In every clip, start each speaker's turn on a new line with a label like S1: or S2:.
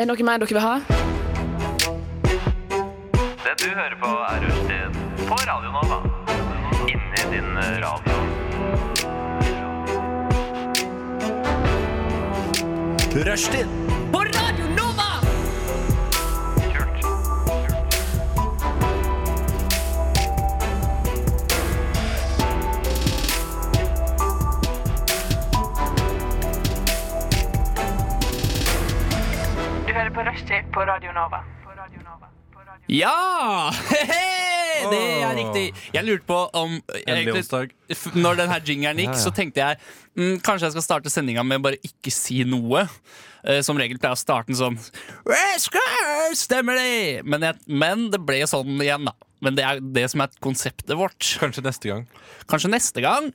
S1: Er det noe mer dere vil ha?
S2: Det du hører på er Rushtid på Radio Nova. Inni din eh, radio.
S3: Rushtid
S2: Kult.
S4: Du hører på Rushtid på Radio Nova. På Radio Nova. På Radio Nova.
S5: Ja! Hehe! Det er riktig. Jeg lurte på om eh,
S3: Endelig onsdag.
S5: f- Når den her jingeren gikk,
S3: Ja, ja.
S5: så tenkte jeg mm, kanskje jeg skal starte sendinga med bare ikke si noe. Eh, som regel pleier jeg å starte den sånn «Yes, girl, Stemmer det? Men, jeg, men det ble sånn igjen, da. Men det er det som er konseptet vårt.
S3: Kanskje neste gang.
S5: Kanskje neste gang.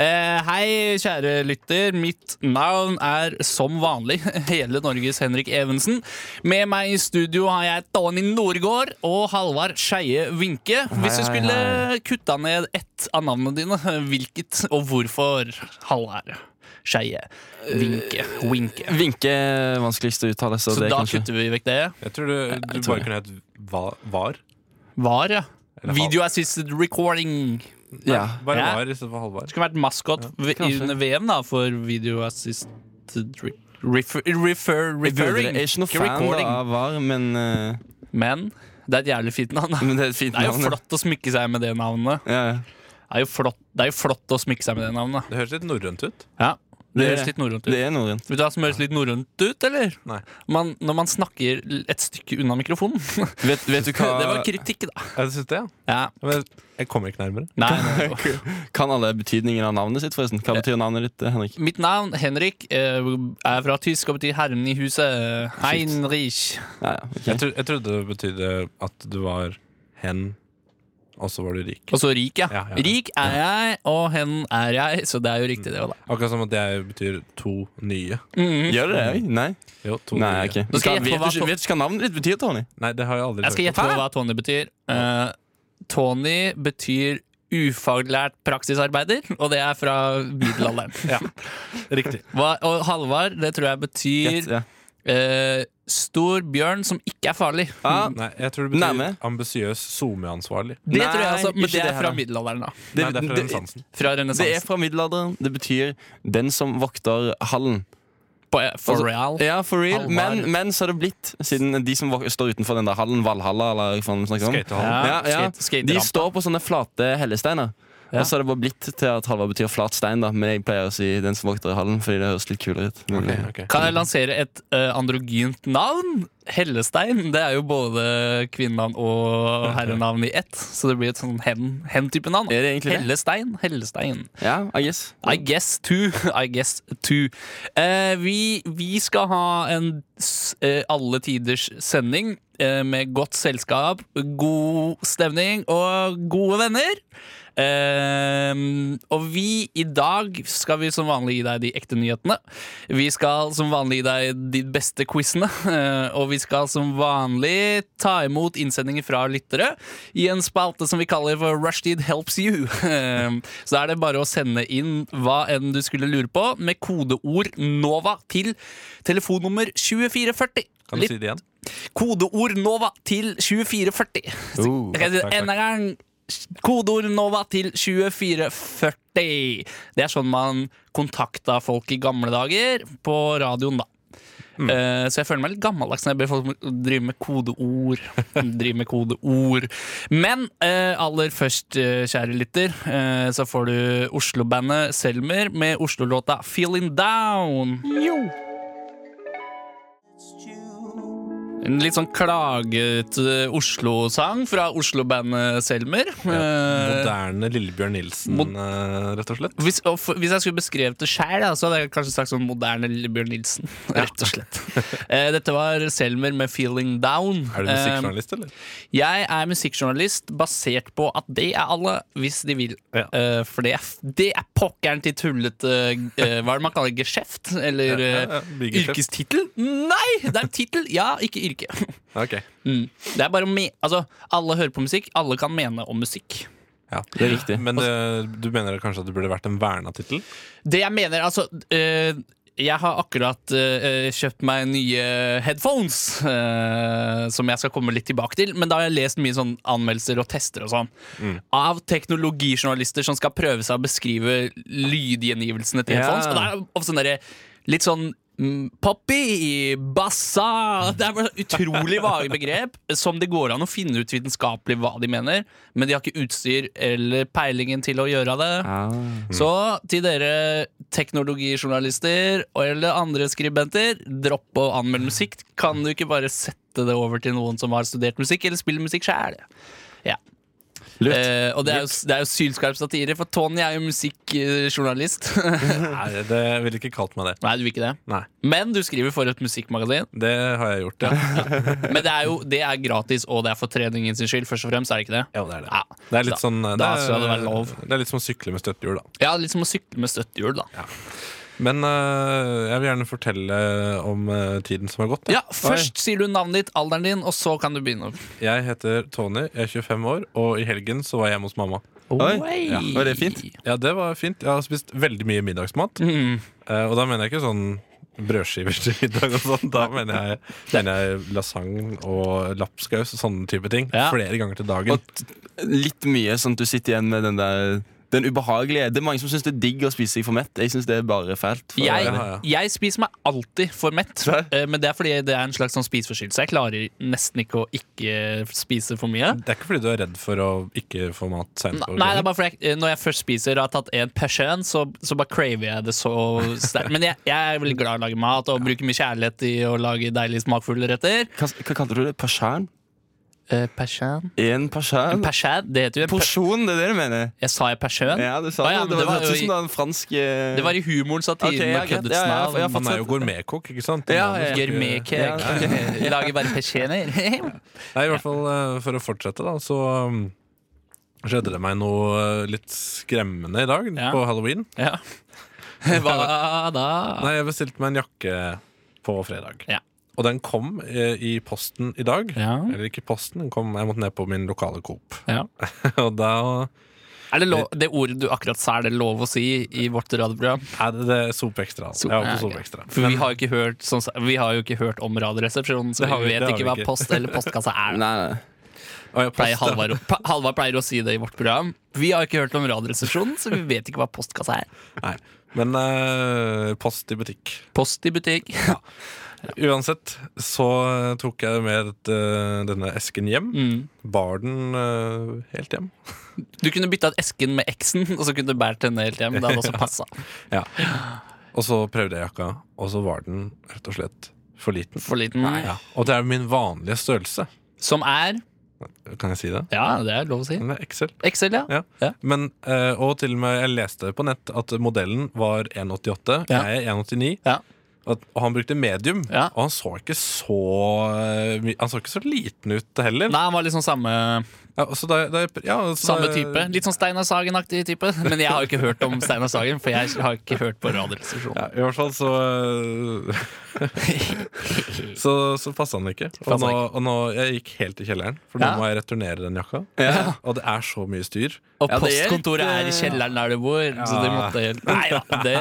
S5: Eh, hei, kjære lytter. Mitt navn er som vanlig hele Norges Henrik Evensen. Med meg i studio har jeg Tony Norgård og Halvard Skeie Winke. Hvis du
S3: hei,
S5: skulle kutta ned ett av navnene dine, hvilket og hvorfor? Halvard Skeie Winke.
S3: Eh,
S5: Winke.
S6: Vinke er vanskeligst å uttale, så,
S5: Så
S6: det
S5: da
S6: kanskje
S5: kutter vi vekk det.
S3: Jeg tror du, du
S6: tror
S3: bare kunne hett va, Var.
S5: VAR, ja.
S3: Eller
S5: Video assisted recording.
S6: ja.
S3: Bare
S5: Ja.
S3: Var istedenfor Halvard.
S5: Det skulle vært maskot v-
S6: kanskje.
S5: under VM da for video assisted re refer, refer,
S6: Jeg burde-
S5: referring.
S6: jeg er ikke noe
S5: ikke
S6: fan da,
S5: recording.
S6: av VAR, men, eh,
S5: Men det er et jævlig fint navn. da.
S6: men det er et fint
S5: Det er jo
S6: navn. ja.
S5: flott å smykke seg med det navnet.
S6: Ja, ja.
S5: Det er jo flott, det er jo flott å smykke seg med det navnet.
S3: Det høres litt norrønt ut.
S5: Ja, Det
S6: Det-
S5: høres litt norrønt ut.
S6: Det er norrønt.
S5: Vet du hva som høres litt norrønt ut, eller?
S3: Nei.
S5: Man, når man snakker l- et stykke unna mikrofonen. Det
S6: Vet, vet du hva
S5: var kritikk, da.
S3: Jeg synes det, ja.
S5: Ja.
S3: Men jeg kommer ikke nærmere.
S5: Nei, nei, nei.
S6: Kan alle betydningen av navnet sitt, forresten? Hva betyr navnet ditt, eh, Henrik?
S5: Mitt navn, Henrik, eh, er fra tysk og betyr 'herren i huset'. Heinrich.
S6: Ja, ja, ok.
S3: Jeg, tro, jeg trodde det betydde at du var hen, og så var du rik.
S5: Og så rik, ja.
S3: Ja, ja, ja.
S5: Rik er jeg, og hen er jeg, så det er jo riktig, det òg, da.
S6: Mm.
S3: Akkurat som at jeg betyr to nye.
S6: Gjør det det? oi? Nei?
S3: Jo, to
S6: Nei,
S3: nye.
S6: ok.
S5: Mm. Nå skal jeg gjette
S6: vet,
S5: på hva
S6: du, ikke- vet du ikke hva navnet ditt betyr, Tony?
S3: Nei, det har jeg aldri
S5: Jeg skal
S3: hørt
S5: gjette på hva Tony betyr. Eh, Tony betyr ufaglært praksisarbeider, og det er fra middelalderen.
S3: om. Riktig.
S5: Hva, og Halvard, det tror jeg
S6: Gjett,
S5: betyr
S6: ja.
S5: eh, stor bjørn som ikke er farlig.
S6: Ah,
S3: Nei, jeg tror det betyr
S6: Nærme.
S3: ambisiøs SoMe-ansvarlig.
S5: Det
S6: Nei,
S5: tror jeg altså, men
S6: ikke
S5: det
S6: det
S5: er
S6: her,
S5: fra
S6: da.
S5: middelalderen, da.
S3: Nei, det er fra renessansen.
S5: Fra
S6: det er
S5: renessansen.
S6: fra middelalderen. Det betyr 'den som vokter hallen'.
S5: På- For
S6: Altså,
S5: real.
S6: Ja, for real.
S5: Halvard.
S6: Men, men så har det blitt, siden de som vok- står utenfor den der hallen, Valhalla eller hva faen de snakker om
S3: Skatehallen.
S6: ja, ja.
S5: skate- skaterampe.
S6: De står på sånne flate hellesteiner.
S5: Ja.
S6: Og så har det bare blitt til at Halvard betyr flat stein, da. Men jeg pleier å si den som vokter hallen, fordi det høres litt kulere ut. Men,
S3: Ok, ok.
S5: Kan jeg lansere et eh, androgynt navn? Hellestein. Det er jo både kvinnenavn og herrenavn i ett. Så det blir et sånn hen- hen-type navn.
S6: Er det egentlig det?
S5: Hellestein. Hellestein.
S6: Ja, I guess.
S5: I guess two. I guess two. Eh, vi, vi skal ha en s- eh, alle tiders sending eh, med godt selskap, god stemning og gode venner. Eh, og vi i dag skal vi som vanlig gi deg de ekte nyhetene. Vi skal som vanlig gi deg de beste quizene. eh, og vi skal som vanlig ta imot innsendinger fra lyttere i en spalte som vi kaller for Rushtid helps you. Eh, Så er det bare å sende inn hva enn du skulle lure på, med kodeord NOVA til telefonnummer 2440.
S3: Kan du
S5: Litt
S3: si det igjen?
S5: kodeord NOVA til 2440.
S6: Oh.
S5: Jeg
S3: Takk,
S5: kan si det
S3: takk,
S5: enda en gang. Kodeord NOVA til 2440. Det er sånn man kontakta folk i gamle dager på radioen, da. Eh, så jeg føler meg litt gammeldags når jeg ber folk drive med kodeord. drive med kodeord Men eh, aller først, eh, kjære lytter, eh, så får du Oslo-bandet Selmer med Oslo-låta 'Feeling Down'. En litt sånn klagete Oslo-sang fra Oslo-bandet Selmer. Eh,
S3: Moderne Lillebjørn Nilsen,
S5: mod-
S3: eh, rett og slett.
S5: hvis, og f- hvis jeg skulle beskrevet det sjøl, så hadde jeg kanskje sagt sånn moderne Bjørn Nilsen. Rett og slett. Eh, Dette var Selmer med 'Feeling Down'.
S3: Er du musikkjournalist, eller?
S5: Eh, Jeg er musikkjournalist basert på at det er alle, hvis de vil.
S3: Ja.
S5: Eh, For det er, f- det er pokkeren til tullete eh, Hva er det man kaller geskjeft?
S3: Ja,
S5: Eller
S3: ja,
S5: ja,
S3: ja, bigeskjeft.
S5: yrkestittel? Nei! Det er tittel, ja, ikke yrke.
S3: Ok.
S5: Mm. Det er bare å me altså, Alle hører på musikk, alle kan mene om musikk.
S3: Ja.
S6: Det er riktig.
S3: Men eh, du mener kanskje at det burde vært en verna tittel?
S5: Det jeg mener, altså øh, jeg har akkurat eh, kjøpt meg nye headphones, eh, som jeg skal komme litt tilbake til. Men da har jeg lest mye sånn anmeldelser og tester og sånn av teknologijournalister som skal prøve seg å beskrive lydgjengivelsene til
S6: Ja.
S5: headphones. Og det er ofte sånn derre litt sånn mm, Poppy, bassa Det er bare sånn utrolig vage begrep som det går an å finne ut vitenskapelig hva de mener, men de har ikke utstyr eller peilingen til å gjøre det. Så til dere teknologijournalister og- eller andre skribenter, dropp å anmelde musikk. Kan du ikke bare sette det over til noen som har studert musikk, eller spiller musikk sjæl? Ja.
S6: Lurt.
S5: Eh, og det er, jo, det er jo sylskarp satire, for Tony er jo musikkjournalist.
S3: Nei, det jeg ville ikke kalt meg det.
S5: Nei, du vil ikke det.
S3: Nei,
S5: Men du skriver for et musikkmagasin.
S3: det har jeg gjort, ja.
S5: Men det er jo det er gratis, og det er for treningen sin skyld, først og fremst. er det ikke det?
S3: Jo, det er det.
S5: Ja.
S3: Det er litt
S5: Da-
S3: sånn eh, det
S5: da
S3: er,
S5: skal det være lov.
S3: Det er litt som å sykle med støttehjul, da.
S5: Ja, litt som å sykle med støttehjul, da.
S3: Men eh, jeg vil gjerne fortelle om eh, tiden som har gått. da.
S5: Ja, Først sier du navnet ditt, alderen din, og så kan du begynne.
S3: Jeg heter Tony, jeg er 25 år, og i helgen så var jeg hjemme hos mamma.
S6: Oi.
S5: Oi.
S6: Ja. Var det fint?
S3: Ja, det var fint. Jeg har spist veldig mye middagsmat.
S5: Mm.
S3: Eh, og da mener jeg ikke sånn brødskiver til middag og sånn. Da mener jeg, mener jeg lasagne og lapskaus og sånne type ting.
S5: Ja.
S3: Flere ganger til dagen.
S6: Og t- litt mye sånn at du sitter igjen med den der den ubehagelige Det er mange som syns det er digg å spise seg for mett. Jeg syns det er bare fælt. for-
S5: Jeg,
S3: Ja, ja.
S5: jeg spiser meg alltid for mett,
S6: Nei.
S5: eh, men det er fordi det er en slags sånn spiseforstyrrelse. Jeg klarer nesten ikke å ikke spise for mye.
S3: det er ikke fordi du er redd for å ikke få mat sent på
S5: Nei, det er bare fordi jeg, eh, Når jeg først spiser og har tatt en persienn, så, så bare craver jeg det så sterkt. Men jeg, jeg er veldig glad i å lage mat og bruker mye kjærlighet i å lage deilige, smakfulle retter.
S6: Hva, hva kalte du det? Persian?
S5: Eh, Persienn?
S6: En persian?
S5: Persienn? Det heter jo en per-
S6: Porsjon, det er det du mener?
S5: Jeg sa jeg persienn?
S6: Ja, du sa
S5: Å, ja, men
S6: det. Det
S5: det
S6: var-
S5: var
S6: det
S5: jo i-
S6: hørtes ut som det var en fransk eh,
S5: Det var i humoren, satiren
S6: Ok, ja,
S5: og
S6: greit.
S5: køddets
S6: Ja, ja,
S5: navn.
S6: ja,
S3: Man er jo gourmetkokk, ikke sant?
S6: Ja,
S3: Man
S6: ja,
S3: er jo ikke-
S5: Gourmetkek.
S6: Ja, ok.
S5: Lager bare persienner.
S3: Nei, i hvert fall eh, for å fortsette, da, så um, skjedde det meg noe eh, litt skremmende i dag,
S5: Ja.
S3: på halloween.
S5: Ja. Hva da?
S3: Nei, jeg bestilte meg en jakke på fredag.
S5: Ja.
S3: Og den kom eh, i posten i dag.
S5: Ja.
S3: Eller ikke posten, den kom, jeg måtte ned på min lokale Coop.
S5: Ja.
S3: Og da
S5: Er det, lov, det ordet du akkurat sa, er det lov å si i vårt radioprogram?
S3: er det, det Sop Extra. altså. Jeg var på
S5: Ja,
S3: Sop
S5: ok.
S3: Extra.
S5: For vi har jo ikke hørt, sånn, vi har jo ikke hørt om Radioresepsjonen, så
S3: Det har
S5: vi
S3: vi-
S5: vet
S3: det har
S5: ikke
S3: vi
S5: hva
S3: ikke.
S5: post eller postkassa er.
S6: Nei, nei.
S3: Og jeg
S5: Pleier
S3: postet-
S5: Halvard, å- Pa- Halvard pleier å si det i vårt program. Vi har ikke hørt om Radioresepsjonen, så vi vet ikke hva postkassa er.
S3: Nei. Men eh, post i butikk.
S5: Post i butikk.
S3: Uansett så eh, tok jeg med dette, denne esken hjem.
S5: Mm.
S3: Bar den eh, helt hjem.
S5: Du kunne bytta ut esken med eksen, og så kunne du båret henne helt hjem. Det hadde også passa.
S3: Og så prøvde jeg jakka, og så var den rett og slett for liten.
S5: For liten.
S3: Ja. Og det er min vanlige størrelse.
S5: Som er
S3: Kan jeg si det?
S5: Ja, det er lov å si.
S3: Den er XL.
S5: Excel, ja.
S3: Ja.
S5: Ja.
S3: Men, eh, og til og med jeg leste på nett at modellen var 1,88.
S5: Ja.
S3: Jeg er 1,89.
S5: Ja.
S3: At- Og han brukte medium,
S5: Ja.
S3: og han så ikke så eh, my- Han så ikke så liten ut heller.
S5: Nei, han var liksom samme
S3: Ja, og så da, da, jeg pr- ja, og så
S5: Samme
S3: da-
S5: type. Litt sånn Steinar Sagen-aktig type. Men jeg har jo ikke hørt om Steinar Sagen, for jeg har ikke hørt på Radioresepsjonen.
S3: Ja, I hvert fall så eh, Så, så passa den ikke. Og
S5: Passet
S3: nå, og nå jeg gikk helt i kjelleren, for nå
S5: Ja.
S3: må jeg returnere den jakka. Og det er så mye styr.
S5: Og
S6: Ja, det er litt,
S5: postkontoret er i kjelleren der du bor, så det måtte helt Nei da. Det,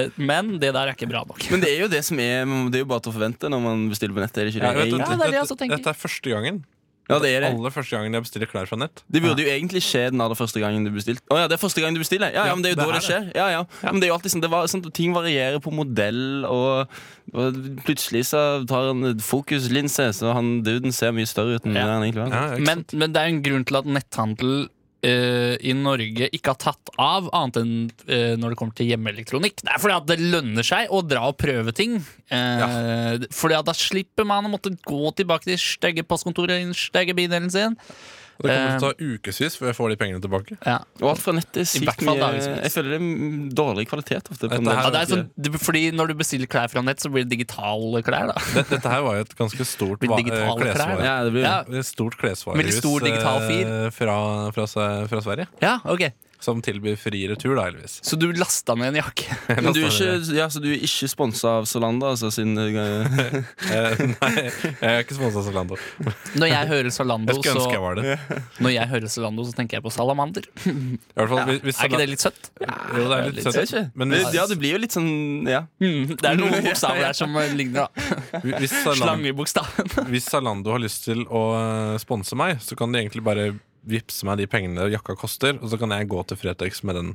S5: det, men det der er ikke bra nok.
S6: Men det er jo det som er Det er jo bare til å forvente når man bestiller på nettet. Er det ikke
S3: Ja,
S6: det?
S3: vet du,
S5: Ja,
S6: Egentlig.
S5: det er det jeg også tenker.
S3: Dette er første gangen.
S6: Ja, det er det.
S3: Aller første gangen jeg bestiller klær fra nett.
S6: Det burde jo egentlig skje den aller første gangen du bestilte. Å ja, det er første gangen du bestiller. Ja, ja, men det er jo
S3: det
S6: da
S3: er
S6: det skjer. Ja, ja. Men det er jo alltid sånn, det var, sånn at Ting varierer på modell, og, og plutselig så tar han et fokuslinse, så han duden ser mye større ut enn
S5: Ja.
S6: det han egentlig var.
S3: Ja, ikke
S5: Men,
S3: sant?
S5: men det er en grunn til at netthandel eh, i Norge ikke har tatt av, annet enn eh, når det kommer til hjemmeelektronikk. Det er fordi at det lønner seg å dra og prøve ting. Uh, Fordi at da slipper man å måtte gå tilbake til stygge postkontoret i den stygge bydelen sin.
S3: Og det
S5: Eh,
S3: kommer til å ta ukevis før jeg får de pengene tilbake.
S5: Ja.
S6: Og alt fra nettet er sykt
S5: hvert fall
S6: mye
S5: dagevis.
S6: Jeg føler det er mm, dårlig kvalitet ofte. På
S3: Dette
S6: nettet.
S3: her-
S5: Ja, det er sånn, det, fordi når du bestiller klær fra nett, så blir det digitale klær. da
S3: Dette, dette her var jo et ganske stort
S5: Blir
S3: va- eh,
S5: digitale klær,
S3: klesvare.
S6: ja, det blir
S5: Ja.
S3: Et Stort
S5: Veldig
S3: klesvarehus
S5: stor digital fil.
S3: eh, fra, fra, Sve- fra Sverige.
S5: Ja, ok
S3: som tilbyr fri retur, da, heldigvis.
S5: Så du lasta ned en jakke?
S6: Men du er ikke, ja, så du er ikke sponsa av Solanda? Altså, sin,
S3: Eh, nei, jeg er ikke sponsa av Zalando.
S5: Når jeg hører Zalando,
S3: Jeg skulle ønske jeg
S5: så,
S3: var det.
S5: når jeg hører Zalando, så tenker jeg på salamander.
S3: I hvert fall, hvis, hvis
S5: Er ikke det litt søtt?
S3: Zalando- Jo, det er litt
S5: litt
S6: jeg vet ikke.
S3: søtt. Men hvis,
S6: ja, det blir jo litt sånn Ja.
S5: Mm, det er noen bokstaver der som eh, ligner. da.
S3: hvis, Zalando,
S5: Slangebokstaven.
S3: hvis Zalando har lyst til å eh, sponse meg, så kan de egentlig bare vippse meg de pengene jakka koster, og så kan jeg gå til Fretex med den.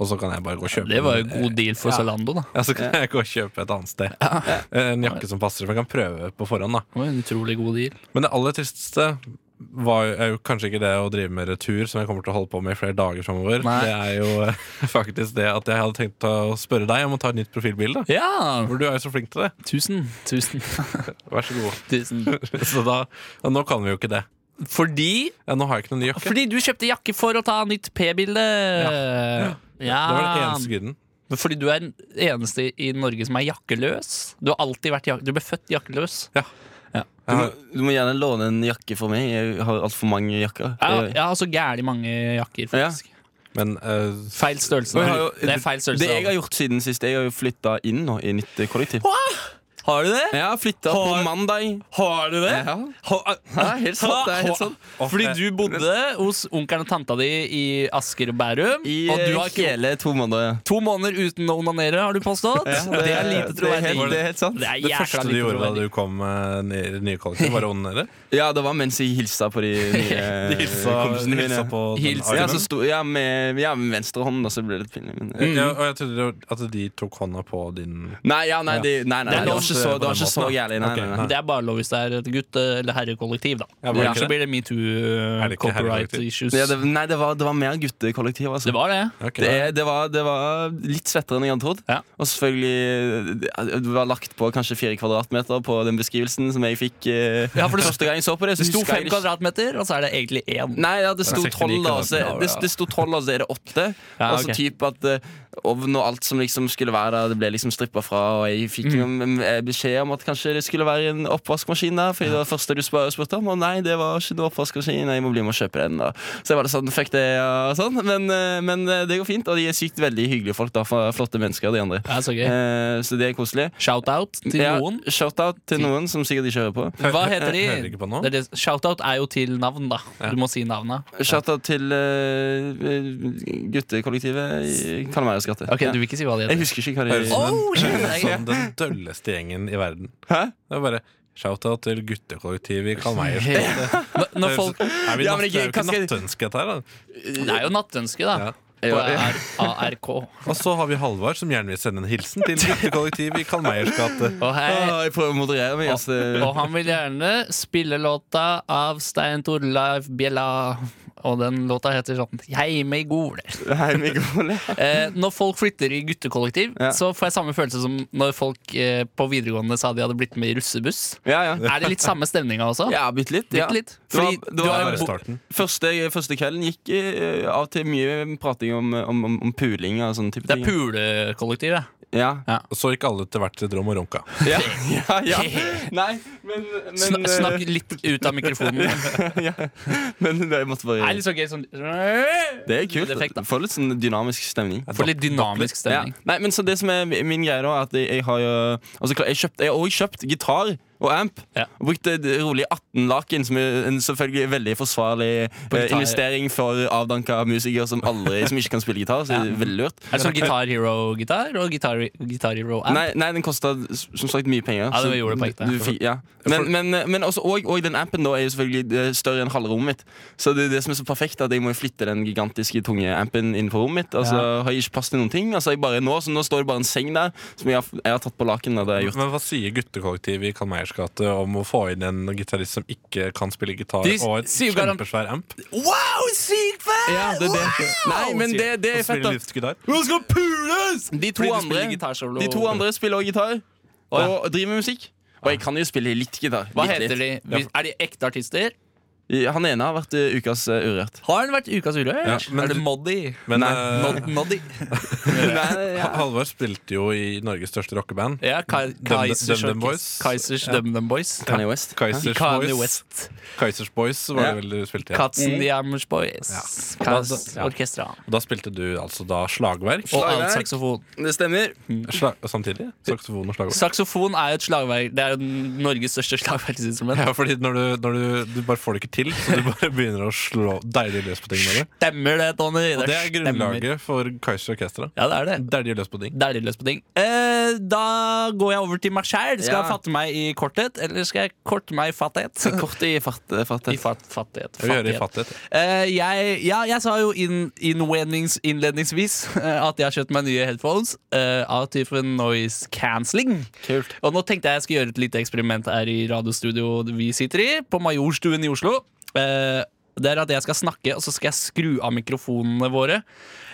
S3: Og så kan jeg bare gå og kjøpe
S5: Det var jo
S3: den.
S5: god deal for Zalando, da.
S3: Ja, så kan jeg gå og kjøpe et annet sted. En jakke som passer, for jeg kan prøve på forhånd. da
S5: Det var en utrolig god deal.
S3: Men det aller tristeste var jo, er jo kanskje ikke det å drive med retur, som jeg kommer til å holde på med i flere dager framover.
S5: Nei.
S3: Det er jo eh, faktisk det at jeg hadde tenkt å spørre deg om å ta et nytt profilbilde.
S5: Ja!
S3: For du er jo så flink til det.
S5: Tusen, tusen,
S3: Vær så god.
S5: tusen.
S3: Så da, ja, nå kan vi jo ikke det.
S5: Fordi
S3: Ja, nå har jeg ikke noen ny jakke.
S5: Fordi du kjøpte jakke for å ta nytt P-bilde. Ja.
S3: Det var den eneste grunnen.
S5: Men Fordi du er den eneste i Norge som er jakkeløs. Du har alltid vært jak du ble født jakkeløs.
S6: Du må, du må gjerne låne en jakke for meg. Jeg har altfor mange jakker.
S5: Ja,
S6: Jeg-
S5: jeg har så gæli mange jakker, faktisk.
S3: Men eh,
S5: Feil størrelse.
S6: Og jeg har jo-
S5: Det er feil størrelse.
S6: Det jeg har gjort siden sist, jeg har jo flytta inn nå i nytt eh, kollektiv.
S5: Har du det?
S6: Jeg har flytta på
S5: Har-
S6: mandag.
S5: Har du det?
S6: Ja.
S3: ah,
S6: Ja, helt sant, det er helt sånn. sant.
S5: Fordi du bodde hos onkelen og tanta di i Asker og Bærum.
S6: I
S5: og du
S6: eh,
S5: har ikke
S6: hele to måneder.
S5: to måneder uten å onanere, har du påstått? det, er lite troverdig.
S6: helt- Det er helt sant.
S5: Det er
S3: det første
S5: jækla
S3: du
S5: lite
S3: gjorde da
S5: troverdig.
S3: du kom eh, ned i det nye kollektivet, var å onanere?
S6: Ja, det var mens jeg hilsa på de nye
S3: De hilsa,
S6: kompisene mine.
S3: hilsa på den
S5: Hilsa,
S6: Ja,
S3: armen.
S6: så sto, ja, med, ja, med venstre hånd, da, så ble det litt pinlig. Men, eh.
S3: Eh,
S5: Mm.
S3: ja, og jeg trodde at de tok hånda på din
S6: Nei, ja, nei, det, nei, nei,
S5: Det er
S6: det var
S5: lov
S6: ikke
S3: på
S6: så, det var
S3: den
S6: ikke så
S3: måten, da.
S6: gærlig. Nei,
S3: Ok,
S6: nei, nei.
S3: nei.
S5: Det er bare lov hvis det er et gutt- eller herrekollektiv, da.
S3: Ja, var det
S5: så
S3: ikke det?
S5: blir det metoo,
S3: det ikke
S5: copyright
S3: herrekollektiv?
S5: issues.
S6: Ja, det, nei, det var, det var mer guttekollektiv. Altså.
S5: Det var det.
S3: Ok.
S6: Det, er- det, var, det var litt svettere enn jeg hadde trodd.
S5: Ja.
S6: Og selvfølgelig eh, det- Det var lagt på kanskje fire kvadratmeter på den beskrivelsen som jeg fikk eh,
S5: Ja, for det-
S6: første gang jeg så på det. Så
S5: Det sto
S6: husker jeg
S5: fem
S6: det ikke-
S5: kvadratmeter, og så er det egentlig én.
S6: Nei, ja, det sto
S3: Det er 69
S6: tolv, da. og Så,
S3: kvadratmeter.
S6: det, det sto tolv, og så er det åtte.
S5: Ja,
S6: Og så
S5: ok.
S6: typ at eh, ovn og alt som liksom skulle være der, det ble liksom strippa fra. Og jeg fikk
S5: Mm.
S6: noen, eh, beskjed om at kanskje det skulle være en oppvaskmaskin der, fordi det var det første du spør, spurte om. Og nei, det var ikke noe oppvaskmaskin, jeg må bli med og kjøpe den. da Så jeg var litt sånn, fuck det, og sånn. Men, eh, men eh, det går fint, og de er sykt veldig hyggelige folk, da. fra- Flotte mennesker, de andre.
S5: Det er så gøy.
S6: Eh, så det er koselig.
S5: Shout-out til
S6: Ja,
S5: noen.
S6: Shout-out til noen som sikkert ikke hører på.
S5: Hva heter de?
S3: Hører ikke på nå.
S5: Det er det- Shout-out er jo til navn, da. Du må si navnet.
S6: Shout-out til eh, guttekollektivet i Kalmarias gate.
S5: Ok,
S6: Ja.
S5: Du vil ikke si hva de
S6: Jeg
S5: heter?
S6: husker ikke hva de
S3: Høres ut som den-
S5: Oh, shit, det er
S3: høres ut
S5: gøy.
S3: som den dølleste gjengen i verden.
S6: Hæ?
S3: Det er bare Shout-out til guttekollektivet i Karl Meyers gate.
S5: Når- Når folk
S3: Er vi
S6: Ja,
S3: natt,
S6: men
S3: det er jo
S6: ikke- hva
S3: ikke
S6: skal-
S3: nattønske, dette her, da.
S5: Det er jo nattønske, da.
S3: Ja.
S5: På ARK.
S3: Og så har vi Halvard, som gjerne vil sende en hilsen til guttekollektivet i Karl Meyers gate.
S5: Og, hei,
S6: Åh, jeg prøver å moderere meg. Altså.
S5: og han vil gjerne spille låta av Stein Torleif Bjella. Og den låta heter sånn Heime i Gole.
S6: Hei, Mikael.
S5: Eh, når folk flytter i guttekollektiv,
S6: Ja.
S5: så får jeg samme følelse som når folk eh, på videregående sa de hadde blitt med i russebuss.
S6: Ja, ja.
S5: Er det litt samme stemninga også?
S6: Ja, bitte litt.
S5: Bitte
S6: Ja.
S5: litt.
S6: Det var-
S5: Fordi
S6: det
S5: du
S6: var-
S3: Det
S5: har
S3: er
S5: jo
S3: bare
S5: bo-
S3: starten.
S6: Første, første kvelden gikk eh, av til mye prating om, om, om, om puling og sånne type
S5: Det er
S6: ting.
S5: pulekollektiv, ja.
S6: Ja.
S3: Og så gikk alle til hvert sitt rom og runka.
S6: Ja. ja, ja. Nei, men, men,
S5: Sna-
S6: eh,
S5: Snakk litt ut av mikrofonen. Det
S6: ja. men det, jeg måtte
S5: er
S6: bare
S5: litt så gøy sånn
S6: Det er kult.
S5: Effekt, da.
S6: Får litt sånn dynamisk stemning.
S5: Får litt dynamisk stemning.
S6: Ja. Nei, men så det som er min greie da er At jeg, jeg har jo altså, klar- jeg, kjøpt, jeg har også kjøpt gitar og amp
S5: Ja.
S6: Og brukte d- rolig 18 laken Som er en selvfølgelig veldig forsvarlig eh,
S5: gitar.
S6: investering For avdanka musikere som, aldri, som ikke kan spille gitar Så det er veldig lurt
S5: Er det sånn Guitar Hero-gitar og Guitar, Guitar Hero app?
S6: Nei, nei, den kostet s- som sagt mye penger
S5: Ja, det
S6: så
S5: gjorde det på ekte.
S6: du fikk- ja. Men, men, men også, og, og den ampen da er jo selvfølgelig eh, større enn halve rommet mitt Så det er det som er så perfekt At jeg må jo flytte den gigantiske tunge ampen inn på rommet mitt Og så har jeg ikke plass til noen ting Altså jeg bare nå, så nå står det bare en seng der Som jeg har, jeg har tatt på laken da, det har jeg gjort
S3: Men hva sier guttekollektivet i Karl Meyers gate om å få inn en gitarist som ikke kan spille gitar,
S5: De
S3: og et
S5: sier jo garant-
S3: kjempesvær amp?
S5: Wow, sykt fett!
S6: Ja, det, er det. Nei, men det, det
S3: Og
S6: er fett
S3: spiller
S6: da
S3: litt gitar?
S6: Hun skal pules!
S5: Fordi
S6: De to,
S5: du
S6: andre,
S5: spiller gitarsolo.
S6: de to andre spiller også gitar Og driver med musikk Og jeg kan jo spille litt gitar
S5: Hva
S6: litt,
S5: heter
S6: litt.
S5: de? Vi- Er de ekte artister?
S6: Ja, Han ene har vært eh, ukas eh, urørt.
S5: Har den vært ukas urørt?
S3: Ja, men-
S5: er det Moddi?
S3: Men
S6: Nei,
S3: eh,
S5: Nod Noddy?
S6: Nei,
S3: Ha- Halvor spilte jo i Norges største rockeband.
S5: Ja, Kai-
S3: Dum-
S5: Kaisers
S3: Dum Dum
S5: Orkest-
S3: Boys.
S5: Kaisers
S3: Ja.
S5: Dum Dum Boys.
S6: Kanye West.
S3: Kaizers
S5: Kanye
S3: Boys,
S5: West.
S3: Kaizers Boys var
S6: Ja.
S3: det vel du spilte i.
S5: Katzen de Hammers
S6: Mm.
S5: Boys.
S3: Ja.
S5: Kaisers
S3: Ja.
S5: Orkestra.
S3: Og da spilte du altså da slagverk
S5: Og
S6: Slagverk.
S5: alt saksofon.
S6: Det stemmer.
S3: Sla samtidig? Saksofon og slagverk?
S5: Saksofon er jo et slagverk. Det er jo Norges største slagverksinstrument.
S3: Ja, fordi når du, når du, du bare får det ikke til, så du bare begynner å slå deilig løs på ting med det.
S5: Stemmer det, Tony?
S3: Og det er
S5: stemmer.
S3: grunnlaget for Kaizers Orkestra.
S5: Ja, det er det.
S3: Deilig løs på ting.
S5: Det er litt løs på ting. Eh, da går jeg over til meg sjæl. Skal
S6: Ja.
S5: jeg fatte meg i korthet, eller skal jeg korte meg i fattighet?
S6: Kort i fart, fartet.
S5: I fat, fattighet.
S3: Jeg vil gjøre det i
S5: fattighet.
S3: fattighet.
S5: Eh, jeg, ja, jeg sa jo inn, innlednings, innledningsvis eh, at jeg har kjøpt meg nye headphones eh, av typen noise cancelling.
S6: Kult.
S5: Og nå tenkte jeg jeg skulle gjøre et lite eksperiment her i radiostudioet vi sitter i, på Majorstuen i Oslo. Eh, det er at jeg skal snakke, og så skal jeg skru av mikrofonene våre.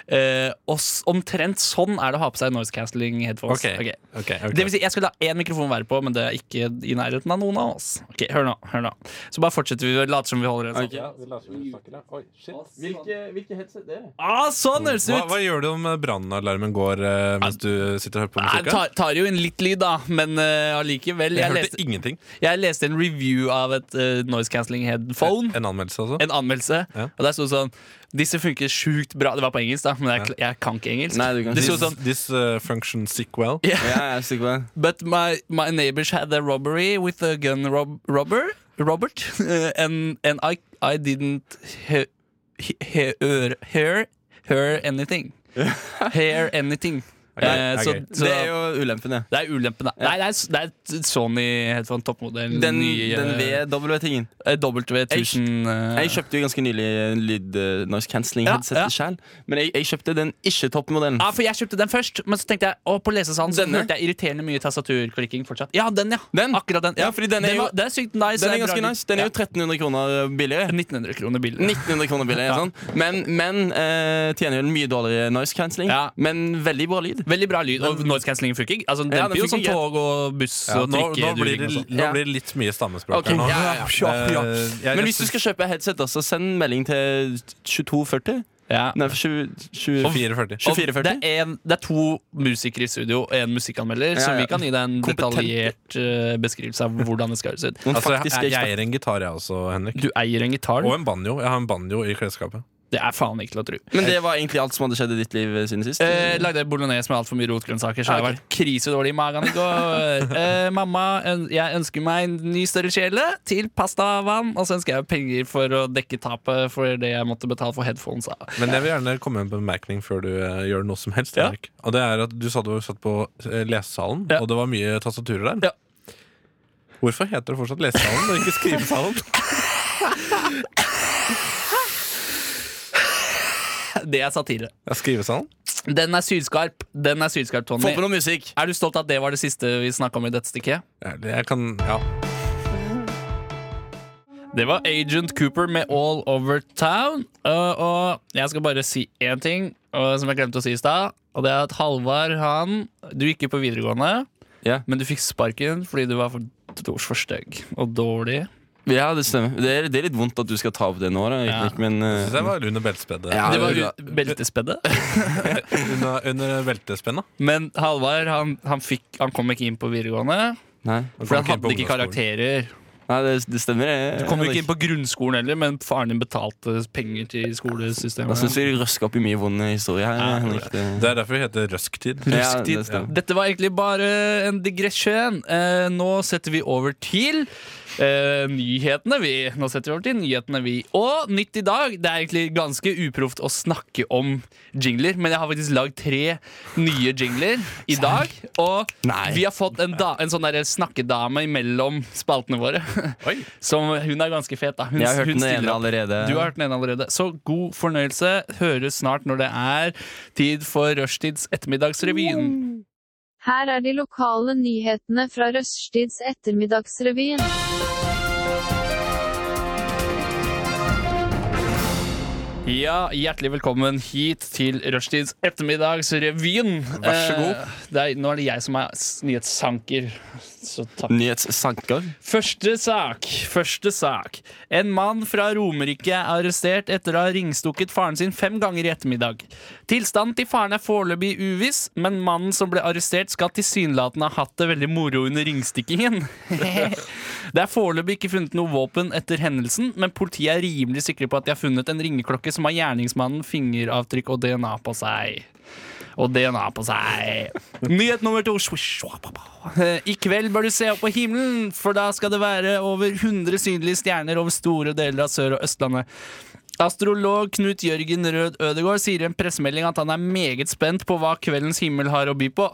S5: Eh, og s- omtrent sånn er det å ha på seg noise cancelling headphones.
S3: Ok.
S5: Ok.
S3: Ok, ok.
S5: Det vil si, jeg skulle la én mikrofon være på, men det er ikke i nærheten av noen av oss. Ok, Hør nå. hør nå Så bare fortsetter vi å late som vi holder en sånn.
S6: Hvilke, headset er det?
S5: Ah, sånn høres det
S3: hva,
S5: ut!
S3: hva gjør du om eh, brannalarmen går eh, mens du sitter og hører på
S5: Nei, det
S3: musikk?
S5: tar, tar jo inn litt lyd, da, men eh, allikevel.
S3: Jeg,
S5: Jeg,
S3: hørte
S5: leste,
S3: ingenting.
S5: jeg leste en review av et eh, noise cancelling headphone.
S3: En anmeldelse, altså?
S5: En anmeldelse.
S3: Ja.
S5: Og der sto det sånn Disse funker sjukt bra. Det var på engelsk, da, men jeg, jeg kan ikke engelsk.
S6: Nei, du kan
S5: det
S6: ikke.
S5: sto sånn
S3: This uh, function sick well.
S6: Ja, jeg er sikker på det.
S5: But my, my neighbors had a robbery with a gun rob robber, Robert, eh, and, and I, I didn't he, he, he, hear, hear, hear anything. Hear anything. Eh,
S3: det er
S5: så,
S3: gøy.
S5: så
S6: Det er jo ulempen, det.
S5: det er ulempen, da. Nei, det er, det er Sony headphone toppmodell.
S6: Den,
S5: nye,
S6: den VW-tingen.
S5: eh, W1000. eh,
S6: Jeg kjøpte jo ganske nylig en lyd eh, noise cancelling
S5: Ja,
S6: headset
S5: ja.
S6: selv, men jeg, jeg kjøpte den ikke toppmodellen.
S5: Ja, for Jeg kjøpte den først, men så tenkte jeg å, på lesesalen så
S6: Denne?
S5: hørte jeg irriterende mye tastaturklikking. fortsatt Ja, den, ja.
S6: Den?
S5: Akkurat den.
S6: Ja, fordi den er jo-
S5: var, det er sykt nice.
S6: Den
S5: det
S6: er
S5: bra
S6: ganske
S5: lyd.
S6: nice. Den er jo 1300 kroner billigere.
S5: ja. 1900 kroner billig.
S6: 1900 kroner billigere,
S5: Ja.
S6: sånn. Men, men eh, tjener jo en mye dårligere noise cancelling.
S5: Ja.
S6: Men veldig bra lyd.
S5: Veldig bra lyd. Og noise cancellingen funker. Altså, den
S6: Ja, den
S5: demper jo som
S6: funker
S5: tog og buss
S3: Ja,
S5: og
S3: nå, nå, blir
S5: trikkeduring
S3: det,
S5: og sånn.
S3: nå
S6: Ja.
S3: blir det litt mye stammespråk
S6: Ok,
S3: her nå.
S6: ja, ja, ja, ja.
S3: Eh, jeg-
S6: Men
S3: jeg
S6: hvis du
S3: synes
S6: skal kjøpe headset, da, så send melding til 2240.
S5: Ja.
S6: Nei, 20, 20,
S3: 24,40.
S5: Og
S6: 2440.
S5: Det, er en, det er to musikere i studio og én musikkanmelder,
S6: Ja,
S5: så
S6: ja.
S5: vi kan gi deg en
S6: Kompetente.
S5: detaljert eh, beskrivelse av hvordan det skal høres ut.
S6: Noen
S3: Altså, jeg,
S6: faktiske
S3: jeg, jeg
S6: eksperter.
S3: eier en gitar, jeg også, Henrik.
S5: Du eier en gitar.
S3: Og
S5: du.
S3: en banjo. Jeg har en banjo i klesskapet.
S5: Det er faen ikke til å tro.
S6: Men det var egentlig alt som hadde skjedd i ditt liv siden sist?
S5: Eh, lagde jeg bolognese med altfor mye rotgrønnsaker, så
S6: Ah,
S5: jeg har
S6: ok.
S5: vært krisedårlig i magen i går. Eh, mamma, øn- jeg ønsker meg en ny større kjele til pasta og vann, og så ønsker jeg penger for å dekke tapet for det jeg måtte betale for headphones. av.
S3: Men jeg vil gjerne komme med en bemerkning før du eh, gjør noe som helst.
S5: Ja.
S3: Henrik. Og det er at Du sa du satt på eh, lesesalen,
S5: Ja.
S3: og det var mye tastaturer der.
S5: Ja.
S3: Hvorfor heter det fortsatt lesesalen og ikke skrivesalen?
S5: Det er satire.
S3: Ja, skrivesalen?
S5: Den er sylskarp. Den er sylskarp,
S6: Få på
S5: Tony.
S6: noe musikk!
S5: Er du stolt av at det var det siste vi snakka om i dette stikket?
S3: Ja, det- Jeg kan Ja.
S5: Det var Agent Cooper med All Over Town. Uh, og jeg skal bare si én ting uh, som jeg glemte å si i stad. Og det er at Halvard, han Du gikk jo på videregående,
S6: Ja.
S5: men du fikk sparken fordi du var for, for stygg og dårlig.
S6: Ja, det stemmer. Det er, det er litt vondt at du skal ta opp det nå, da,
S5: Ja.
S6: Erik, men
S3: Jeg
S6: eh,
S3: synes jeg var under beltespedet.
S6: Ja,
S5: Det var
S6: det er
S5: ut- beltespeddet.
S3: Under, under beltespenna.
S5: Men Halvard han, han, fikk- han kom ikke inn på videregående,
S6: Nei,
S5: for han hadde ikke karakterer.
S6: nei det, det stemmer. eh,
S5: Kom jo
S6: Henrik.
S5: ikke inn på grunnskolen heller, men faren din betalte penger til
S6: Da syns
S5: skolesystemet.
S6: jeg du røsker opp i mye vond historie her.
S5: Ja,
S6: Henrik. Det-
S3: Det er derfor det heter røsktid.
S6: Ja, det
S5: Rusktid.
S6: stemmer.
S5: Dette var egentlig bare en digresjon. Eh, nå setter vi over til eh, nyhetene, vi. Nå setter vi over til nyhetene, vi. Og nytt i dag. Det er egentlig ganske uproft å snakke om jingler, men jeg har faktisk lagd tre nye jingler i dag. Og
S6: Nei.
S5: vi har fått en, da, en sånn der snakkedame imellom spaltene våre.
S3: Oi.
S5: Som, hun er ganske fet, da. Hun,
S6: Jeg har hørt
S5: hun
S6: den
S5: stiller
S6: ene
S5: opp.
S6: allerede.
S5: Du har hørt den ene allerede. Så god fornøyelse. Høres snart når det er tid for Rushtids ettermiddagsrevyen.
S1: Her er de lokale nyhetene fra Røststids ettermiddagsrevyen.
S5: Ja, Ja, hjertelig velkommen hit til Rushtids ettermiddagsrevyen.
S6: Vær så god.
S5: Eh, det er, nå er det jeg som er s- nyhetssanker. Så takk.
S6: Nyhetssanker.
S5: Første sak. Første sak. En mann fra Romerike er arrestert etter å ha ringstukket faren sin fem ganger i ettermiddag. Tilstanden til faren er foreløpig uviss, men mannen som ble arrestert, skal tilsynelatende ha hatt det veldig moro under ringstikkingen. det er foreløpig ikke funnet noe våpen etter hendelsen, men politiet er rimelig sikre på at de har funnet en ringeklokke som har gjerningsmannen fingeravtrykk og DNA på seg og DNA på seg. Nyhet nummer to. Eh, I kveld bør du se opp på himmelen, for da skal det være over 100 synlige stjerner over store deler av Sør- og Østlandet. Astrolog Knut Jørgen Rød Ødegård sier i en pressemelding at han er meget spent på hva kveldens himmel har å by på.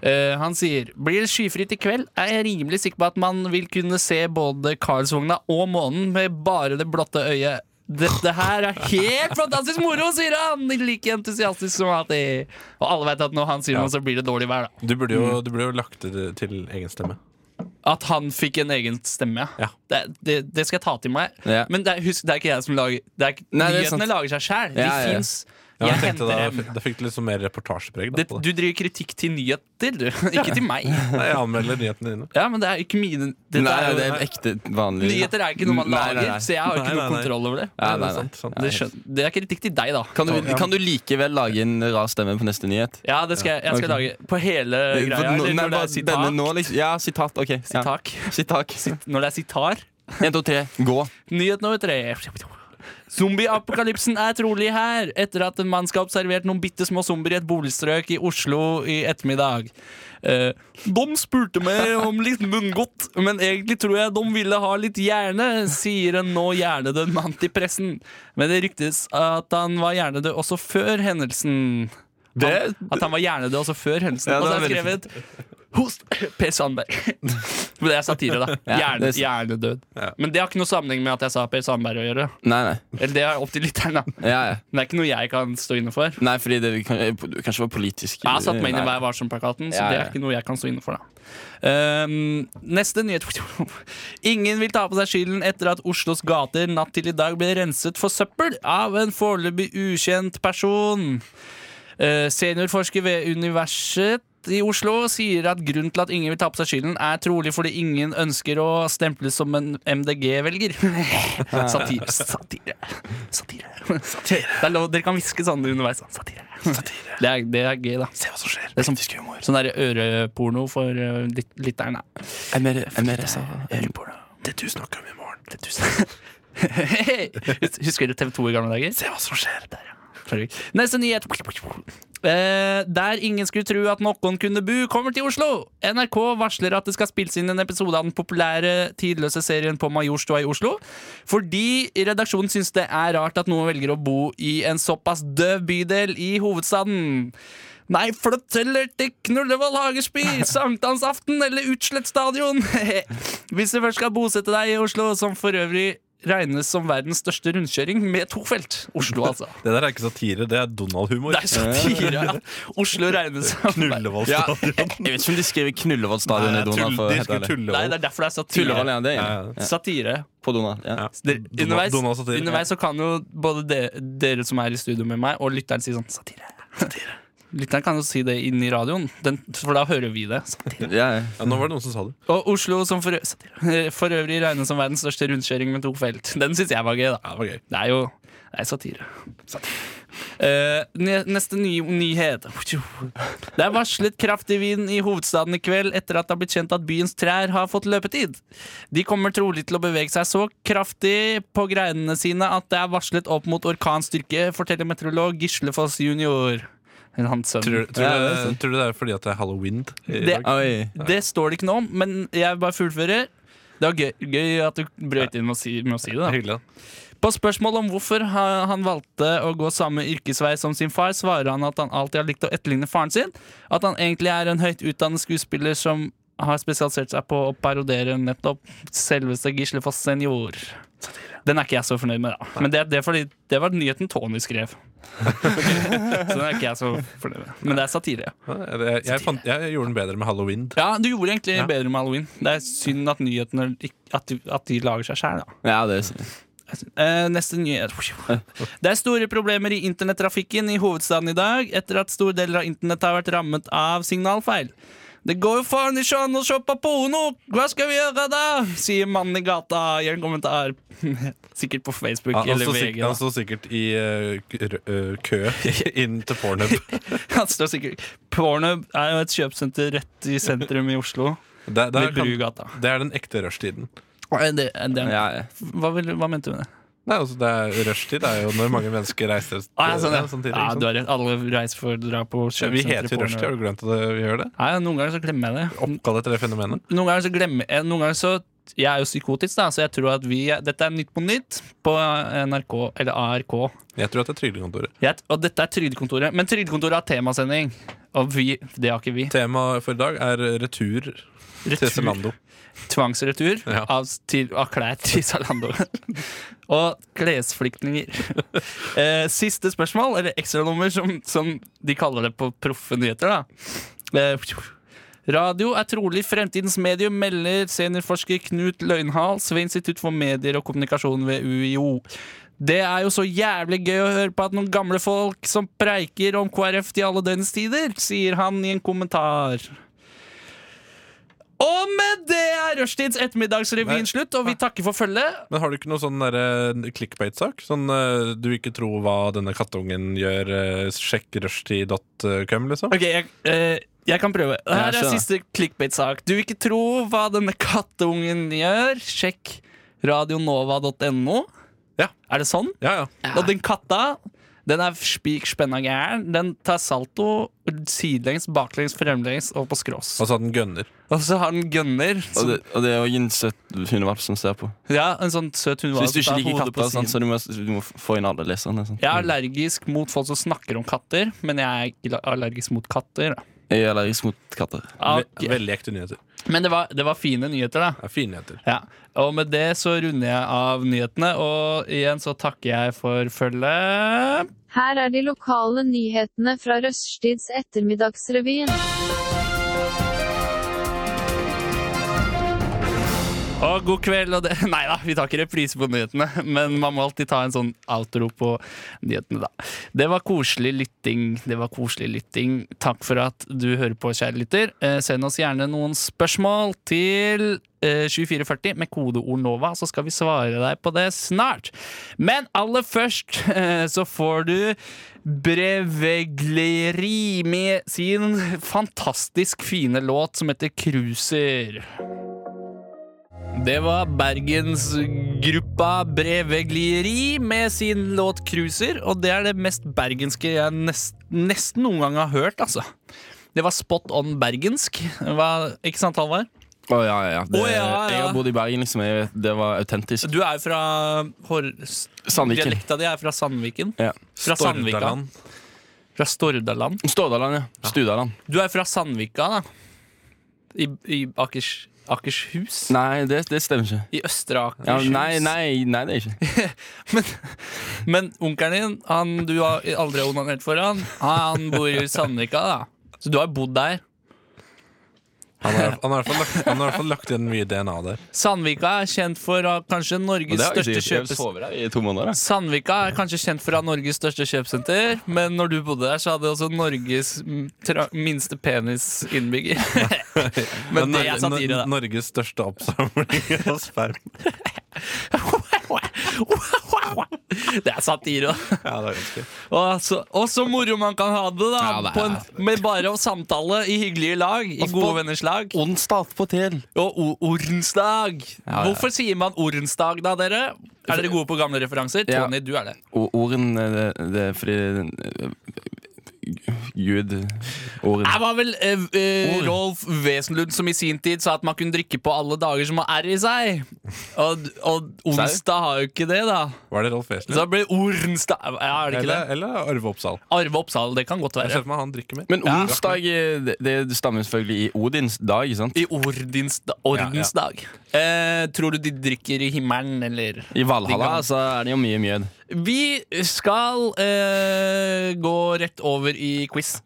S5: Eh, han sier blir det skyfritt i kveld, er jeg rimelig sikker på at man vil kunne se både Karlsvogna og månen med bare det blotte øyet. Dette her er helt fantastisk moro, sier han! Like entusiastisk som alltid. Og alle vet at når han sier noe, så blir det dårlig vær. da
S3: Du burde jo, du burde jo lagt det til egen stemme.
S5: At han fikk en egen stemme,
S3: Ja.
S5: Det, det, det skal jeg ta til meg.
S6: Ja.
S5: Men det er, husk, det er ikke jeg som lager det er, ikke-
S6: Nei, det er
S5: Nyhetene
S6: sant.
S5: lager seg sjæl. De
S6: Ja, ja, ja.
S5: fins.
S3: Ja,
S5: jeg
S3: jeg tenkte
S5: henter
S3: da,
S5: dem.
S3: da fikk du litt sånn mer reportasjepreg. Da,
S5: Det,
S3: på det.
S5: du driver kritikk til nyheter, du. Ikke til meg.
S3: Nei, jeg anmelder nyhetene dine.
S5: Ja, men det er ikke mine det,
S6: Nei,
S5: er, jo-
S6: det er ekte vanlig.
S5: Nyheter er ikke noe man
S6: Nei, nei,
S5: lager,
S6: nei.
S5: så jeg har ikke
S3: Nei, nei,
S5: noe
S3: nei.
S5: kontroll over det.
S6: Ja,
S3: Det er
S6: nei, nei.
S3: sant, sant.
S5: Det, skjøn, det er kritikk til deg, da.
S6: Kan du, kan du likevel lage en rar stemme på neste nyhet?
S5: Ja, det skal jeg, jeg skal lage på hele
S6: Eh, For
S5: greia. Eller
S6: nå- nei,
S5: når det
S6: bare
S5: er
S6: denne
S5: sitat.
S6: nå, liksom. Ja, sitat. Ok. Ja.
S5: Sitak.
S6: Sitak.
S5: Når det er sitar.
S6: En, to, tre, gå.
S5: Nyhet nummer tre. Zombieapokalypsen er trolig her, etter at en mann skal ha observert noen bitte små zombier i et boligstrøk i Oslo i ettermiddag. Eh, de spurte meg om litt munngodt, men egentlig tror jeg de ville ha litt hjerne, sier en nå hjernedød mann til pressen. Men det ryktes at han var hjernedød også før hendelsen. Han, at han var hjernedød også før hendelsen.
S6: Ja,
S5: og
S6: det
S5: så
S6: er
S5: har jeg
S6: veldig
S5: skrevet Host Per Sandberg. Men det er satire, da.
S6: Ja,
S5: Hjerne,
S6: det er
S5: hjernedød. Men det har ikke noe sammenheng med at jeg sa Per Sandberg å gjøre.
S6: Nei, nei.
S5: Eller det er opp til lytteren, da.
S6: Ja, ja.
S5: Men det er ikke noe jeg kan stå inne for.
S6: Nei, fordi det kan, eh, kanskje var politisk. eh,
S5: Jeg har satt meg inn i
S6: Nei.
S5: Vær varsom-plakaten, så
S6: Ja,
S5: det
S6: ja.
S5: er ikke noe jeg kan stå inne for, da. Ehm, neste nyhet Ingen vil ta på seg skylden etter at Oslos gater natt til i dag ble renset for søppel av en foreløpig ukjent person. Eh, seniorforsker ved Universitet i Oslo sier at grunnen til at ingen vil ta på seg skylden, er trolig fordi ingen ønsker å stemples som en MDG-velger. Satire. Satire. Satire. Satire. Det er lov, dere kan hviske sånn underveis. da. Satire. Det, er, det er gøy, da. Se hva som skjer. Det er sånn, sånn der øreporno for eh, lyt- lytterne.
S6: MR, MR, sa-
S5: Det du snakker om i morgen. Det du snakker. Husker du TV 2 i gamle dager? Se hva som skjer. Der, ja. Sorry. Neste nyhet. Eh, der ingen skulle tro at noen kunne bu, kommer til Oslo. NRK varsler at det skal spilles inn en episode av den populære tidløse serien på Majorstua i Oslo. Fordi redaksjonen syns det er rart at noen velger å bo i en såpass døv bydel i hovedstaden. Nei, flytt heller til Knullevoll Hagersby, sankthansaften eller Utslett stadion. Hvis du først skal bosette deg i Oslo, som for øvrig regnes som verdens største rundkjøring med to felt. Oslo, altså.
S3: Det der er ikke satire, det er Donald-humor.
S5: Det er satire. ja. Oslo regnes som
S3: Knullevold
S6: Ja,
S3: stadion.
S6: jeg vet ikke om de skriver Knullevold stadion i
S3: Nei,
S6: Donald. For, å
S3: tull-
S6: være
S3: de
S6: helt
S3: skulle
S5: Nei,
S6: ærlig.
S5: det
S3: tullevold.
S5: er derfor det er satire.
S6: Tullevold, ja, det er
S3: Ja, ja.
S6: ja.
S5: Satire.
S6: På Donald. Ja.
S3: Ja.
S5: Dere- Underveis,
S3: Donald satire.
S5: underveis så kan jo både de, dere som er i studio med meg, og lytteren si sånn satire. Lytteren kan jo si det inn i radioen, den, for da hører vi det. Satire.
S6: Ja, ja.
S3: Ja, nå var det noen som sa det.
S5: Og Oslo, som for, satire. for øvrig regnes som verdens største rundkjøring med to felt. Den syns jeg var gøy, da.
S3: Ja, det var gøy.
S5: Det er jo det er satire. Eh, ne- neste ny nyhet. Det er varslet kraftig vind i hovedstaden i kveld etter at det har blitt kjent at byens trær har fått løpetid. De kommer trolig til å bevege seg så kraftig på greinene sine at det er varslet opp mot orkanstyrke, forteller meteorolog Gislefoss junior. Eller hans sønn.
S3: Tror, tror,
S6: Ja,
S3: du-
S6: det er sant.
S3: tror du det er fordi at det er halloween i
S5: Det-
S3: dag?
S6: Oi.
S5: Det står det ikke noe om, men jeg bare fullfører. Det var gøy, gøy at du brøt inn med å si, med å si det.
S3: Det
S5: da
S3: er hyggelig, da.
S5: På spørsmål om hvorfor ha- han valgte å gå samme yrkesvei som sin far, svarer han at han alltid har likt å etterligne faren sin. At han egentlig er en høyt utdannet skuespiller som har spesialisert seg på å parodiere nettopp selveste Gislefoss senior. Den er ikke jeg så fornøyd med, da. Men det, det, er fordi, det var nyheten Tony skrev. så den er ikke jeg så fornøyd med. Men det er satire.
S3: Ja, Jeg, jeg, fant, jeg gjorde den bedre med halloween.
S5: Ja, du gjorde egentlig bedre med halloween. Det er synd at nyhetene ikk- at, de- at de lager seg sjæl, da.
S6: Ja, det er
S5: Eh, neste nyhet Det er store problemer i internettrafikken i hovedstaden i dag etter at store deler av internett har vært rammet av signalfeil. Det går jo faen ikke an å shoppe porno! Hva skal vi gjøre da? sier mannen i gata i en kommentar. Sikkert på Facebook
S3: Han han
S5: eller
S3: står
S5: VG.
S3: sikkert,
S5: da.
S3: han står sikkert i eh, kø- eh, kø inn til Pornhub.
S5: Han står sikkert Pornhub er jo et kjøpesenter rett i sentrum i Oslo.
S3: Der, der
S5: Litt
S3: kan,
S5: Brugata.
S3: det er den ekte rushtiden.
S5: Nei, Det, det,
S6: Ja, ja.
S5: hva, vil, hva mente du med det?
S3: Nei, altså, det er Rushtid er jo når mange mennesker reiser
S5: Ah, ja, sånn, ja.
S3: eh, samtidig.
S5: ja,
S3: ikke sant?
S5: du har rett. Alle reiser for å dra på
S3: vi heter jo
S5: kjøpesenteret.
S3: rushtid, har du glemt at vi gjør det?
S5: Nei, noen ganger så glemmer jeg det.
S3: Oppkall etter det fenomenet.
S5: Noen ganger så glemmer jeg Noen ganger så Jeg er jo psykotisk, da, så jeg tror at vi Dette er Nytt på Nytt på eh, NRK, eller ARK.
S3: Jeg tror at det er Trygdekontoret.
S5: Jeg, og dette er Trygdekontoret. Men Trygdekontoret har temasending. Og vi, det har ikke vi.
S3: Temaet for i dag er retur, til
S5: Retur,
S3: Zalando.
S5: tvangsretur
S3: Ja.
S5: av, til, av klær til Zalando. og klesflyktninger. eh, siste spørsmål, eller ekstranummer, som, som de kaller det på proffe nyheter. da. Eh, Radio er trolig fremtidens medium, melder seniorforsker Knut Løgnhals ved Institutt for medier og kommunikasjon ved UiO. Det er jo så jævlig gøy å høre på at noen gamle folk som preiker om KrF til alle døgnets tider, sier han i en kommentar. Og med det er Rushtids ettermiddagsrevyen
S3: Nei.
S5: slutt, og vi takker for følget.
S3: Men har du ikke noe sånn derre clickbait-sak? Sånn eh, du ikke tror hva denne kattungen gjør, eh, sjekk rushtid.com, liksom?
S5: Ok, jeg, eh, jeg kan prøve. Her er
S6: skjønner.
S5: siste clickbait-sak. Du vil ikke tro hva denne katteungen gjør. Sjekk radionova.no.
S3: Ja.
S5: Er det sånn?
S3: Ja, ja.
S5: Og den katta den er spik spenna gæren. Den tar salto sidelengs, baklengs, fremlengs og på skrås.
S3: Altså at den gønner.
S5: Og så har den gønner.
S6: Og
S5: Som,
S6: det, og det er òg en søt hundevalp som ser på.
S5: ja, en sånn søt
S6: Så
S5: hundevalp.
S6: hvis du
S5: som
S6: ikke
S5: tar
S6: liker
S5: hodet på
S6: katter, sant,
S5: siden.
S6: så sånn- Mm. du må, du må få inn alle leserne. Sant?
S5: Jeg er allergisk mot folk som snakker om katter, men jeg er ikke allergisk mot katter. da.
S6: Jeg er allergisk mot katter.
S5: Ah,
S3: Ve-
S5: ok.
S3: Veldig ekte nyheter.
S5: Men det var, det var fine nyheter, da.
S3: Det er fine nyheter.
S5: Ja, Og med det så runder jeg av nyhetene, og igjen så takker jeg for følget.
S1: Her er de lokale nyhetene fra Røststids ettermiddagsrevyen.
S5: Og god kveld og det Nei da, vi tar ikke reprise på nyhetene, men man må alltid ta en sånn outro på nyhetene, da. Det var koselig lytting. Det var koselig lytting. Takk for at du hører på, kjære lytter. Eh, send oss gjerne noen spørsmål til eh, 2440 med kodeord NOVA, så skal vi svare deg på det snart. Men aller først eh, så får du Brevegleri med sin fantastisk fine låt som heter Cruiser. Det var bergensgruppa Breveglieri med sin låt 'Cruiser', og det er det mest bergenske jeg nest, nesten noen gang har hørt, altså. Det var spot on bergensk. Hva, ikke sant, Halvard?
S6: Å ja, ja, ja. Det,
S5: Å, ja, ja.
S6: Jeg har bodd i Bergen, liksom. Jeg, vet- det var autentisk.
S5: Du er jo fra Hor...
S6: Sandviken.
S5: Dialekta di er fra Sandviken.
S6: Ja.
S5: Fra Sandvika.
S3: Stordaland.
S5: Fra Stordaland.
S6: Stådaland, ja. Studaland.
S5: Du er fra Sandvika, da. I, i Akers, Akershus?
S6: Nei, det, det stemmer ikke.
S5: I Østre
S6: Ja,
S5: Akershus?
S6: nei, nei, nei, det er ikke.
S5: Men onkelen din, han du har aldri onanert for han, han bor i Sandvika, da. Så du har bodd der.
S3: Han har han har i hvert fall lagt- han har i hvert fall lagt igjen mye DNA der.
S5: Sandvika er kjent for å ha kanskje Norges største kjøpesenter.
S6: sover der i to måneder.
S5: Sandvika er kanskje kjent for å ha Norges største kjøpesenter, men når du bodde der, så hadde også Norges mm, tra- minste penisinnbygger. men det er
S3: Nor-
S5: satire, da.
S3: Norges største oppsamling av sperm.
S5: Det er satire, da.
S3: Ja, det er ganske
S5: Og så, og så moro man kan ha det, da.
S6: Ja, det er-
S5: på en, med bare å samtale i hyggelige lag. I
S6: på-
S5: gode venners lag.
S6: Onsdag på TL.
S5: Og o- ordensdag.
S6: Ja, ja.
S5: Hvorfor sier man ordensdag, da, dere? Er dere gode på gamle referanser?
S6: Ja.
S5: Tony, du er det.
S6: Og orden det, det er fordi eh, Gud Orden.
S5: Det var vel eh, eh,
S6: Ord.
S5: Rolf Wesenlund som i sin tid sa at man kunne drikke på alle dager som har R i seg. Og, og onsdag har jo ikke det, da.
S3: Var det Rolf
S5: Så
S3: Wesenlund?
S5: da blir det ordensdag. Ja, er det ikke
S3: Eller,
S5: det?
S3: eller Arve Oppsal?
S5: Arve Oppsal, det kan godt
S3: Jeg
S5: være.
S3: ser for meg han drikker mer.
S6: Men onsdag eh, det, det stammer selvfølgelig i Odins dag, sant?
S5: I ordensda, ordensdag. Eh, tror du de drikker i himmelen, eller?
S6: I
S5: De
S6: Valhalla
S5: gamle.
S6: så er det jo mye mjød.
S5: Vi skal eh, gå rett over i quiz.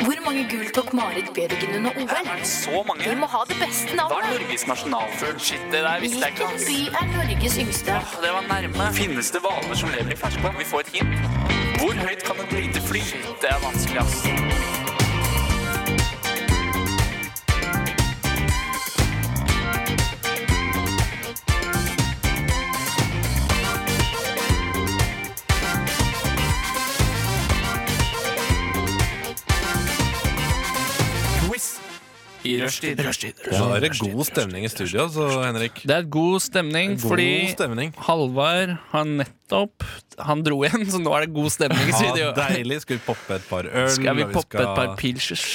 S7: Hvor mange mange gull tok Marit Bjørgen under OL?
S5: Så mange!
S7: Vi må ha det beste
S5: Hva er
S7: navnet.
S5: Norges nasjonalfugl? Shit, det der visste jeg ikke.
S7: Hvilken
S5: ass.
S7: by er Norges yngste?
S5: Åh, Det var nærme. Finnes det hvaler som lever i ferskvann? Vi får et hint. Hvor høyt kan et lite fly? Shit, det er vanskelig, ass. Quiz i rushtid.
S3: Nå er det god stemning i studio, altså, Henrik.
S5: Det er god stemning,
S3: God
S5: fordi
S3: stemning.
S5: Halvard har nettopp Han dro igjen, så nå er det god stemning i
S3: Ja,
S5: studio.
S3: deilig. Skal vi poppe et par øl?
S5: Skal vi
S3: og
S5: poppe et
S3: skal
S5: par pilsers?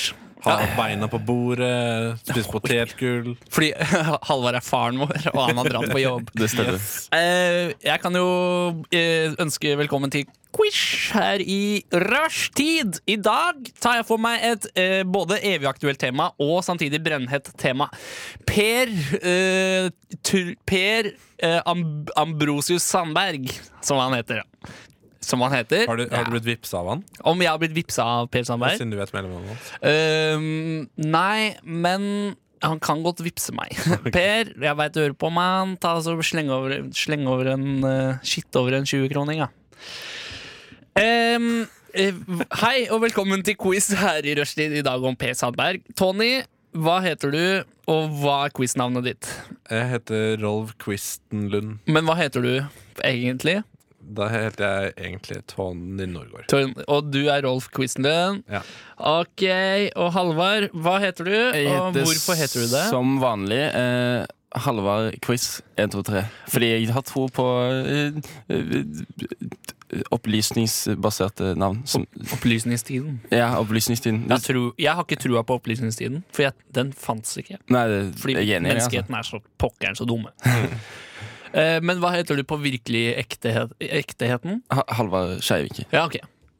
S3: Ha beina på bordet, spise potetgull.
S5: Fordi Halvard er faren vår, og han har dratt på jobb.
S6: Det stemmer.
S5: Eh, jeg kan jo eh, ønske velkommen til quiz her i rushtid. I dag tar jeg for meg et eh, både evig aktuelt tema og samtidig brennhett tema. Per, eh, Tur- per eh, Am Ambrosius Sandberg, som han heter. ja. Som han heter.
S3: Har du, har du blitt vippsa av han?
S5: ja. Om jeg har blitt vippsa av Per Sandberg?
S3: Siden du vet mellomnavnet hans.
S5: Ehm, nei, men han kan godt vippse meg. Per, jeg veit du hører på, mann. Ta altså, sleng, over, sleng over en eh, Skitt over en 20-kroning, ja. Ehm, eh, hei, og velkommen til quiz her i rushtid i dag om Per Sandberg. Tony, hå heter du, og hva er quiznavnet ditt?
S3: Jeg heter Rolv Quistenlund.
S5: Men hva heter du egentlig?
S3: Da heter jeg egentlig Tony Norgård.
S5: Torn- Og du er Rolf Quizenlund.
S3: Ja.
S5: Ok, og Halvard, hva heter du? og hvorfor heter du det?
S6: Som vanlig eh, Halvard Quiz 1, 2, 3. Fordi jeg har tro på eh, eh, opplysningsbaserte navn. Som,
S5: Opplysningstiden.
S6: ja, opplysningstiden.
S5: Jeg, tror- jeg har ikke trua på opplysningstiden, for jeg, den fantes ikke.
S6: Nei, det,
S5: Fordi
S6: jeg er enig. i det, Altså.
S5: menneskeheten er så pokkeren så dumme. Eh, Men hva heter du på virkelig ektehet, ekteheten?
S6: Ha- Halvard Skeivik.
S5: Ja, ok.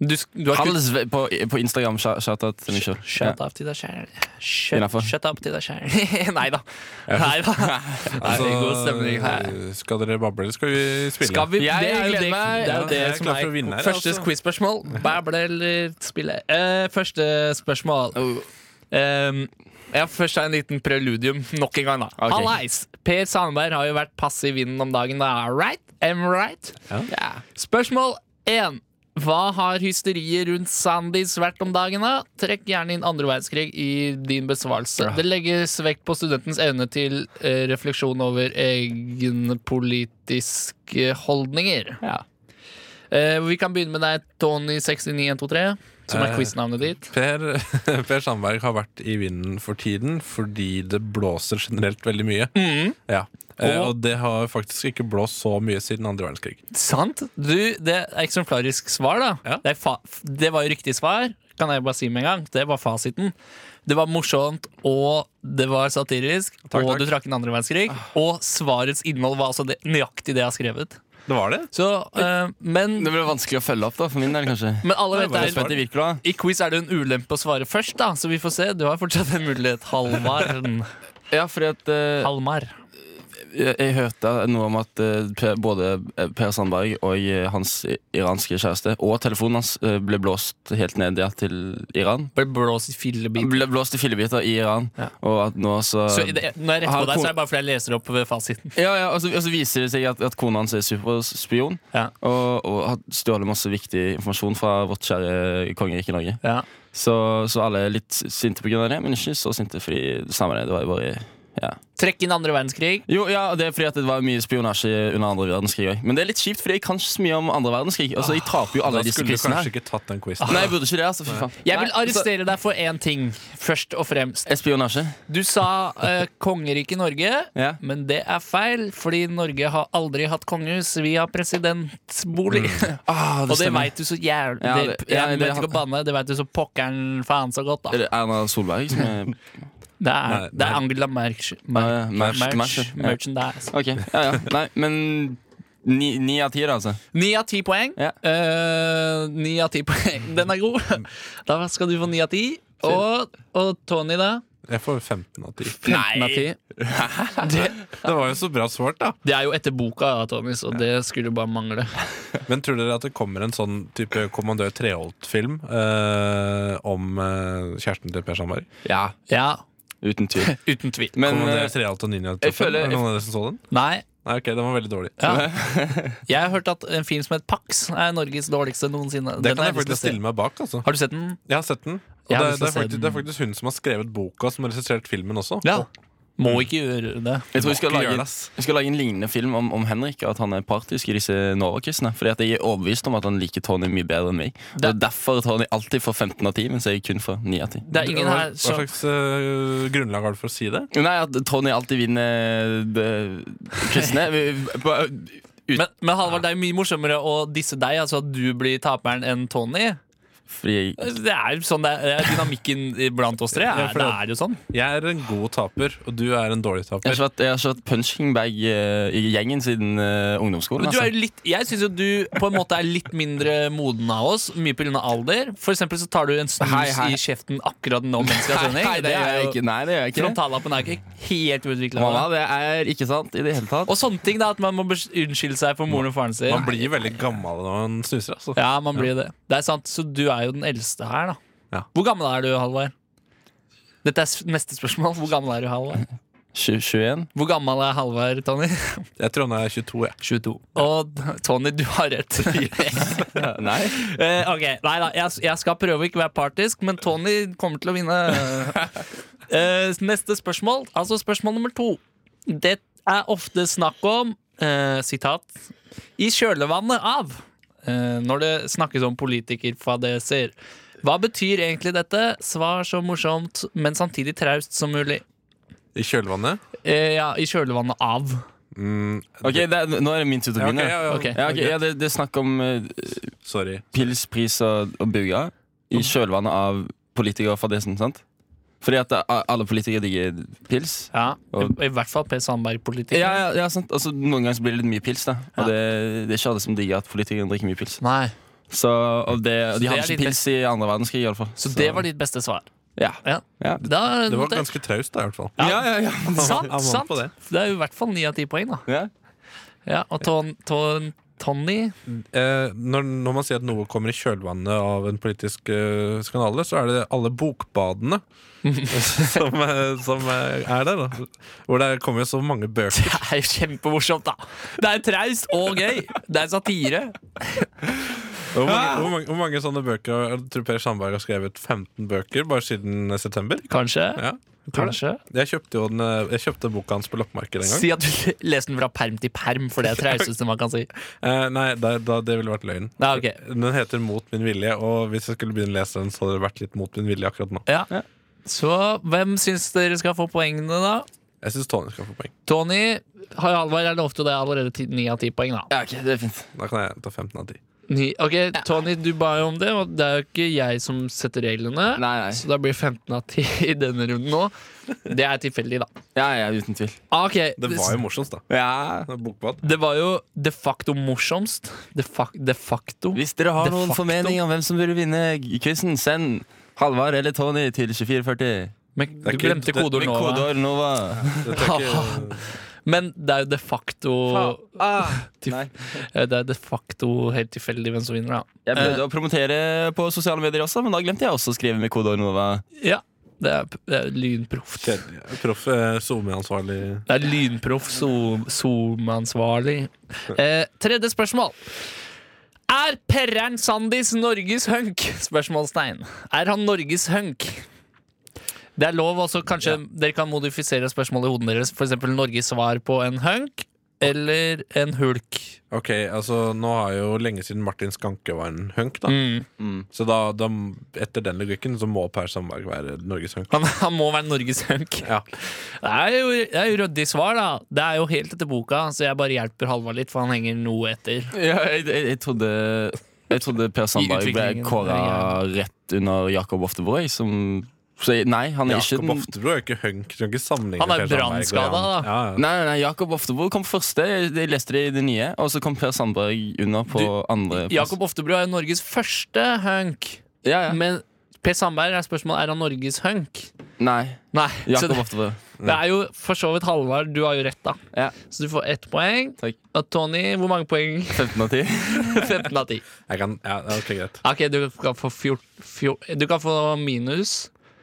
S5: Du, sk- du har
S6: Hals på, på Instagram. sha- Shout-out til meg sjøl.
S5: Shut up til deg sjæl.
S6: Innenfor.
S5: Shut, shut up til deg sjæl. Nei da. Nei da. Nei, det er god stemning
S6: Altså,
S5: her.
S3: Altså, skal dere bable, eller skal vi spille?
S5: Skal vi, det
S6: Jeg
S5: er jo
S6: gleder
S5: det,
S6: meg.
S5: det, er jo
S3: Ja,
S5: det
S3: jeg er
S5: som
S3: klar for
S5: er
S3: å vinne her,
S5: første
S3: altså.
S5: quiz-spørsmål. Bæble eller spille? Eh, første spørsmål. Um, ja, først har jeg en liten preludium nok en gang. da
S6: Ok.
S5: Hallais! Per Sandberg har jo vært passiv vinden om dagen. Da. Right? Am I right? Ja. Spørsmål én. Hva har hysteriet rundt Sandis vært om dagen? da? Trekk gjerne inn andre verdenskrig i din besvarelse. Det legges vekt på studentens evne til eh, refleksjon over egne politiske holdninger. Eh, vi kan begynne med deg, Tony69123, som er
S3: Eh,
S5: quiznavnet ditt.
S3: Per, per Sandberg har vært i vinden for tiden fordi det blåser generelt veldig mye. Ja. Eh,
S5: Mm. Og-
S3: og det har faktisk ikke blåst så mye siden andre verdenskrig.
S5: Sant. Du, det er eksemplarisk svar, da.
S3: Ja.
S5: Det, er fa det var jo riktig svar, kan jeg bare si med en gang. Det var fasiten. Det var morsomt, og det var satirisk, og
S3: takk.
S5: du trakk en andre verdenskrig. Og svarets innhold var altså det, nøyaktig det jeg har skrevet.
S3: Det var det?
S5: Så, eh, men,
S6: Det blir vanskelig å følge opp, da, for min del, kanskje.
S5: men alle vet
S6: Det er
S5: det er
S6: Petter Wirkola.
S5: i quiz er det en ulempe å svare først, da, så vi får se. Du har fortsatt en mulighet. Halvarn.
S6: Ja, fordi at eh,
S5: Halmar.
S6: jeg, jeg hørte noe om at eh, per, både eh, Per Sandberg og eh, hans i- iranske kjæreste og telefonen hans eh, ble blåst helt ned ja, til Iran.
S5: Bare blås i fillebit.
S6: Ble blåst i fillebiter i Iran,
S5: Ja.
S6: og at nå så,
S5: Så i det, når jeg retter
S6: Har
S5: på deg,
S6: kon-
S5: så er det bare fordi jeg leser opp ved fasiten.
S6: ja, ja, og, så, og så viser det seg at, at kona hans er superspion
S5: Ja.
S6: og, og har stjålet masse viktig informasjon fra vårt kjære kongerike Norge.
S5: Ja.
S6: Så, så alle er litt sinte pga. det, men ikke så sinte fordi samme det, det var jo bare ja.
S5: Trekk inn andre verdenskrig.
S6: Jo, ja, og det er fordi at det var mye spionasje under andre verdenskrig òg. Men det er litt kjipt, fordi jeg kan ikke så mye om andre verdenskrig. Altså, Jeg taper jo alle
S3: Da
S6: disse
S3: skulle du
S6: quizene
S3: kanskje
S6: her.
S3: ikke tatt den quizen.
S6: Nei, jeg burde ikke det. altså, fy faen
S5: Jeg vil
S6: Nei,
S5: arrestere deg for én ting, først og fremst.
S6: så- Spionasje?
S5: Du sa eh, kongeriket Norge,
S6: Ja.
S5: men det er feil, fordi Norge har aldri hatt kongehus. Vi har presidentbolig.
S6: Ah,
S5: Og det veit du så jævlig
S6: Ja,
S5: det,
S6: det-
S5: Jeg
S6: ja, det-
S5: vet ikke å banne, det veit du så pokkeren faen så godt,
S6: Er
S5: da.
S6: det Erna Solberg som er
S5: Det er,
S3: Nei,
S5: det er
S3: nei.
S5: Angela Merch,
S6: Ah, ja, Merch- Merch, ja.
S5: Merchandise.
S6: Ok, ja, ja. Nei, men ni ni av ti, da, altså.
S5: Ni av ti poeng.
S6: Ja.
S5: Eh,
S6: Mm.
S5: Ni av ti poeng. Den er god. Da skal du få ni av ti. Og, og Tony, da?
S3: Jeg får 15 av 10.
S5: 15 av 10.
S3: Det, det var jo så bra svart, da.
S5: Det er jo etter boka, da, Tommy, så det skulle jo bare mangle.
S3: Men tror dere at det kommer en sånn type Kommandør Treholt-film eh, om eh, kjæresten til Per Sandberg?
S6: Ja,
S5: Ja,
S6: uten tvil.
S5: uten tvil.
S6: Men eh,
S3: Kommandør Treholt og Ninja
S6: jeg
S3: Toppen?
S6: føler-
S3: Er det Noen av dere som så den?
S5: Nei,
S3: Nei, ok, den var veldig dårlig.
S5: Ja. Jeg har hørt at en film som heter Pax er Norges dårligste noensinne.
S3: Det
S5: Den
S3: kan
S5: har
S3: jeg
S5: lyst til å
S3: faktisk
S5: se.
S3: stille meg bak. altså
S5: Har du sett den?
S3: Jeg har sett den. Og
S5: Jeg
S3: det, er-
S5: har lyst
S3: det, er
S5: til å se
S3: faktisk, det er faktisk hun som har skrevet boka, som har regissert filmen også.
S5: Ja. Må
S3: Mm.
S5: ikke gjøre det.
S6: jeg tror vi skal,
S3: Ikke gjør
S6: lage,
S3: det, ass.
S6: vi skal lage en lignende film om, om Henrik, og at han er partisk i disse Nova-quizene. Fordi at jeg er overbevist om at han liker Tony mye bedre enn meg. Og Det er derfor Tony alltid får 15 av 10, mens jeg kun får 9 av 10.
S5: Det er ingen
S3: hva,
S5: her
S3: hva
S5: som
S3: slags eh, grunnlag har du for å si det?
S6: Nei, at Tony alltid vinner det- quizene. Vi- på-
S5: men, men Halvard, det er jo mye morsommere å disse deg, altså at du blir taperen enn Tony.
S6: Fordi jeg
S5: Det er jo sånn det er, det er dynamikken blant oss tre.
S3: Ja,
S5: Er,
S3: for
S5: det
S3: det-
S5: er jo sånn.
S3: Jeg er en god taper, og du er en dårlig
S6: Jeg har
S3: taper.
S6: ikke vært, jeg har ikke vært punching bag eh, i gjengen siden eh, ungdomsskolen.
S5: Men du er
S6: Altså.
S5: jo litt, jeg syns jo du på en måte er litt mindre moden av oss, mye pga. alder. For eksempel så tar du en snus
S6: Hei, hei.
S5: i kjeften akkurat nå mens vi har sending.
S6: Nei, det gjør jeg ikke. Nei, det gjør jeg ikke.
S5: Frontallappen er ikke helt utvikla.
S6: Mamma, det er ikke sant i det hele tatt.
S5: Og sånne ting da, at man må bes- unnskylde seg for moren og faren sin.
S3: Man blir veldig gammel når man snuser. altså
S5: Ja, man blir det. Det er sant, så du er jo den eldste her da.
S3: Ja.
S5: Hvor gammel er du, Halvard? Dette er s- neste spørsmål. Hvor gammel er du, Halvard?
S6: Tju- 21?
S5: Hvor gammel er Halvard, Tony?
S3: Jeg tror han er 22. jeg
S5: 22. Og Tony, du har rett.
S6: Nei.
S5: Eh, ok, nei da, jeg, jeg skal prøve å ikke være partisk, men Tony kommer til å vinne. Eh, neste spørsmål, altså spørsmål nummer to. Det er ofte snakk om, eh, sitat, i kjølvannet av, eh, når det snakkes om politikerfadeser. Hva betyr egentlig dette? Svar så morsomt, men samtidig traust som mulig.
S3: I kjølvannet?
S5: Eh, ja, i kjølvannet av.
S6: Ok, det er, Nå er det min tur til
S3: Ja,
S6: å
S3: ok,
S6: begynne.
S3: ja, ja.
S5: Ok.
S6: Ja, ok, ja, det, det er snakk om eh,
S3: Sorry.
S6: pils, pris og, og buga i kjølvannet av politikerfadesen, sant? Fordi at eh, alle politikere digger pils.
S5: Ja,
S6: Og-
S5: i, i hvert fall Per Sandberg-politikken.
S6: Ja, ja, ja sant. Altså, Noen ganger så blir det litt mye pils. da Og
S5: Ja.
S6: det, det er ikke alle som digger at politikerne drikker mye pils.
S5: Nei,
S6: Så, og det, og
S5: Så det
S6: De hadde
S5: er litt
S6: ikke pils i andre verdenskrig, iallfall.
S5: så det var ditt beste svar.
S6: ja.
S5: Ja.
S6: Ja.
S5: Da,
S3: Det var ganske traust, da, i hvert fall.
S6: Ja, ja, ja.
S5: Sant,
S3: Han vant
S5: sant.
S3: på det.
S5: Det er jo i hvert fall ni av ti poeng, da.
S6: ja.
S5: Ja, og ton, ton, Tony
S3: Eh, når, når man sier at noe kommer i kjølvannet av en politisk eh, skandale, så er det alle bokbadene som, eh, som eh, er der. Da. Hvor det kommer jo så mange bøker.
S5: Det er jo kjempemorsomt, da! Det er traust og gøy! Det er satire.
S3: Hvor mange, hvor mange, hvor mange sånne bøker har- jeg tror Per Sandberg har skrevet 15 bøker bare siden eh, september?
S5: Kanskje.
S3: Ja, jeg tror det.
S5: Kanskje.
S3: Jeg kjøpte jo den, eh, jeg kjøpte boka hans på loppemarkedet en gang.
S5: Si at du leste den fra perm til perm, for det er trausteste man kan si.
S3: Eh, nei, da, da, det ville vært løgn.
S5: Nei, ok.
S3: Den heter Mot min vilje, og hvis jeg skulle begynne å lese den, så hadde det vært litt mot min vilje akkurat nå.
S5: Ja. Så hvem syns dere skal få poengene, da?
S3: Jeg syns Tony skal få poeng.
S5: Tony har Halvard er lovte deg allerede ti- ni av ti poeng, da.
S6: ja ok, det er fint.
S3: Da kan jeg ta 15 av 10.
S5: Ni, ok, Tony, du ba jo om det, og det er jo ikke jeg som setter reglene.
S6: Nei, nei.
S5: Så da blir 15 av 10 i denne runden nå. Det er tilfeldig, da.
S6: Ja, ja, uten tvil.
S5: Ah, Ok,
S3: Det var jo morsomst, da.
S6: Ja.
S3: Bokbad.
S5: det var jo de facto morsomst. De, fak de facto.
S6: Hvis dere har
S5: De
S6: noen
S5: facto.
S6: formening om hvem som burde vinne quizen, send Halvard eller Tony til 2440.
S5: Men
S3: Det
S5: du
S3: er
S5: glemte
S3: kult. Det-
S5: kodeord
S6: Med
S5: nå. hva?
S6: kodeord Nova.
S3: Det tar ikke
S5: Men det er jo de facto til-
S6: Nei.
S5: eh, Det er de facto helt tilfeldig hvem som vinner, da.
S6: Jeg prøvde å promotere på sosiale medier også, men da glemte jeg også å skrive med kodeord Nova.
S5: Ja, det er, det er lynproft. Det
S3: kjedelig. Proff eh, SoMe-ansvarlig
S5: er lynproff so- SoMe-ansvarlig. Eh, tredje spørsmål. Er Perrern Sandis Norges hunk? Spørsmålstegn. Er han Norges hunk? Det er lov også, kanskje dere kan modifisere spørsmålet i hodene deres. For eksempel Norges svar på en hunk eller en hulk.
S3: Ok, altså nå har jo lenge siden Martin Skanke var en hunk, da.
S5: Mm.
S3: Så da, da, etter den logikken så må Per Sandberg være Norges hunk.
S5: Han, han må være Norges hunk.
S3: Ja.
S5: Det er jo, det er jo ryddig svar, da. Det er jo helt etter boka, så jeg bare hjelper Halvard litt, for han henger noe etter.
S6: Ja, jeg, jeg, jeg trodde Jeg trodde Per Sandberg ble
S5: utviklingen,
S6: kåra rett under Jakob Oftebro. jeg, Som, så jeg, nei, han er ikke
S3: Jakob
S6: den
S3: Oftebro er jo ikke hunk. Du kan ikke sammenligne
S5: Han er
S3: Per Sandberg og
S5: brannskada,
S3: han.
S5: da.
S3: Ja, ja.
S6: Nei, nei, nei, Jakob Oftebro kom første. Jeg, jeg leste det i det nye. Og så kom Per Sandberg under på
S5: Du,
S6: andre. plass.
S5: Jakob Oftebro er jo Norges første hunk,
S6: ja, ja.
S5: men Per Sandberg er spørsmålet er han Norges hunk.
S6: Nei.
S5: Nei, så
S6: Jakob
S5: det,
S6: Oftebro.
S5: det er jo for så vidt Halvard. Du har jo rett, da.
S6: Ja.
S5: Så du får ett poeng.
S6: Takk.
S5: Og Tony, hvor mange poeng?
S6: 15 av 10.
S5: 15 av 10.
S3: Jeg kan, ja, ok, greit.
S5: Ok, du kan få, fjor, fjor, du kan få minus.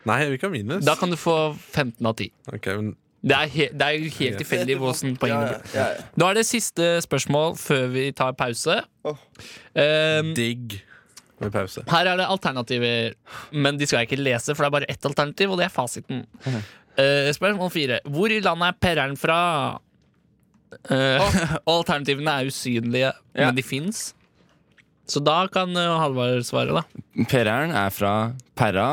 S3: Nei, vi kan minus.
S5: Da kan du få 15 av 10.
S3: Ok, men
S5: Det er, he, det er jo helt tilfeldig hvordan poengene blir. Nå er det siste spørsmål før vi tar pause. Um,
S3: digg med pause.
S5: her er det alternativer, men de skal jeg ikke lese, for det er bare ett alternativ, og det er fasiten. Uh, spørsmål fire. Hvor i landet er Perreren fra? Uh, Alternativene er usynlige, men de fins. Så da kan uh, Halvard svare, da.
S6: Pereren er fra Perra.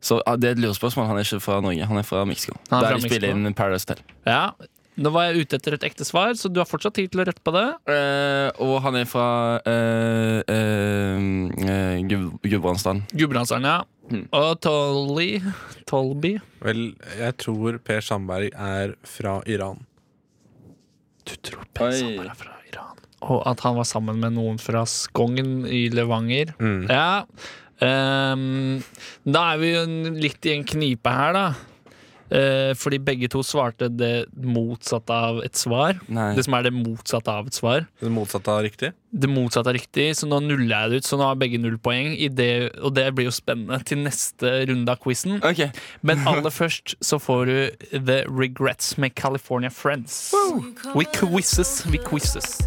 S6: Så ah, det er et lurespørsmål. Han er ikke fra Norge, han er fra Mexico.
S5: Han er fra
S6: Der de spiller
S5: Mexico.
S6: inn Paradise Hotel.
S5: Ja, Nå var jeg ute etter et ekte svar, så du har fortsatt tid til å rette på det.
S6: Eh, og han er fra eh, eh, eh, Gud- Gudbrandsdalen.
S5: Gudbrandsdalen, ja. Og Tolly Tolby.
S3: Vel, jeg tror Per Sandberg er fra Iran.
S5: Du tror
S6: Oi.
S5: Per Sandberg er fra Iran. Og at han var sammen med noen fra Skogn i Levanger.
S6: Mm.
S5: Ja. Ehm, da er vi jo en- litt i en knipe her, da. Eh, fordi begge to svarte det motsatte av et svar.
S6: Nei.
S5: Det som er det motsatte av et svar.
S3: Det motsatte av riktig.
S5: det motsatte er riktig, så nå nuller jeg det ut. Så nå har begge null poeng, i det, og det blir jo spennende til neste runde av quizen.
S6: Ok,
S5: Men aller først så får du The Regrets med California Friends. We quizzes, we quizzes.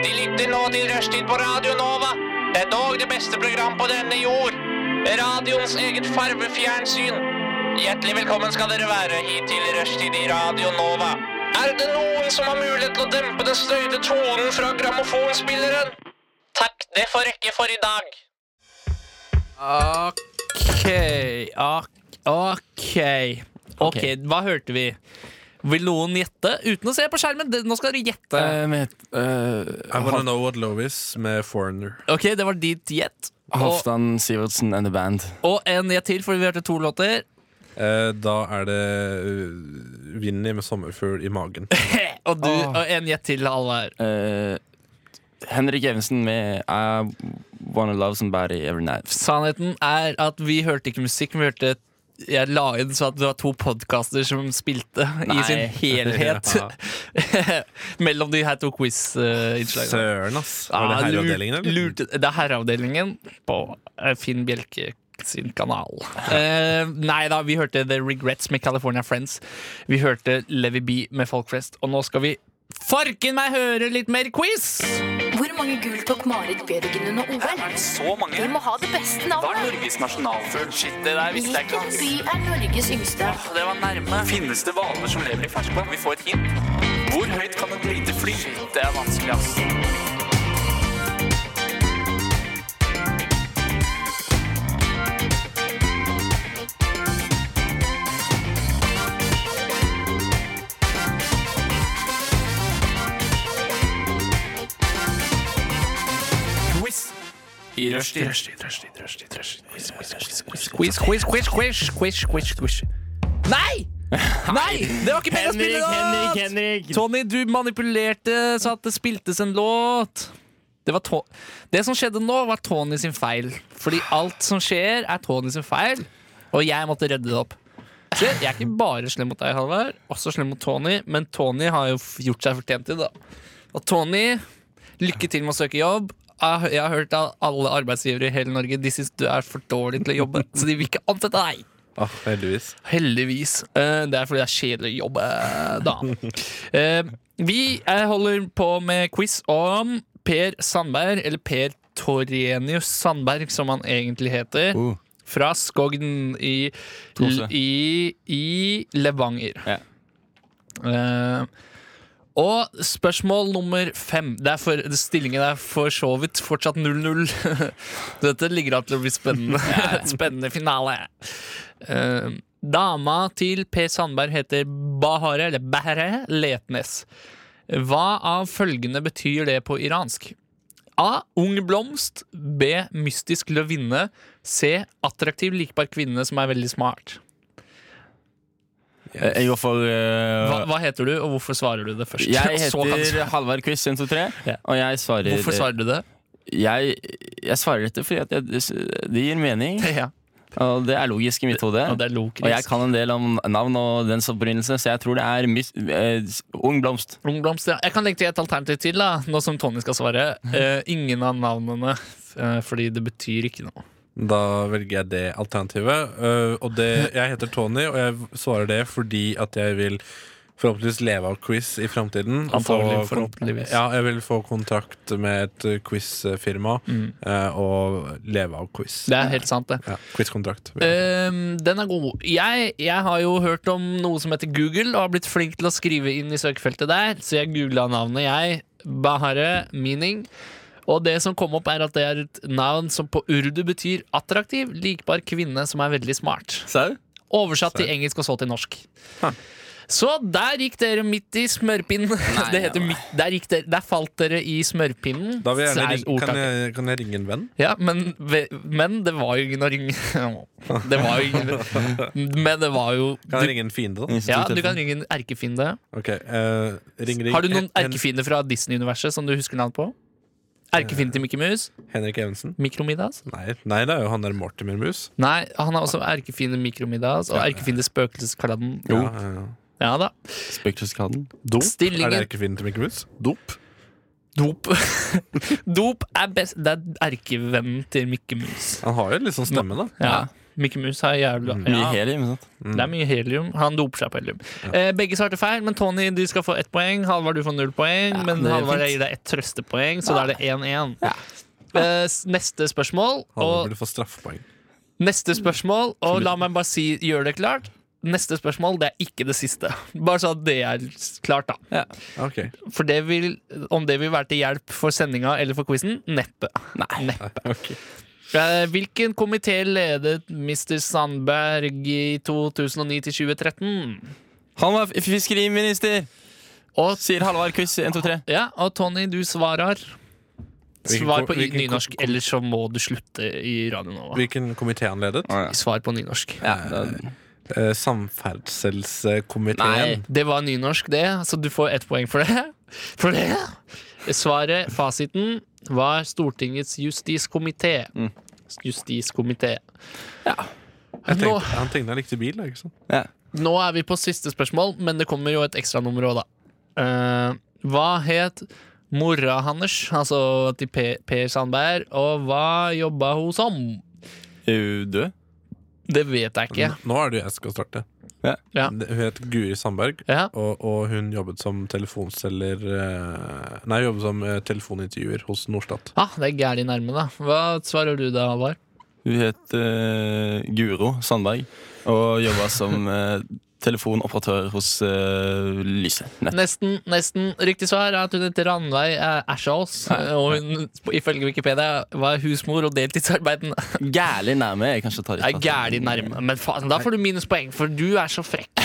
S8: De lytter nå til Rushtid på Radio Nova. Det er dog det beste program på denne jord. Radioens eget farvefjernsyn. Hjertelig velkommen skal dere være hit til Rushtid i Radio Nova. Er det noen som har mulighet til å dempe den støyte tonen fra grammofonspilleren? Takk, det får rekke for i dag.
S5: Ok, ok, ok. Ok, hva hørte vi? Vil noen gjette uten å se på skjermen? Det- Nå skal dere gjette.
S6: Eh, men, eh,
S3: I wanna know what love is med Foreigner.
S5: Ok, det var ditt gjett.
S6: Ah,
S5: Og,
S6: Halvdan Sivertsen and the band.
S5: og en gjett til, for vi hørte to låter.
S3: Eh, da er det uh, Vinni med sommerfugl i magen.
S5: Og, du,
S6: Ah.
S5: og en gjett til, Halvard.
S6: Eh, Henrik Evensen med I Wanna Love Somebody Every Night.
S5: Sannheten er at vi hørte ikke musikk, vi hørte jeg la inn så at det var to podkaster som spilte i
S6: Nei.
S5: sin helhet mellom de her to eh, quiz-innslagene.
S3: Søren, ass. Var det herreavdelingen, eller?
S5: Lurte, Ah, det er herreavdelingen på eh, Finn Bjelke sin kanal. Eh, nei da, vi hørte The Regrets med California Friends. Vi hørte Levi B med Folk Flest. Og nå skal vi farken meg høre litt mer quiz!
S7: Hvor mange gull tok Marit Bjørgen under OL?
S8: Så mange.
S7: Vi må ha det beste navnet.
S8: Norges nasjonalfugl? Shit, det der
S7: Hvilken by er Norges yngste?
S8: Det var nærme. Finnes det hvaler som lever i ferskvann? Vi får et hint. Hvor høyt kan et lite fly? Det er vanskelig, ass. I rushtid.
S5: Quiz, quiz, quiz, quiz, quiz, quiz, quiz. Nei! Nei! Det var ikke meningen å spille låt! Tony, du manipulerte så at det spiltes en låt. Det, var to det som skjedde nå, var Tony sin feil. Fordi alt som skjer, er Tony sin feil. Og jeg måtte redde det opp. Se, jeg er ikke bare slem mot deg, Halvard. Også slem mot Tony. Men Tony har jo f- gjort seg fortjent til det. da. Og Tony, lykke til med å søke jobb. Jeg jeg har hørt at alle arbeidsgivere i hele Norge De syns du er for dårlig til å jobbe. Så de vil ikke ansette deg.
S3: Ah, heldigvis.
S5: Heldigvis. Eh, Det er fordi det er kjedelig å jobbe, da. Eh, Vi eh, holder på med quiz om Per Sandberg, eller Per Torenius Sandberg, som han egentlig heter.
S6: Oh.
S5: Fra Skogn i,
S6: Tromsø.
S5: i, i Levanger.
S6: Ja.
S5: Eh, og spørsmål nummer fem. Det er for, stillingen er for så vidt fortsatt 0-0. Dette ligger an til å bli spennende. spennende finale. Eh,
S6: Mm.
S5: dama til Per Sandberg heter Bahare, eller Bahare Letnes. Hva av følgende betyr det på iransk? A. Ung blomst. B. Mystisk løvinne. C. Attraktiv, likbar kvinne som er veldig smart.
S6: Eh, Jeg går for eh,
S5: Hva, hva heter du, og hvorfor svarer du det først?
S6: Jeg
S5: Så kan du svare.
S6: heter Halvard Quiz 123,
S5: Ja.
S6: og jeg svarer
S5: Hvorfor svarer du det?
S6: Jeg, jeg svarer dette fordi at jeg, det gir mening.
S5: Ja.
S6: Og det er logisk i mitt hode.
S5: Og det er logisk.
S6: Og jeg kan en del om navn og dens opprinnelse, så jeg tror det er mis eh, Ung blomst.
S5: Ungblomst, ja. Jeg kan legge til et alternativ til, da, nå som Tony skal svare. Eh, ingen av navnene, eh, fordi det betyr ikke noe.
S3: Da velger jeg det alternativet. Øh, og det, jeg heter Tony, og jeg svarer det fordi at jeg vil forhåpentligvis leve av quiz i framtiden. og få
S5: Antagelig,
S3: kon-
S5: forhåpentligvis.
S3: Ja, jeg vil få kontrakt med et øh, quizfirma øh, og leve av quiz.
S5: Mm. Det er helt sant, det.
S3: Ja, quizkontrakt.
S5: Ehm, den er god. Jeg, jeg har jo hørt om noe som heter Google, og har blitt flink til å skrive inn i søkefeltet der, så jeg googla navnet, jeg. Bahare Meaning. Og det som kom opp, er at det er et navn som på urdu betyr attraktiv, likbar kvinne som er veldig smart.
S6: Sau?
S5: Oversatt til engelsk og så til norsk. Så der gikk dere midt i smørpinnen. det heter
S6: nei.
S5: midt, der, gikk dere, der falt dere i smørpinnen.
S3: Da vil jeg
S5: så er
S3: gjerne, ring- kan,
S5: ordtaket.
S3: jeg, kan jeg ringe en venn?
S5: Ja, men, ve- men det var jo ingen å ringe Det var jo ingen Men det var jo
S3: Kan jeg
S5: du,
S3: ringe en fiende, da?
S5: Ja, du kan ringe en erkefiende.
S3: Ok, øh, ring, ring
S5: Har du noen
S3: Hen-
S5: erkefiender fra Disney-universet som du husker navn på? Erkefienden
S3: Eh.
S5: til Mikke Mus?
S3: Henrik Evensen?
S5: Mikromiddags?
S3: Nei, nei, det er jo han der Mortimer Mus.
S5: Nei, han er også erkefiende Mikromiddags og erkefiende Spøkelseskladden.
S6: Jo.
S3: Ja, ja, ja.
S5: Ja da.
S6: Spøkelseskaden.
S3: Dop?
S5: Stillingen-
S3: Er det erkefienden til Mikke Mus? Dop?
S5: Dop. Dop er best Det er erkevennen til Mikke Mus.
S3: Han har jo litt sånn stemme, da.
S5: Ja. Mikke Mus har jævla
S6: Mye
S5: ja.
S6: helium, sant?
S5: Det er mye helium. Han doper seg på helium. Eh, begge svarte feil, men Tony du skal få ett poeng. Halvard, du får null poeng. men
S6: det er
S5: Halvard
S6: fint.
S5: jeg gir deg ett trøstepoeng, så da er det 1-1. Eh, s- neste spørsmål,
S3: Han
S5: og
S3: burde få straffepoeng.
S5: neste spørsmål Og la meg bare si, gjør det klart. Neste spørsmål det er ikke det siste. Bare så at det er s- klart, da.
S3: Ok
S5: For det vil, om det vil være til hjelp for sendinga eller for quizen? Neppe. Neppe.
S3: Ok.
S5: Eh, Hvilken komité ledet Mr. Sandberg i 2009 til 2013?
S6: Han var f- fiskeriminister,
S5: Og
S6: sier Halvard Quiz 123.
S5: Ja, og Tony, du svarer
S3: Hvilken
S5: Svar
S3: ko-
S5: på i-
S3: hvilken ko-
S5: nynorsk,
S3: ko-
S5: ellers så må du slutte i Radio Nova.
S3: Hvilken komité han ledet?
S5: Svar på nynorsk.
S6: Ja, da-
S3: Eh, Samferdselskomiteen.
S6: Nei.
S5: Det var nynorsk, det, så du får ett poeng for det. For det. Svaret, fasiten, var Stortingets justiskomité.
S3: Mm.
S5: Justiskomité.
S3: Jeg
S5: Nå,
S3: tenkte, han tenkte han likte bil. da, ikke sant?
S6: ja.
S5: nå er vi på siste spørsmål, men det kommer jo et ekstranummer òg, da. Eh, hva het mora hans, altså til Per, per Sandberg, og hva jobba hun som?
S6: Er hun død?
S5: Det vet jeg ikke.
S3: Nå er det jo jeg skal starte.
S6: Ja.
S5: Ja.
S3: Det- Hun het Guri Sandberg,
S5: Ja.
S3: og, og hun jobbet som telefonselger eh, Nei, jobbet som eh, telefonintervjuer hos Norstat.
S5: Ah, det er gærlig nærme, da. Hva svarer du da, Halvard?
S6: Hun het eh, Guro Sandberg og jobba som eh, telefonoperatør hos eh, Lyse. Nett.
S5: Nesten, nesten. Riktig svar er at hun heter Ranveig eh, Ashaas. Og hun, ifølge Wikipedia, var husmor og deltidsarbeidende.
S6: Gærlig nærme. Jeg kan ikke ta
S5: Det er
S6: de
S5: gærlig nærme. Men faen, da får du minuspoeng, for du er så frekk.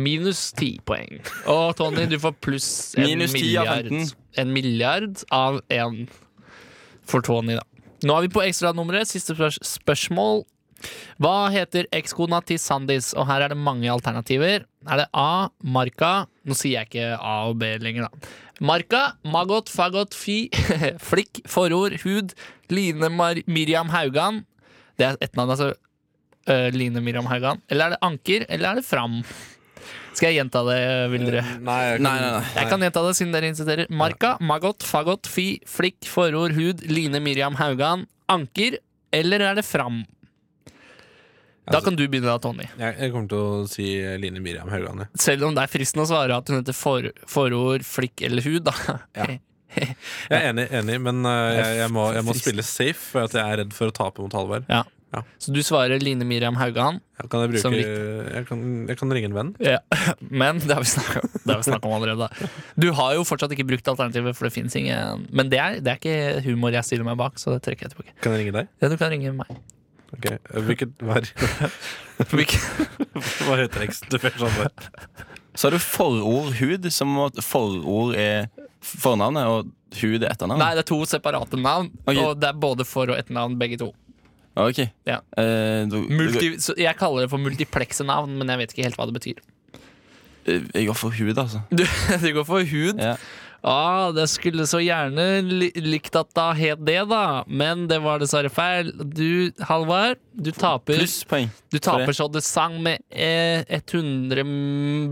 S5: Minus ti poeng. Og Tony, du får pluss en
S6: Minus 10 av
S5: milliard.
S6: 15.
S5: En milliard av én for Tony, da. Nå er vi på ekstranummeret. Siste spørs- spørsmål. Hva heter ekskona til Sandis? Og her er det mange alternativer. Er det A. Marka Nå sier jeg ikke A og B lenger, da. Marka, Magot, Fagot, Fi, Flikk, Forord, Hud, Line Mar Miriam Haugan. Det er ett navn, altså. øh, Line Miriam Haugan. Eller er det Anker, eller er det Fram? Skal jeg gjenta det, eh, vil dere?
S3: Nei,
S6: Nei, nei, nei.
S5: Jeg kan gjenta det siden dere insisterer. Marka, Magot, Fagot, Fi, Flikk, Forord, Hud, Line Miriam Haugan, Anker, eller er det Fram? Da
S3: Altså-
S5: kan du begynne da, Tony.
S3: Jeg, jeg kommer til å si Line Miriam Haugland. jeg.
S5: Selv om det er fristende å svare at hun heter for, Forord, Flikk eller Hud, da.
S3: Jeg er enig, enig men eh, jeg, jeg, må, jeg må spille safe, for at jeg er redd for å tape mot Halvard.
S5: Ja.
S3: Ja.
S5: Så du svarer Line Miriam Haugan,
S3: Jeg Kan jeg,
S5: Som
S3: bruke,
S5: litt-
S3: jeg, kan, jeg kan ringe en venn.
S5: ja. men det har vi snakka om, det har vi snakket om allerede. Du har jo fortsatt ikke brukt alternativet, for det fins ingen Men det er, det er ikke humor jeg stiller meg bak, så det trekker jeg tilbake.
S3: Kan jeg ringe deg?
S5: Ja, du kan ringe meg.
S3: Ok, eh, Hvilket, hva,
S5: Hvilken-
S3: hva heter eksen til Per Sandberg?
S6: Så har du forord hud, som at forord er fornavnet, og hud er etternavnet.
S5: Nei, det er to separate navn,
S6: Ok.
S5: og det er både for- og etternavn, begge to.
S6: Ok.
S5: Ja.
S6: Eh, du-
S5: Multi, så jeg kaller det for multiplekse navn, men jeg vet ikke helt hva det betyr.
S6: Eh, Jeg går for hud, altså.
S5: Du, det går for hud,
S6: Ja.
S5: ah, det skulle så gjerne li likt at det het det, da, men det var dessverre feil. Du, Halvard, du taper.
S6: Plusspoeng.
S5: Du taper så det sang med eh, 100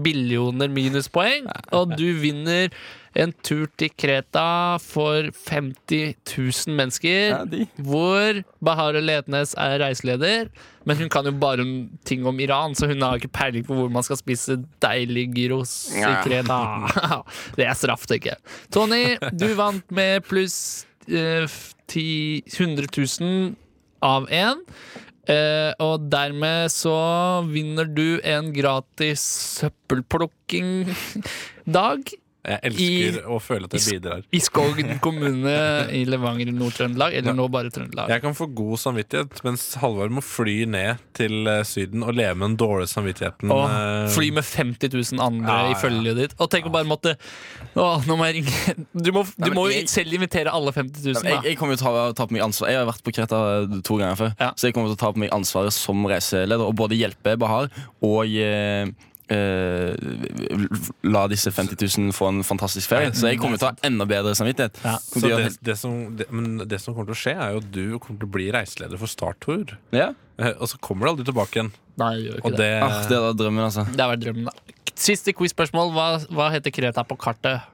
S5: billioner minuspoeng, og du vinner en tur til Kreta for 50 000 mennesker,
S6: Ja, de.
S5: Eh, hvor Bahar Letnes er reiseleder. Men hun kan jo bare om- ting om Iran, så hun har ikke peiling på hvor man skal spise deilig gyros i
S6: Ja.
S5: Kreta. Det er straff, tenker jeg. Tony, du vant med pluss eh, 10 100 000 av én. Eh, og dermed så vinner du en gratis søppelplukking-dag
S3: Jeg
S5: I-
S3: elsker å føle at jeg bidrar.
S5: i Skogn kommune i Levanger i Nord-Trøndelag, eller nå bare Trøndelag.
S3: Jeg kan få god samvittighet, mens Halvard må fly ned til eh, Syden og leve med den dårlige samvittigheten.
S5: Og
S3: eh,
S5: fly med 50 000 andre
S3: Ja,
S5: i følget ditt. Og tenk å bare måtte Å, nå må jeg ringe Du må, du
S6: Nei, men
S5: må jo
S6: jeg-
S5: selv invitere alle 50 000,
S6: Jeg,
S5: da.
S6: jeg kommer jo til å ta, ta på meg ansvar Jeg har vært på Kreta eh, to ganger før,
S5: Ja.
S6: så jeg kommer til å ta på meg ansvaret som reiseleder og både hjelpe Bahar og eh, eh, la disse 50 000 få en fantastisk ferie. Så jeg kommer til å ha enda bedre samvittighet.
S5: Ja.
S3: Så
S6: Kommer til å
S3: det,
S6: gjøre-
S3: det, som, det, men det som kommer til å skje, er jo at du kommer til å bli reiseleder for Starttour.
S6: ja?
S3: Eh, Og så kommer du aldri tilbake igjen.
S5: Nei, jeg gjør ikke
S3: Og det,
S6: ah, det er da drømmen, altså.
S5: Det har vært drømmen, da. Siste quiz-spørsmål. Hva, hva heter Kreta på kartet?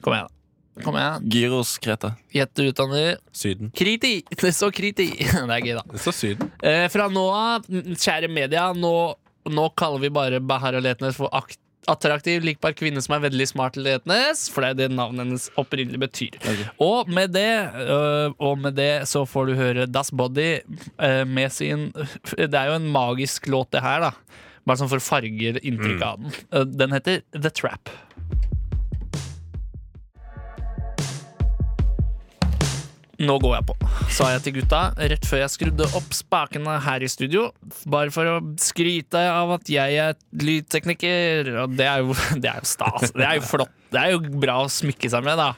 S5: Kom igjen, da. Kom igjen.
S6: Gyros Kreta.
S5: Gjett du utdanner.
S3: Syden.
S5: Kriti! Det står Kriti. Det er gøy, da.
S3: Det står Syden.
S5: Eh, fra nå av, m- kjære media, nå, nå kaller vi bare Bahar Letnes for ak- attraktiv, likbar kvinne som er veldig smart Letnes, for det er det navnet hennes opprinnelig betyr. Og med det øh, Og med det så får du høre Das Body øh, med sin Det er jo en magisk låt, det her, da. Bare sånn for å farge inntrykket av den. Eh, Den heter The Trap. Nå går jeg på, sa jeg til gutta rett før jeg skrudde opp spakene her i studio. Bare for å skryte av at jeg er lydtekniker. Og det er jo, det er jo stas. Det er jo flott. Det er jo bra å smykke seg med, da.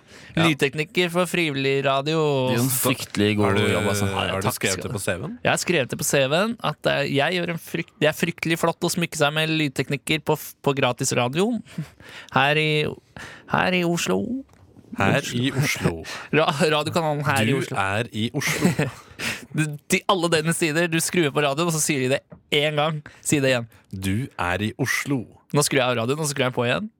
S5: Lydtekniker for frivillig radio.
S6: Det er jo en fryktelig god
S3: Har du, sånn
S6: jobb, altså.
S5: ja,
S3: har du
S5: takk
S3: skrevet
S5: skal
S3: det på CV-en?
S5: Jeg har skrevet det på CV-en at det er- jeg gjør en frykt, det er fryktelig flott å smykke seg med lydtekniker på, f- på gratis radio her i, her i Oslo.
S3: Her i Oslo.
S5: Ra, radiokanalen her i
S3: Du
S5: Oslo.
S3: er i Oslo.
S5: Du- Til alle døgnets tider. Du skrur på radioen, og så sier de det én gang. Si det igjen.
S3: Du er i Oslo.
S5: Nå skrur jeg av radioen, og så skrur jeg på igjen.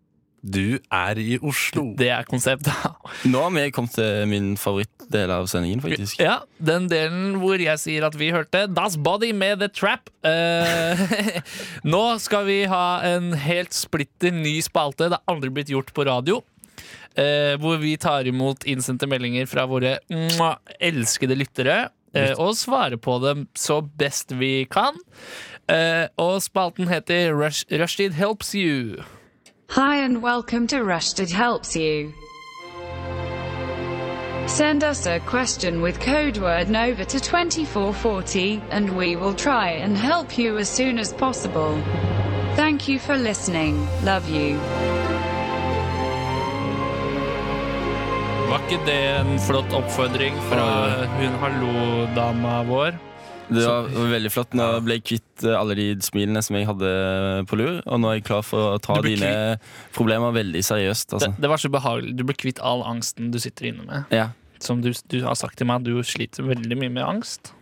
S3: Du er i Oslo.
S5: Det er konseptet.
S6: Nå har vi kommet til min favorittdel av sendingen, faktisk.
S5: Ja, den delen hvor jeg sier at vi hørte Das Body med The Trap. Eh, nå skal vi ha en helt splitter ny spalte. Det har aldri blitt gjort på radio. eh, hvor vi tar imot innsendte meldinger fra våre mwah, elskede lyttere. eh, og svarer på dem så best vi kan. Eh, og spalten heter Rush, Rushtid Helps You.
S9: Hi and welcome to Rushdid Helps You. Send us a question with code word NOVA to 2440, and we will try and help you as soon as possible. Thank you for listening. Love you.
S5: Var ikke det en flott oppfordring fra hun hallo-dama vår?
S6: Det var veldig flott. Nå ble jeg kvitt eh, alle de smilene som jeg hadde eh, på lur, og nå er jeg klar for å ta
S5: Du ble
S6: dine problemer veldig seriøst.
S5: Det,
S6: Altså.
S5: det var så behagelig. Du ble kvitt all angsten du sitter inne med.
S6: Ja.
S5: Som du, du har sagt til meg, du sliter veldig mye med angst.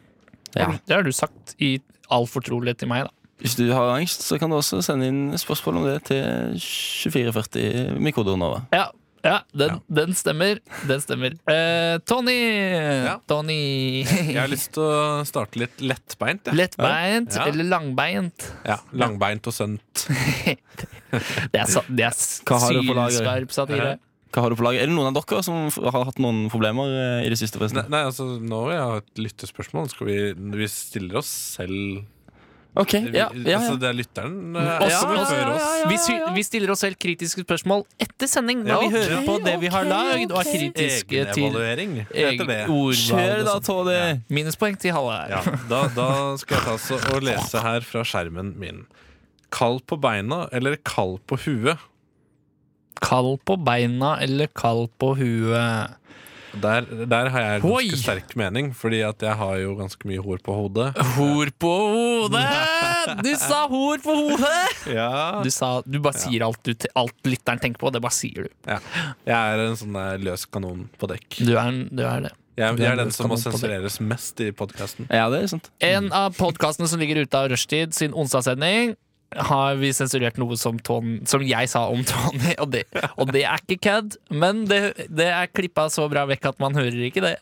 S6: Ja.
S5: Det har du sagt i all fortrolighet til meg, da.
S6: Hvis du har angst, så kan du også sende inn spørsmål om det til 2440 Mikodo Nova.
S5: Ja, ja, den, den stemmer. Den stemmer. Eh, Tony! Tony!
S3: Jeg har lyst til å starte litt lettbeint. jeg.
S5: Lettbeint
S3: Ja.
S5: eller langbeint?
S3: Ja, langbeint og sønt.
S5: Det er, sa- det er s-
S6: Hva har du på lager?
S5: sylskarp satire.
S6: Hva har du på laget? Er det noen av dere som f- har hatt noen problemer eh, i det siste?
S3: Nei,
S6: forresten?
S3: nei, altså, nå vil jeg ha et lyttespørsmål. Skal vi, vi stiller oss selv
S6: Ok,
S3: vi,
S6: ja, ja,
S3: Altså,
S6: ja.
S3: det er lytteren eh,
S5: Også-
S3: som
S5: også-
S3: hører oss.
S5: Vi, sy- vi stiller oss selv kritiske spørsmål etter sending, når
S3: Ja,
S5: vi
S3: ok,
S5: hører på det vi har lagd, og er kritiske til
S3: Egenevaluering heter det.
S5: eget ordvalg. altså.
S6: Kjør da,
S5: og sånt.
S6: Tony!
S5: Minuspoeng til Halvard.
S3: Ja, da, da skal jeg ta så og lese her fra skjermen min. Kald på beina eller kald på huet?
S5: Kald på beina eller kald på huet?
S3: Der, der har jeg ganske
S5: Oi!
S3: sterk mening, fordi at jeg har jo ganske mye hår på hodet.
S5: Hor på hodet! Du sa hor på hodet!
S3: Ja.
S5: Du, sa, du bare sier alt, du, te- alt lytteren tenker på. Det bare sier du.
S3: Jeg er en sånn der løs kanon på dekk.
S5: Du er, en- du er det.
S3: Jeg,
S5: Du er
S3: jeg
S5: en
S3: er den
S5: løs
S3: som må
S5: kanon på dekk.
S3: sensureres mest i podkasten.
S6: Ja, det er sant.
S5: En av podkastene som ligger ute av Rushtid sin onsdagssending, har vi sensurert noe som, Ton, som jeg sa om Tony, og det, og det er ikke kødd. Men det, det er klippa så bra vekk at man hører ikke det.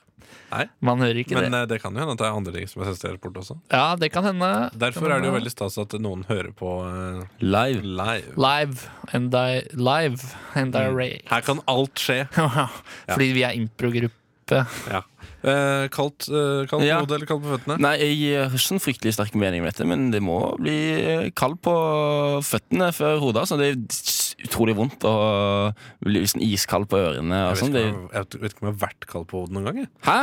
S3: Nei.
S5: Man hører ikke
S3: Men
S5: det.
S3: eh, det kan jo hende at det er andre ting som er sensurert bort også.
S5: Ja, det kan hende.
S3: Derfor er det jo veldig stas at noen hører på eh,
S6: Live.
S3: live.
S5: Live and I, live and I rave.
S3: Mm. Her kan alt skje.
S5: Fordi vi er improgruppe.
S3: Ja. Eh, kaldt eh, kaldt
S6: Ja.
S3: hode eller kaldt på føttene?
S6: Nei, jeg har ikke sånn fryktelig sterk mening om dette, men det må bli eh, kald på føttene før hodet. Altså. Det er s- utrolig vondt å bli sånn iskald på ørene. Og
S3: Jeg vet,
S6: sånn.
S3: ikke
S6: det,
S3: om jeg, jeg vet ikke om jeg har vært kald på hodet noen gang. Jeg.
S6: hæ?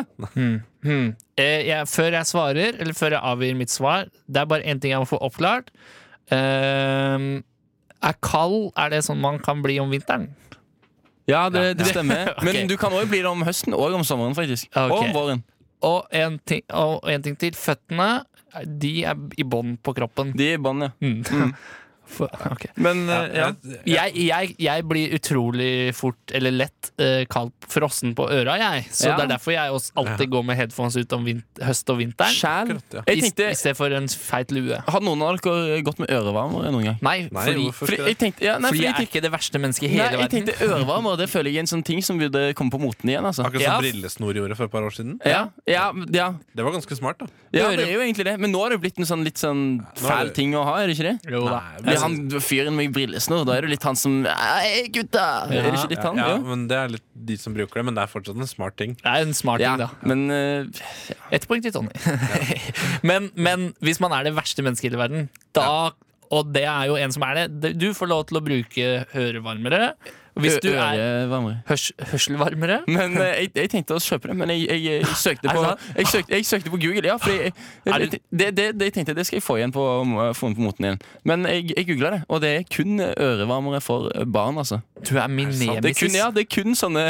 S5: Hmm. Eh, jeg, før jeg svarer, eller før jeg avgir mitt svar, det er bare én ting jeg må få oppklart. Ehm, er kald er det sånn man kan bli om vinteren?
S6: Ja, det, det stemmer.
S5: Ok.
S6: Men du kan òg bli det om høsten og om sommeren, faktisk. Og
S5: Ok.
S6: om våren.
S5: Og en ting, og en ting til. Føttene de er i bånd på kroppen.
S6: De er i bånd, ja.
S3: Mm.
S5: For, ok.
S6: Men eh, ja.
S5: jeg, jeg, jeg blir utrolig fort eller lett eh, kald frossen på øra, jeg. Så
S6: Ja.
S5: det er derfor jeg også alltid går med headphones ut om vint høst og vinteren.
S6: Sjæl.
S3: Akkurat, ja.
S5: I,
S6: Jeg
S5: i
S6: tenkte
S5: stedet for en feit lue.
S6: Har noen av dere gått med ørevarmere noen gang?
S5: Nei,
S3: Nei,
S5: fordi,
S3: hvorfor
S6: Fordi
S3: skal
S6: jeg
S3: jeg
S6: tenkte, ja, nei,
S5: fordi jeg
S6: fordi jeg
S5: er
S6: tenkte,
S5: ikke det verste mennesket i
S6: nei,
S5: hele
S6: jeg
S5: verden.
S6: tenkte ørevarmere. Det føler jeg er en sånn ting som burde komme på moten igjen. Altså.
S3: Akkurat som
S5: Ja.
S3: sånn brillesnor gjorde for et par år siden.
S6: Ja, ja, ja,
S3: Det var ganske smart, da.
S6: ja, det er jo egentlig det. Men nå har det blitt en sånn litt sånn fæl ting å ha, er det ikke det?
S5: Jo da.
S3: Nei,
S6: Ja, han fyren med brillesnor, da er det litt han som Hei, gutta! Er det ikke litt han?
S3: ja,
S6: Jo.
S3: men Det er litt de som bruker det, men det er fortsatt en smart ting.
S5: Det er en smart
S6: Ja,
S5: ting, da.
S6: men eh,
S5: Ett poeng til Tony. men, men hvis man er det verste mennesket i hele verden, da Og det er jo en som er det. Du får lov til å bruke hørevarmere. Hvis du er
S6: ørevarmere.
S5: hørs hørselvarmere
S6: Men eh, jeg, jeg tenkte å kjøpe det, men jeg, jeg, jeg,
S5: Er
S6: søkte,
S5: det
S6: på,
S5: sant?
S6: jeg, søkte, jeg søkte på Google. Ja, fordi jeg,
S5: Er
S6: jeg,
S5: det-
S6: det, det, det, jeg tenkte det skal jeg få igjen på, få igjen på moten igjen. Men jeg, jeg googla det, og det er kun ørevarmere for barn. altså
S5: Du er min
S3: sant?
S6: Det er kun,
S5: nemesis.
S6: ja, det er kun sånne,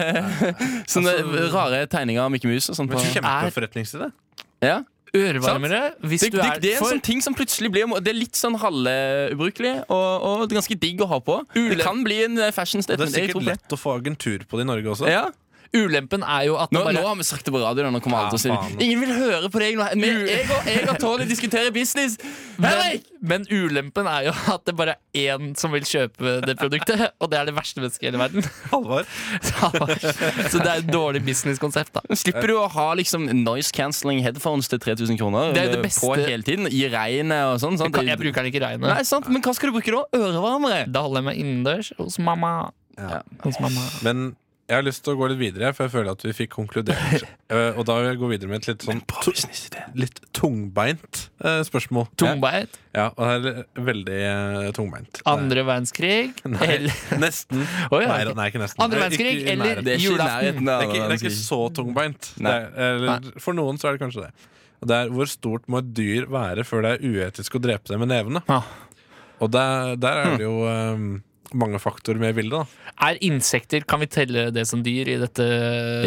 S6: sånne rare tegninger av Mikke Mus og sånn. på-
S3: Men
S5: Er-
S3: Kjempeforretningsidé.
S6: Ja.
S5: Ørevarmere hvis
S6: Det,
S5: du
S6: det,
S5: er
S6: det er en
S5: for
S6: sånn ting som plutselig blir Det er litt sånn halvbrukelig og, og ganske digg å ha på. Det kan bli en eh, fashion
S3: Det
S6: statement.
S3: er
S6: jeg
S3: sikkert
S6: tror på det.
S3: lett å få agentur på det i Norge også.
S6: Ja.
S5: Ulempen er jo at
S6: Nå,
S5: det bare
S6: nå har vi sagt det på radioen. Nå kommer alle til å si
S3: Ja, faen.
S6: Ingen vil høre på deg nå. Men Jeg og, jeg og Tony diskuterer business.
S5: men,
S6: Henrik!
S5: men ulempen er jo at det bare er én som vil kjøpe det produktet, og det er det verste mennesket i hele verden.
S3: Halvard.
S5: Så det er et dårlig businesskonsept, da.
S6: Slipper du å ha liksom noise cancelling headphones til 3000 kroner
S5: Det er jo det
S6: eh,
S5: beste.
S6: på hele tiden? I regnet og sånn.
S5: Jeg,
S6: Sant?
S5: kan, jeg bruker den ikke i regnet.
S6: Nei, sant? Men hva skal du bruke da? Ørevarmere?
S5: Da holder jeg meg innendørs hos mamma. Hos mamma.
S3: Men jeg har lyst til å gå litt videre, for jeg føler at vi fikk konkludert. Eh, Og da vil jeg gå videre med et litt sånn tu- litt tungbeint eh, spørsmål.
S5: Tungbeit.
S3: Ja, og det er veldig eh, tungbeint.
S5: Andre verdenskrig.
S3: Nei,
S5: Eller,
S3: nesten.
S5: Å, ja,
S3: nei,
S5: ok.
S3: nei, ikke nesten.
S5: Andre
S3: Eh,
S5: verdenskrig
S3: ikke i
S5: eller
S3: nærheten.
S6: Det er ikke i
S5: julaften.
S6: nærheten
S3: Det
S6: av
S3: er, ikke, det er ikke så tungbeint. Det er, eller, for noen så er det kanskje det. Og Det er Hvor stort må et dyr være før det er uetisk å drepe det med nevene?
S5: Ah.
S3: Og der, der er det jo um, mange faktorer med i bildet. Da.
S5: Er insekter Kan vi telle det som dyr i dette,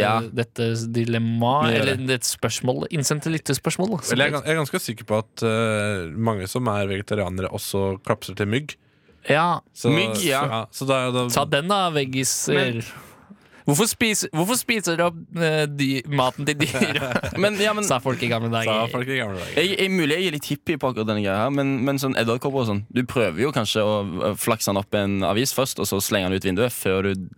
S6: Ja.
S5: dette dilemmaet?
S6: Vi gjør det.
S5: Eller dette spørsmålet? Innsendt til lyttespørsmål. da, som
S3: Eller jeg, er gans- jeg er ganske sikker på at uh, mange som er vegetarianere, også klapser til mygg.
S5: det- Ja,
S3: Så,
S6: Mygg, ja.
S3: Så, da, da,
S5: Ta den, da, veggiser. Hvorfor, spis, hvorfor spiser du opp eh, dy- maten til dyra?
S6: Men, ja, men
S5: Sa folk i gamle
S3: sa
S5: dager.
S3: folk i gamle dager.
S6: Jeg, jeg, mulig jeg er litt hippie på akkurat denne greia her, men, men sånn edderkopper og sånn Du prøver jo kanskje å å flakse den opp i en avis først, og så slenge den ut vinduet før du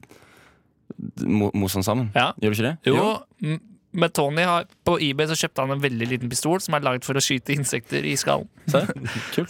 S6: d- mo- moser den sammen.
S5: Ja.
S6: Gjør du ikke det?
S5: Jo, m- men Tony har på eBay så kjøpte han en veldig liten pistol som er lagd for å skyte insekter i skallen.
S6: Se.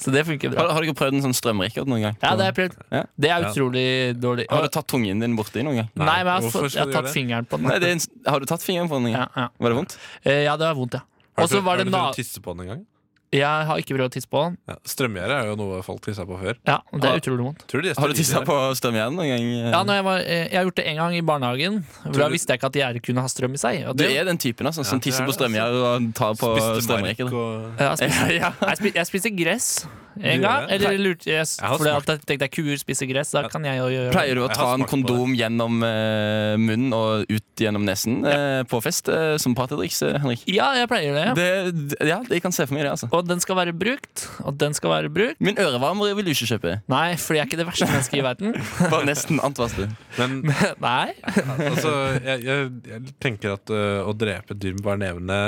S5: Så det funker bra.
S6: Har, har dere prøvd en sånn strømrikkert noen gang?
S5: Ja, det har jeg prøvd.
S6: Ja.
S5: Det er utrolig dårlig.
S6: Har du tatt tungen din borti noen gang?
S5: Nei, men jeg har,
S3: Hvorfor
S5: fått, jeg
S3: skal
S5: har
S3: du
S5: tatt
S3: gjøre det?
S5: fingeren på den.
S6: Nei, det er en, s- har du tatt fingeren på den noen gang?
S5: ja, ja.
S6: Var det vondt?
S5: Eh, ja, det var vondt, ja.
S3: Har
S5: Og
S3: du
S5: så
S3: prøvd-
S5: var
S3: har
S5: det
S3: du
S5: na
S3: prøvd å tisse på den en gang?
S5: Jeg har ikke prøvd å tisse på den.
S3: Ja. Strømgjerde er jo noe folk tisser på før.
S5: Ja, og Det
S6: Har-
S5: er utrolig vondt.
S3: Tror du de
S6: Har du tissa
S3: steroider?
S6: på strømgjerdet noen gang?
S5: Ja, når jeg, var, eh, jeg har gjort det en gang i barnehagen. For Da visste jeg ikke at gjerdet kunne ha strøm i seg. Og
S6: Du
S5: det,
S6: er den typen altså,
S3: Ja,
S6: som
S3: du
S6: tisser
S3: er
S6: på
S3: det, altså.
S6: strømgjerd og tar på
S3: Spiste mark
S6: strømrikkert.
S3: og
S5: Ja, jeg, spiste, jeg spiste gress. en
S3: Du
S5: gang.
S3: gjør det?
S5: Eller lurte jeg
S3: Jeg har
S5: Fordi at jeg tenkte kuer spiser gress, da kan jeg jo gjøre det.
S6: Pleier du å
S3: Jeg
S6: ta
S3: har
S6: en
S3: smakt på det.
S6: kondom gjennom eh, munnen og ut gjennom nesen eh, på fest eh, som partydriks, eh, Henrik?
S5: Ja, jeg pleier det.
S6: Det, d- ja, jeg kan se for meg det, altså.
S5: Og den skal være brukt. Og den skal være brukt.
S6: Min ørevarmer vil du ikke kjøpe.
S5: Nei, for jeg er ikke det verste mennesket i verden.
S6: Bare nesten antvastet.
S3: Men
S5: Nei.
S3: altså, jeg, jeg, jeg tenker at øh, å drepe et dyr med bare nevene,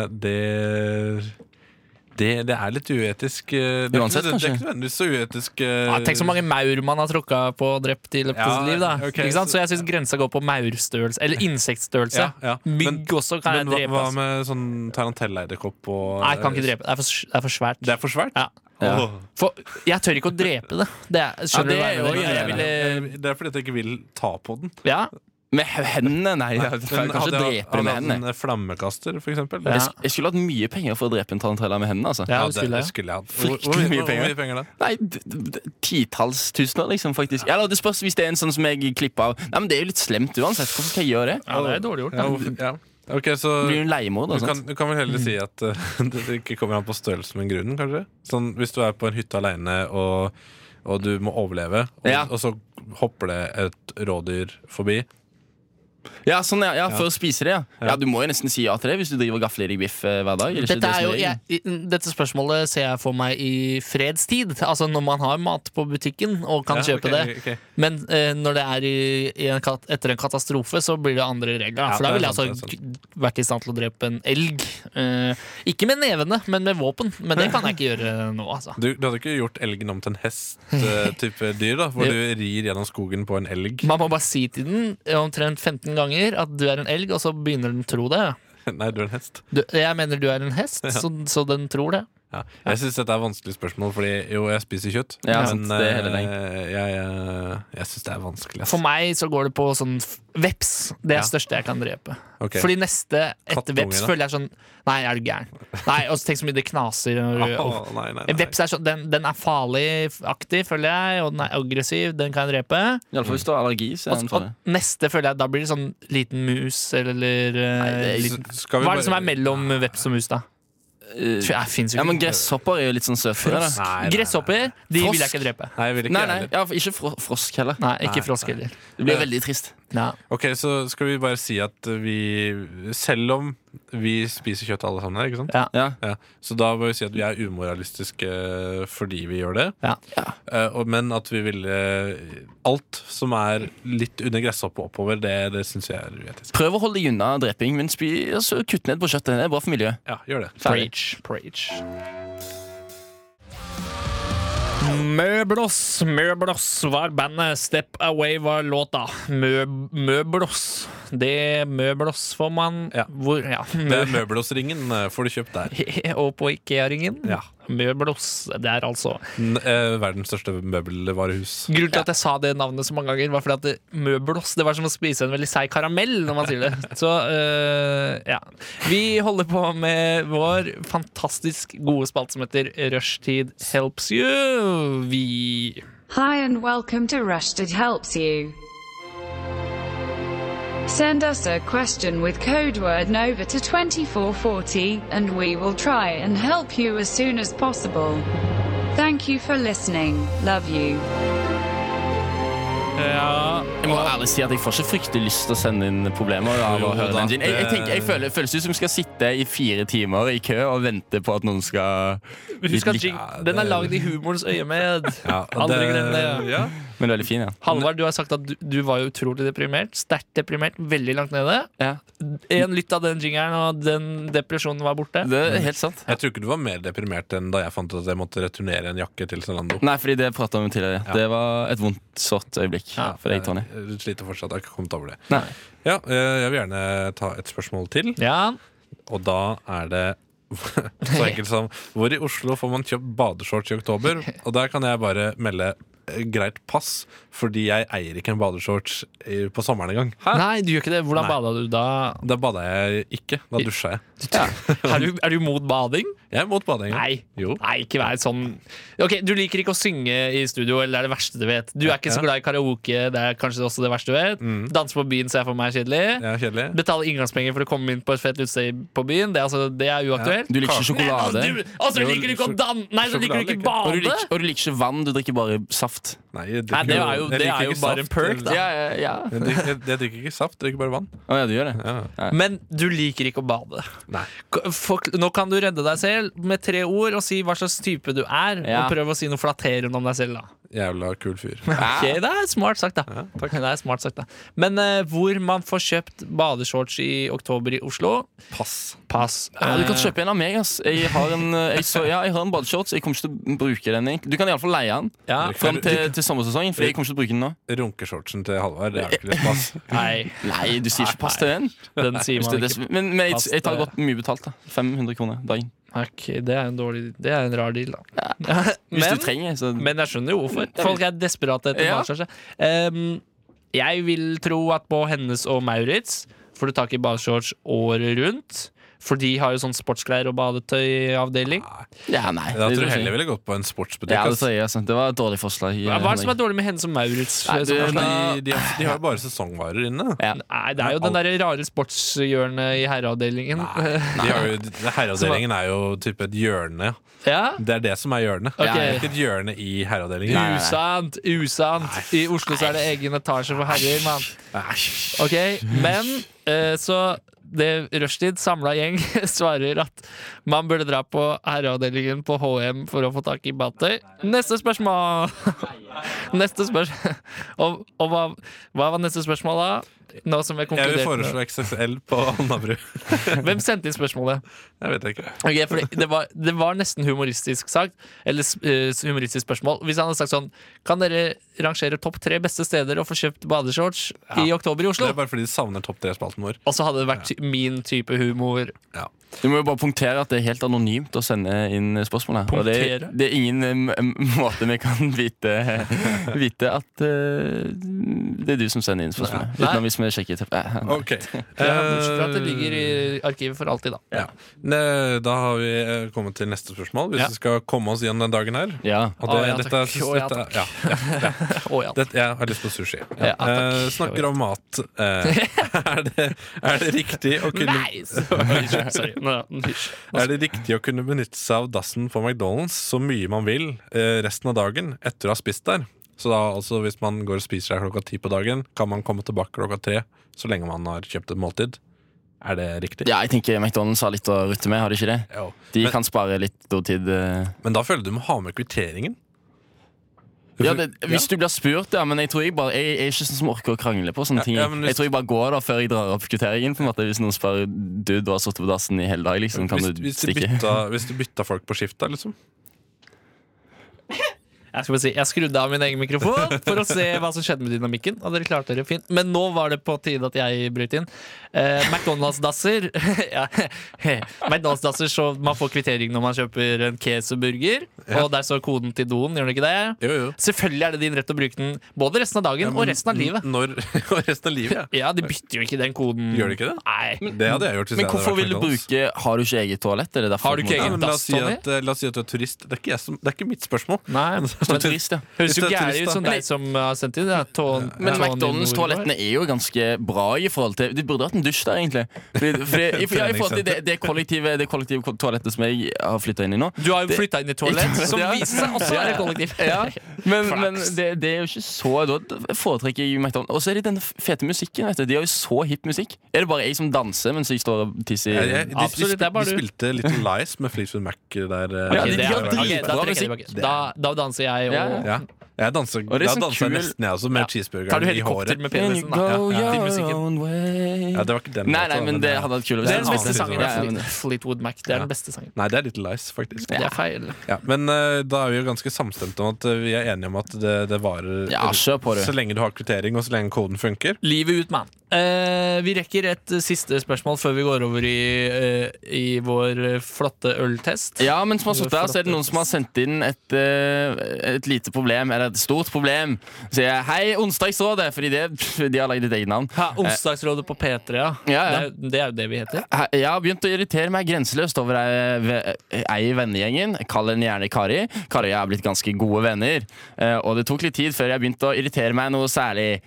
S3: det det, det er litt uetisk. øh, Det er
S6: Uansett,
S3: ikke, det er
S6: kanskje?
S3: ikke nødvendigvis så uetisk eh,
S5: Ja, tenk så mange maur man har tråkka på og drept i løpet av
S3: Ja,
S5: sitt liv. da
S3: ok,
S5: ikke sant? Så
S3: så-
S5: jeg syns grensa går på maurstørrelse. Eller insektstørrelse.
S3: Ja, ja. Men-
S5: Mygg også kan jeg
S3: Men hva,
S5: drepe.
S3: hva
S5: altså.
S3: med sånn tarantelleidderkopp og eh,
S5: Nei, jeg kan ikke drepe. Det er for, det er for svært.
S3: Det er for svært?
S5: Ja.
S6: Ja.
S3: Åh.
S5: For jeg tør ikke å drepe det. det er, skjønner du
S6: det er
S5: hva
S6: jo-
S5: jeg
S6: jeg
S5: mener?
S6: ville-
S3: Jeg- Eh, Det er fordi at jeg ikke vil ta på den.
S5: Ja,
S6: Med he- hendene? Nei, jeg kan
S3: Men hadde
S6: kanskje
S3: jeg
S6: drepe det
S3: hadde
S6: med
S3: hatt
S6: hendene.
S3: en flammekaster, for eksempel.
S5: Ja.
S6: Jeg sk- Jeg skulle hatt mye penger for å drepe en tarantella med hendene. altså
S5: ja,
S3: Ja,
S5: det skulle jeg.
S3: skulle jeg hatt. Hvor,
S6: Fryktelig
S3: hvor, mye-
S6: mye
S3: hvor,
S6: penger.
S3: mye penger da?
S6: Nei, d- d- d- titalls tusener, liksom. faktisk Eller det spørs hvis det er en sånn som jeg klipper av. Nei, men Det er jo litt slemt uansett. Hvorfor skal jeg gjøre det?
S5: Ja, det er dårlig gjort.
S3: Ja, hvorfor- ja. Ok, så
S6: Blir altså. du en leiemord?
S3: du
S6: og sånt?
S3: kan, du kan vel heller
S5: Mhm.
S3: si at eh, det ikke kommer an på størrelsen, men grunnen, kanskje? Sånn, hvis du er på en hytte aleine og, og du må overleve, og,
S6: Ja.
S3: og så hopper det et rådyr forbi
S6: Ja, sånn, ja, ja, for å spise det, ja. ja. Du må jo nesten si ja til det hvis du driver og gafler i deg biff eh, hver dag. Eller ikke?
S5: Dette, er
S6: Det
S5: jo,
S6: som regel.
S5: jeg, dette spørsmålet ser jeg for meg i fredstid. Altså når man har mat på butikken og kan
S3: Ja,
S5: kjøpe
S3: ok,
S5: det.
S3: ok.
S5: Men eh, når det er i, i en kat etter en katastrofe, så blir det andre regler. da.
S3: Ja,
S5: for da
S3: det er
S5: ville jeg
S3: sant,
S5: altså k- vært i stand til å drepe en elg. Eh, ikke med nevene, men med våpen. Men det kan jeg ikke gjøre nå, altså.
S3: Du, du hadde ikke gjort elgen om til en hest-type dyr, da? Hvor
S5: Jo.
S3: du rir gjennom skogen på en elg?
S5: Man må bare si til den eh, omtrent 15 ganger at du er en elg, og så begynner den å tro det.
S3: Nei, du er en hest.
S5: Du, jeg mener du er en hest, så, så den tror det.
S3: Ja. Jeg syns dette er et vanskelig spørsmål, fordi jo, jeg spiser kjøtt.
S6: Ja, sant,
S3: men
S6: det er hele
S3: eh, jeg, jeg, jeg syns det er vanskelig. ass.
S5: For meg så går det på sånn f- veps. Det er
S3: Ja.
S5: det største jeg kan drepe.
S3: Ok.
S5: Fordi neste etter
S3: Kattunge,
S5: veps
S3: da?
S5: føler jeg sånn Nei, er du gæren? Nei, og så tenk så mye det knaser. når du-
S3: Åh, nei, nei, nei.
S5: Veps er sånn, den, den er farlig-aktig, føler jeg, og den er aggressiv. Den kan jeg drepe.
S6: I alle fall hvis du har allergi. Så er
S5: Og,
S6: den
S5: og
S6: farlig.
S5: neste føler jeg Da blir det sånn liten mus eller, eh,
S6: det er-
S5: liten,
S3: Skal vi
S5: Hva er det
S3: bare-
S5: som er mellom veps og mus, da? Jeg finnes jo
S6: sånn. Ja,
S5: ikke.
S6: men Gresshopper er jo litt sånn
S3: Nei,
S6: søtere. Da.
S3: nei, nei.
S5: Gresshopper de vil jeg
S6: Frosk.
S5: ikke drepe.
S3: Nei, jeg vil ikke
S6: Nei,
S3: jeg
S6: nei,
S3: heller.
S6: ja, for ikke fro frosk heller.
S5: Nei, ikke
S3: Nei,
S5: frosk
S3: nei.
S5: heller.
S6: Det blir veldig trist.
S5: Ja.
S3: Ok, så skal vi bare si at vi Selv om vi spiser kjøtt alle sammen her, ikke sant?
S5: Ja.
S6: Ja.
S3: Ja, så da må vi si at vi er umoralistiske eh, fordi vi gjør det.
S5: Ja.
S3: Eh, og- Men at vi ville Alt som er litt under gresshoppet og oppover, det, det syns jeg er uetisk.
S6: Prøv å holde deg unna dreping, men spi, altså, kutt ned på kjøttet. Det er bra for miljøet.
S3: Ja, gjør det.
S5: Preach, preach. Møblos, Møblos var bandet. Step Away var låta. Mø, møblos. Det Møblos får man
S3: Ja.
S5: hvor Ja.
S3: Det er Møbelåsringen eh, får du kjøpt der.
S5: Og på Ikea-ringen.
S3: Ja.
S5: Møblos der, altså.
S3: N eh, verdens største møbelvarehus.
S5: Grunnen til at jeg sa det navnet så mange ganger, var fordi at det, møblos Det var som å spise en veldig seig karamell når man sier det. Så øh, ja. Vi holder på med vår fantastisk gode spalte som heter Rushtid helps you. Vi
S9: Hi and welcome to Rushdid Helps You. Send us a question with code word NOVA to 2440 and we will try and help you as soon as possible. Thank you for listening. Love you.
S5: Ja,
S6: Jeg må ærlig si at jeg får ikke fryktelig lyst til å sende inn problemer. Av å
S3: Jo
S6: høre
S3: da,
S6: den din. Jeg, jeg, tenker, jeg føler, føles ut som jeg skal sitte i fire timer i kø og vente på at noen skal
S5: husk at
S6: Litt-
S5: jing, den er lagd i humorens øyemed.
S3: Ja,
S5: Aldri glem det.
S3: Ja.
S6: Men veldig fin, ja.
S5: Halvard, du har sagt at du, du var jo utrolig deprimert. Sterkt deprimert, veldig langt nede.
S6: ja.
S5: En lytt av den jingeren, og den depresjonen var borte.
S6: Det er helt sant.
S3: Jeg tror ikke du var mer deprimert enn da jeg fant ut at jeg måtte returnere en jakke til Zalando.
S6: Nei, fordi det prata vi om tidligere. Det var et vondt, sårt øyeblikk
S5: Ja.
S6: for deg, Tony.
S3: Jeg sliter fortsatt, jeg har ikke kommet over det.
S6: Nei.
S3: Ja, eh, jeg vil gjerne ta et spørsmål til,
S5: Ja,
S3: og da er det så enkelt som Hvor i Oslo får man kjøpt badeshorts i oktober? Og der kan jeg bare melde eh, greit pass, fordi jeg eier ikke en badeshorts i- på sommeren engang.
S5: Nei, du gjør ikke det. Hvordan
S3: Nei.
S5: bada du da?
S3: Da bada jeg ikke. Da dusja jeg.
S5: Er du, er du mot bading?
S3: Jeg er mot badeenga.
S5: Nei.
S3: Jo.
S5: Nei, ikke vær sånn Ok, Du liker ikke å synge i studio, eller det er det verste du vet. Du er ikke så
S3: Ja.
S5: glad i karaoke, det er kanskje også det verste du vet.
S6: Mm.
S5: Danse på byen ser jeg for meg er kjedelig.
S3: Jeg er kjedelig.
S5: Betale inngangspenger for å komme inn på et fett utested på byen, det, er altså, det er uaktuelt.
S6: Du liker ikke
S5: Og
S6: sjokolade.
S5: du, og så liker du ikke å danne Nei, så liker du ikke
S3: Sjokolade,
S6: Og du,
S5: bade!
S6: liker, og du liker ikke vann, du drikker bare saft.
S3: Nei,
S5: Nei, det er jo- det er jo bare en perk, da.
S6: Ja, ja, ja.
S3: Jeg drikker, jeg, jeg drikker ikke saft, jeg drikker bare vann.
S6: Å ja, du gjør det?
S3: Ja.
S5: Men du liker ikke å bade.
S3: Nei.
S5: K- fork- nå kan du redde deg selv med tre ord og si hva slags type du er.
S6: Ja.
S5: Og prøv å si noe flatterende om deg selv, da.
S3: Jævla kul fyr.
S5: Ok, det er smart sagt, da. det er smart sagt, da. Men eh, hvor man får kjøpt badeshorts i oktober i Oslo
S3: Pass.
S5: Pass. Eh,
S6: Ja, du kan kjøpe en av meg. ass Jeg har en, eh, jeg så, ja, jeg har en badeshorts. Jeg kommer ikke til å bruke den. egentlig. Du kan iallfall leie den
S5: Ja.
S6: fram til, til sommersesongen. Fordi jeg kommer ikke til å bruke den nå
S3: Runkeshortsen til Halvard, det er jo ikke litt pass.
S5: Nei,
S6: Nei, du sier ikke pass til den.
S5: den sier
S6: Hvis
S5: man
S6: det er det
S5: ikke.
S6: som- Men, men jeg,
S5: Pass
S6: jeg tar
S5: til-
S6: godt mye betalt. da 500 kroner dagen.
S5: Ok, det er en dårlig Det er en rar deal, da.
S6: Hvis
S5: Men-
S6: du trenger. Så.
S5: Men jeg skjønner jo hvorfor. Folk er desperate etter
S6: Ja.
S5: badeshorts. ja. Um, jeg vil tro at på Hennes og Maurits får du tak i badeshorts året rundt. For de har jo sånn sportsklær og badetøyavdeling.
S6: Ja, nei.
S3: Da tror
S6: det- det-
S3: jeg heller ville gått på en sportsbutikk.
S6: ja, det,
S3: ass.
S6: tror jeg, altså. det var et dårlig forslag.
S5: Hva er det som er dårlig med Hennes og Maurits?
S6: Nei, du-
S5: Som er- sånn-
S3: de, de, har- de har jo bare sesongvarer inne.
S5: Nei, det er jo den der rare sportshjørnet i herreavdelingen.
S3: De har jo, herreavdelingen er jo type et hjørne.
S5: Ja?
S3: Det er det som er hjørnet.
S5: Ok.
S3: Det er ikke et hjørne i herreavdelingen.
S5: Usant, usant. I Oslo så er det egen etasje for herrer, mann. Ok, men eh, så det Rushtid, samla gjeng, svarer at man burde dra på herreavdelingen på HM for å få tak i badetøy. Neste spørsmål! Neste spørsmål. Og, og hva, hva var neste spørsmål, da? Nå som vi har
S3: Jeg vil
S5: konkludert.
S3: foreslå XXL på Alnabru.
S5: med- Hvem sendte inn spørsmålet?
S3: Jeg vet ikke.
S5: Ok, fordi det, var, det var nesten humoristisk sagt Eller eh, humoristisk spørsmål Hvis han hadde sagt sånn Kan dere rangere topp tre beste steder Og få kjøpt badeshorts i oktober i
S3: Det
S5: Oslo?
S3: er bare fordi de savner topp tre-spalten vår.
S5: Og så hadde det vært ty min type humor
S6: Du må jo bare punktere at det er helt anonymt å sende inn spørsmål her. Og det,
S5: Punktere?
S6: det er ingen eh, m- m- måte vi kan vite, vite at eh, det er du som sender inn spørsmål.
S5: Nei.
S6: Utenom hvis vi sjekker til eh,
S3: Ok
S5: ja, bortsett fra at det ligger i arkivet for alltid da
S3: Eh, ja. Ne, Da har vi eh, kommet til neste spørsmål, hvis
S5: Ja.
S3: vi skal komme oss gjennom den dagen her.
S6: Ja.
S3: Og
S5: Å, ja,
S3: dette,
S5: takk.
S3: jeg synes
S5: Å, ja,
S3: dette-
S5: takk.
S3: ja,
S5: Å, ja.
S3: det, Jeg har lyst på sushi.
S5: Ja, takk.
S3: Eh, snakker om mat. Eh, er, det, er det riktig å kunne
S5: Nice! Oi, Sorry, nå, hysj.
S3: Er det riktig å kunne benytte seg av dassen på McDonald's så mye man vil eh, resten av dagen etter å ha spist der? Så da altså hvis man går og spiser der klokka ti på dagen, kan man komme tilbake klokka tre så lenge man har kjøpt et måltid? Er det riktig?
S6: ja, jeg tenker McDonald's har litt å rutte med, har de ikke det?
S3: Jo.
S6: De
S3: Men,
S6: kan spare litt dotid. eh.
S3: men da føler du du må ha med kvitteringen.
S6: Ja, det, hvis du blir spurt, ja. Men jeg tror jeg bare Jeg, jeg er ikke sånn som orker å krangle på sånne ting.
S3: ja, men hvis-
S6: Jeg tror jeg bare går da før jeg drar opp kvitteringen. På en måte, hvis noen spør du, du har sittet på dassen i hele dag, liksom, kan
S3: Hvis,
S6: du
S3: hvis, du
S6: stikke.
S3: bytta, hvis du bytta folk på skifta, liksom.
S5: Jeg skal bare si, jeg skrudde av min egen mikrofon For å se hva som skjedde med dynamikken Og dere klarte dere fint Men nå var det på tide at jeg brøt inn eh, McDonalds-dasser ja, McDonalds-dasser så man får kvittering når man kjøper en queso-burger Og der står koden til doen, gjør den ikke det?
S3: Jo, jo.
S5: Selvfølgelig er det din rett å bruke den Både resten av dagen og resten av livet
S3: Når, og resten av livet, ja.
S5: Ja, de bytter jo ikke den koden
S3: Gjør de ikke det?
S5: Nei
S3: Det hadde jeg gjort. hvis
S6: Men
S3: jeg hadde vært
S6: hvorfor vil du
S3: McDonald's.
S6: bruke Har du ikke eget toalett? Er det derfor
S5: Har du ikke
S6: på
S3: ja,
S6: en
S5: eget-
S3: men
S6: måte?
S3: la, oss si
S5: dass,
S3: at, eh, la oss si at du er turist. Det er ikke, jeg som, det er ikke mitt spørsmål.
S5: Nei,
S6: Som
S5: men
S6: turist, ja.
S5: Høres
S3: Hvis
S5: jo
S3: det er
S5: gæren
S3: turist,
S5: ut som
S3: da.
S5: deg som har sendt inn ja, tån, tån
S6: Men
S5: i nord.
S6: McDonald's-toalettene er jo ganske bra i forhold til Det burde vært en dusj der, egentlig. Fordi, fordi, i, ja, i forhold til det, det kollektive, det kollektive ko- toalettet som jeg har flytta inn i nå.
S5: Du har jo flytta inn i toalett, som
S6: Ja.
S5: viser seg også være kollektiv.
S6: Ja, men men det, det er jo ikke så Da foretrekker jeg McDonald's. Og så er det den fete musikken. Vet du. De har jo så hip musikk. Er det bare jeg som danser mens jeg står og tisser?
S3: Ja, jeg, de,
S5: Absolutt, det
S3: de,
S5: er bare
S3: de
S5: du.
S3: spilte Little Lies med Fleetwood Mac der. eh,
S5: Ok,
S6: Ja, de-
S5: det
S6: de
S5: er-
S6: har
S5: ok, da
S6: dritbra
S5: trekker jeg
S6: musikk.
S5: tilbake. Da, da danser jeg og
S6: Ja, ja.
S3: Ja. Jeg danser,
S6: Og det er
S3: da
S6: sånn
S3: danser jeg
S6: kul-
S3: nesten, jeg også,
S5: Ja.
S3: med
S5: Tar du
S3: cheeseburgeren i
S5: helikopter
S3: håret.
S5: med
S6: And you
S5: penisen, da?
S6: go
S5: Ja, til
S6: your
S5: musikken.
S6: own way.
S3: Ja, det var ikke den
S6: Nei,
S3: låta,
S6: nei, men
S3: men,
S6: det
S3: eh,
S6: hadde vært kult.
S5: Det er den beste
S3: annen
S5: sangen.
S3: sang.
S5: er
S6: Ja, men-
S5: Fleet- Fleetwood Mac. Det er den beste sangen.
S3: Nei, det er Little Lies, faktisk.
S5: Det
S3: Ja.
S5: er feil.
S3: Men eh, da er vi jo ganske samstemte om at eh, vi er enige om at det, det varer
S6: Ja, kjør på, du.
S3: så lenge du har kvittering, og så lenge koden funker.
S5: Livet ut, mann. Eh, vi rekker et eh, siste spørsmål før vi går over i, eh, i vår eh, flotte øltest.
S6: Ja, men som har sittet her, så er det noen som har sendt inn et, eh, et lite problem, eller et stort problem. Så sier jeg 'Hei, Onsdagsrådet', fordi det, de har lagd et eget navn. Eh,
S5: Ha, onsdagsrådet på P3. heter det, ja.
S6: Ja, ja.
S5: Det, er, det er jo det vi heter.
S6: He- Jeg har begynt å irritere meg grenseløst over ei, ve- eh, ei i vennegjengen. Jeg kaller henne gjerne Kari. Kari og jeg er blitt ganske gode venner. eh, Og det tok litt tid før jeg begynte å irritere meg noe særlig.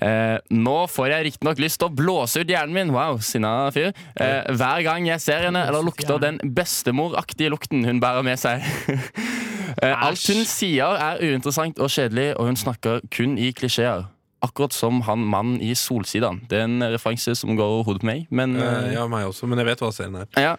S6: Eh, nå får jeg riktignok lyst til å blåse ut hjernen min Wow, sinna fyr. Eh, hver gang jeg ser henne, eller lukter den bestemoraktige lukten hun bærer med seg. Eh, alt hun sier, er uinteressant og kjedelig, og hun snakker kun i klisjeer. Akkurat som han mannen i Solsidan. Det er en referanse som går over hodet på meg. Men,
S3: Eh,
S6: eh,
S3: ja, meg også, men jeg vet hva serien er.
S6: ja.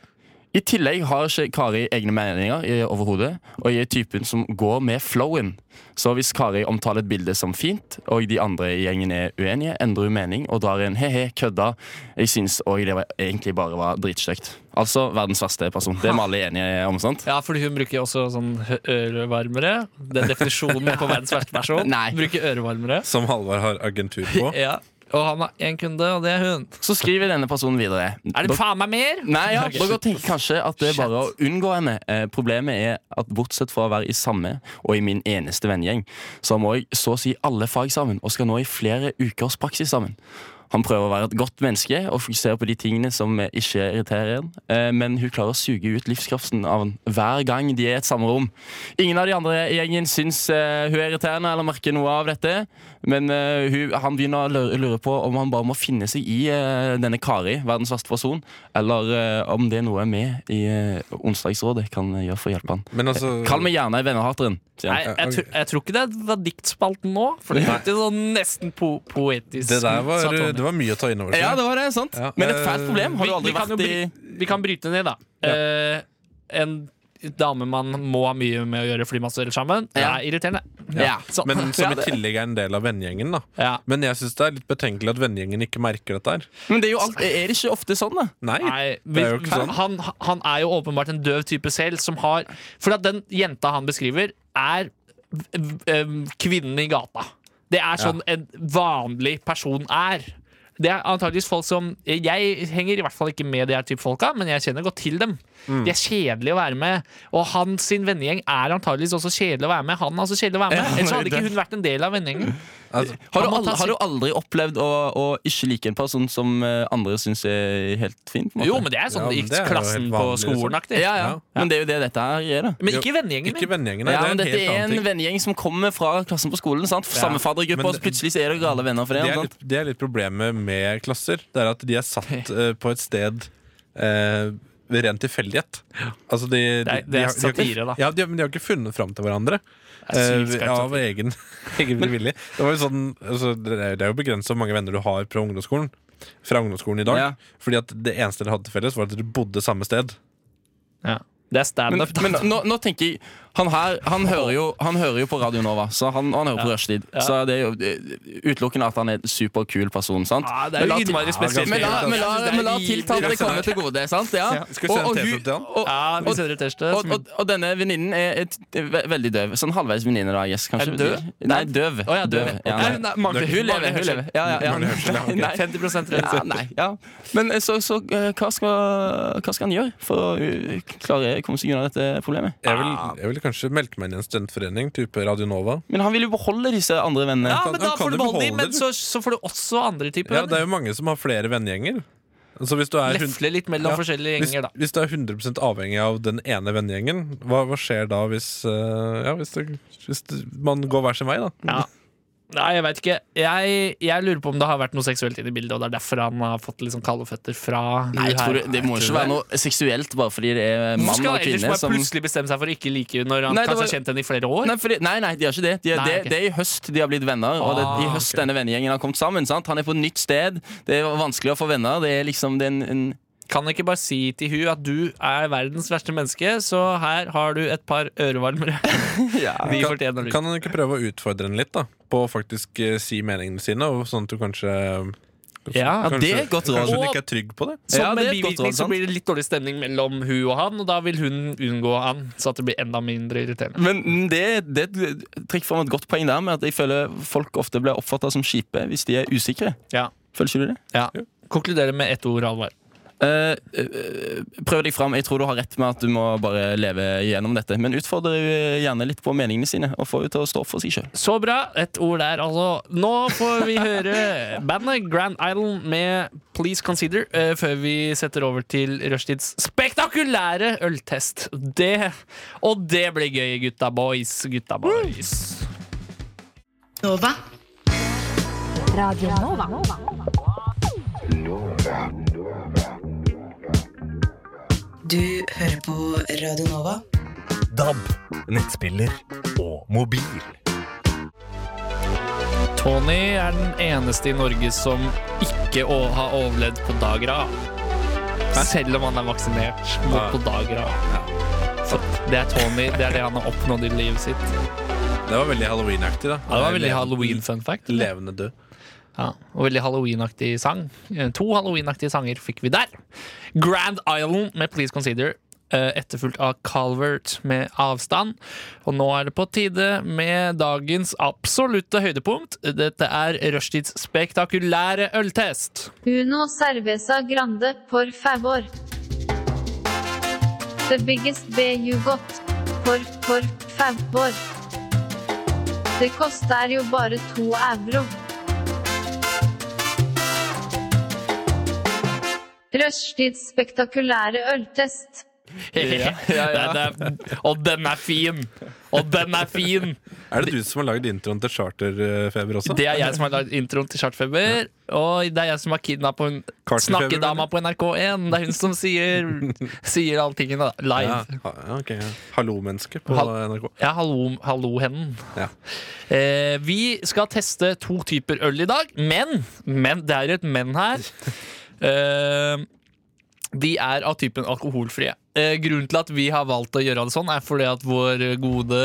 S6: I tillegg har ikke Kari egne meninger i- overhodet, og jeg er typen som går med flowen. Så hvis Kari omtaler et bilde som fint, og de andre i gjengen er uenige, endrer hun mening og drar en he-he, kødda. Jeg syns òg det var, egentlig bare var dritstygt. Altså verdens verste person. Det er vi alle enige om, sant?
S5: Ja, fordi hun bruker også sånn hø- ørevarmere. Den definisjonen på verdens verste person.
S6: Nei.
S5: Bruker ørevarmere.
S3: Som Halvard har agentur på.
S5: Ja. Og han har én kunde, og det er hun.
S6: Så skriver denne personen videre.
S5: Er det faen meg mer?
S6: Nei, ja,
S5: Ok.
S6: Dere tenker kanskje at det er bare å
S5: Shit.
S6: unngå henne. Eh, problemet er at bortsett fra å være i samme og i min eneste vennegjeng, så har vi så å si alle fag sammen og skal nå i flere ukers praksis sammen. Han prøver å være et godt menneske og fokusere på de tingene som eh, ikke irriterer en, eh, men hun klarer å suge ut livskraften av han hver gang de er i et samme rom. Ingen av de andre i gjengen syns eh, hun er irriterende eller merker noe av dette, men eh, hun, han begynner å lure, lure på om han bare må finne seg i eh, denne Kari, verdens verste person, eller eh, om det er noe vi i eh, Onsdagsrådet kan gjøre for å hjelpe han.
S3: Men altså
S6: Kall meg gjerne vennehateren, sier
S5: Mm. Nei,
S6: han.
S5: jeg, tror- jeg tror ikke det var diktspalten nå, for det hørtes sånn nesten po poetisk
S3: Det der
S5: ut, sa
S3: var,
S5: Tony.
S3: det var mye å ta inn over seg.
S6: Ja, det var det, sant?
S3: Ja,
S6: Men et
S3: eh,
S6: fælt problem. Har du
S5: vi,
S6: aldri
S5: vi, kan jo
S6: vært i
S5: bry, vi kan bryte ned, da. Eh, en dame man må ha mye med å gjøre fordi man studerer sammen. Det
S6: Ja.
S5: er irriterende.
S6: Ja.
S5: Sånn.
S3: Men som
S6: Ja,
S3: i
S6: det-
S3: tillegg er en del av vennegjengen. da
S5: Ja.
S3: Men jeg syns det er litt betenkelig at vennegjengen ikke merker dette her.
S6: Men det er jo alt, er det ikke ofte sånn, da?
S3: Nei,
S5: Nei,
S3: det er jo ikke
S5: vi-
S3: sånn.
S5: han, han er jo åpenbart en døv type selv som har For at den jenta han beskriver, er v- v- em, kvinnen i gata. Det er sånn en vanlig person er. Det er antageligvis folk som Jeg henger i hvert fall ikke med de her type folka, men jeg kjenner godt til dem.
S3: Mm.
S5: De er kjedelige å være med. Og hans sin vennegjeng er antageligvis også kjedelig å være med. Han er også kjedelig å være med
S6: Ja,
S5: Ellers
S6: nei,
S5: hadde ikke hun vært en del av vennegjengen.
S3: Altså,
S5: Han
S6: Har du,
S5: må
S6: aldri,
S5: ta
S6: har du
S5: sin-
S6: aldri opplevd å, å ikke like en person som eh, andre syns er helt fin? På en måte?
S5: Jo, men det er
S3: Ja,
S5: sånn
S3: men
S5: i
S3: det er jo
S5: klassen
S3: helt
S5: på
S3: vanlig, liksom.
S5: skolen-aktig.
S6: ja, ja. men det er jo det dette her gjør, da.
S5: Men ikke vennegjengen.
S3: ikke
S5: min.
S3: vennegjengen. Nei,
S6: Ja, men
S3: det
S6: dette
S3: er en
S6: er en
S3: helt annen ting.
S6: vennegjeng som kommer fra klassen på skolen. sant? Samme
S3: Men
S6: faddergruppe, og
S3: det-
S6: så plutselig så er dere alle venner for det.
S3: Det er,
S6: sant?
S3: litt, det er litt problemet med klasser. Det er at de er satt eh, på et sted eh, ved ren tilfeldighet. Altså de, de,
S5: Det er- det
S3: de
S5: er
S3: har- de har ikke-
S5: satire, da.
S3: Ja, de, men de har ikke funnet fram til hverandre.
S5: er sykt
S3: eh,
S5: skarpt
S3: av egen, egen frivillig. Det, var jo sånn, altså, det er det er jo begrenset hvor mange venner du har fra ungdomsskolen. Fra ungdomsskolen i dag
S6: Ja.
S3: Fordi at det eneste dere hadde til felles, var at dere bodde samme sted.
S5: Ja. Det er
S6: Men,
S5: standup. da.
S6: men nå, nå tenker jeg Han her han hører, jo, han hører jo på Radio Nova, så han, og han hører på Rushtid. Så det er jo eh, utelukkende at han er en superkul person, sant?
S5: Ja, altså. det er jo
S6: Men la-
S5: innmari spesielt.
S6: Men la, men la, men la tiltalte komme til gode, sant? Ja.
S3: Skal vi sende T-skjorte til han?
S6: og,
S5: Ja, vi sender et teste.
S6: og, og, og denne venninnen er, et- er ve- veldig døv. Sånn halvveis venninne, da. Yes, kanskje.
S5: Er hun døv?
S6: Nei, døv.
S5: Å ja, døv.
S6: Ja,
S5: Nei,
S6: nei.
S5: nei, mangler-
S6: hun lever.
S5: mangler
S6: Hun
S5: hørsel.
S6: lever. Ja, ja, ja.
S3: Mangler hørsel, ja, ok.
S6: Nei.
S5: 50%
S6: ja,
S5: reduksjon.
S6: nei, ja. Men eh, så, så eh, hva, skal, hva skal han gjøre for å eh, klare å komme seg unna dette problemet?
S3: Jeg vil,
S5: Ah.
S3: jeg vil kanskje melke meg inn i en studentforening, type Radio Nova.
S6: Men han vil jo beholde disse andre vennene.
S5: Ja,
S3: kan-
S5: men da
S3: han kan
S5: får du
S3: jo
S5: beholde de,
S3: beholde
S5: men
S3: det.
S5: så, så får du også andre typer
S3: Ja, det
S5: venner.
S3: er jo mange som har flere vennegjenger. Så hvis du er hund-
S5: Lefle litt mellom
S3: Ja,
S5: forskjellige
S3: hvis,
S5: gjenger, da.
S3: hvis du er 100 avhengig av den ene vennegjengen, hva, hva skjer da hvis, eh, ja, hvis, det, hvis det, man går hver sin vei, da?
S5: Ja. Nei, jeg veit ikke. Jeg, jeg lurer på om det har vært noe seksuelt inn i bildet, og det er derfor han har fått litt sånn kalde føtter fra
S6: Nei, jeg
S5: hun her.
S6: tror det, det må ikke være noe seksuelt bare fordi det er
S5: Hvorfor
S6: mann
S5: skal
S6: og
S5: han ellers
S6: kvinne
S5: bare
S6: som
S5: plutselig bestemme seg for å ikke like henne når han
S6: Nei, det
S5: kanskje har
S6: var-
S5: kjent henne i flere år?
S6: Nei, fordi, nei, nei, de gjør ikke det.
S5: Nei,
S6: De, det,
S5: ok. Ah,
S6: det er i høst de har blitt venner. Og det er i høst denne vennegjengen har kommet sammen. Sant? Han er på et nytt sted. Det er vanskelig å få venner. Det er liksom det er en, en
S5: Kan jeg ikke bare si til hun at du er verdens verste menneske, så her har du et par ørevarmere. De fortjener det.
S3: Kan han ikke prøve å utfordre den litt, da? På å faktisk eh, si meningene sine, og sånn at du kanskje
S5: Ja,
S3: kanskje,
S6: det er et godt råd.
S3: Kanskje du ikke er trygg på det?
S5: Som
S6: Ja, det
S5: en
S6: er et godt
S5: bivirkning
S6: råd,
S5: så
S6: sant?
S5: blir det litt dårlig stemning mellom hun og han, og da vil hun unngå han, så at det blir enda mindre irriterende.
S6: Men mm, det, det er et trekk fram et godt poeng der med at jeg føler folk ofte blir oppfatta som kjipe hvis de er usikre.
S5: Ja,
S6: Føler ikke du det?
S5: ja. Konkluderer med ett ord, Alvar.
S6: Eh, eh, prøv deg fram. Jeg tror du har rett med at du må bare leve gjennom dette. Men utfordre eh, gjerne litt på meningene sine, og få henne til å stå opp for seg sjøl.
S5: Så bra. Et ord der, altså. Nå får vi høre bandet Grand Island med Please Consider eh, før vi setter over til rushtids spektakulære øltest. Det, og det blir gøy, gutta boys. Gutta boys.
S10: Nova. Radio Nova.
S7: Du hører på Radio Nova.
S11: DAB, nettspiller og mobil.
S5: Tony er den eneste i Norge som ikke å har overlevd på Dagra. Selv om han er vaksinert mot
S3: Ja.
S5: Podagra. Så det er Tony. Det er det han har oppnådd i livet sitt.
S3: Det var veldig Halloween-aktig. da
S5: Ja, det var veldig Halloween-fun fact.
S3: Levende død.
S5: Ja, og veldig Halloween-aktig sang. Eh, To Halloween-aktige sanger fikk vi der. Grand Island med Please Consider, eh, etterfulgt av Calvert med Avstand. Og nå er det på tide med dagens absolutte høydepunkt. Dette er rushtids spektakulære øltest.
S1: Uno cerveza grande, por favor. The biggest B you got. Por, por favor. Det koster jo bare to euro. Rushtids spektakulære øltest.
S5: Ja, Det, det, og den er fin! Og den er fin!
S3: Er det du som har lagd introen til Charterfeber også?
S5: Det er jeg som har lagd introen til Chartfeber. Og det er jeg som har kidnappa hun
S3: Kartenfeber,
S5: snakkedama på NRK1. Det er hun som sier, sier alle tingene da, live.
S3: Ja, ha- ok, ja. Hallo-menneske på
S5: Hal-
S3: NRK.
S5: Ja, hallo, hallo hennen.
S3: Ja.
S5: Eh, vi skal teste to typer øl i dag, men, men det er et men her. Eh, de er av typen alkoholfrie. Eh, grunnen til at vi har valgt å gjøre det sånn, er fordi at vår gode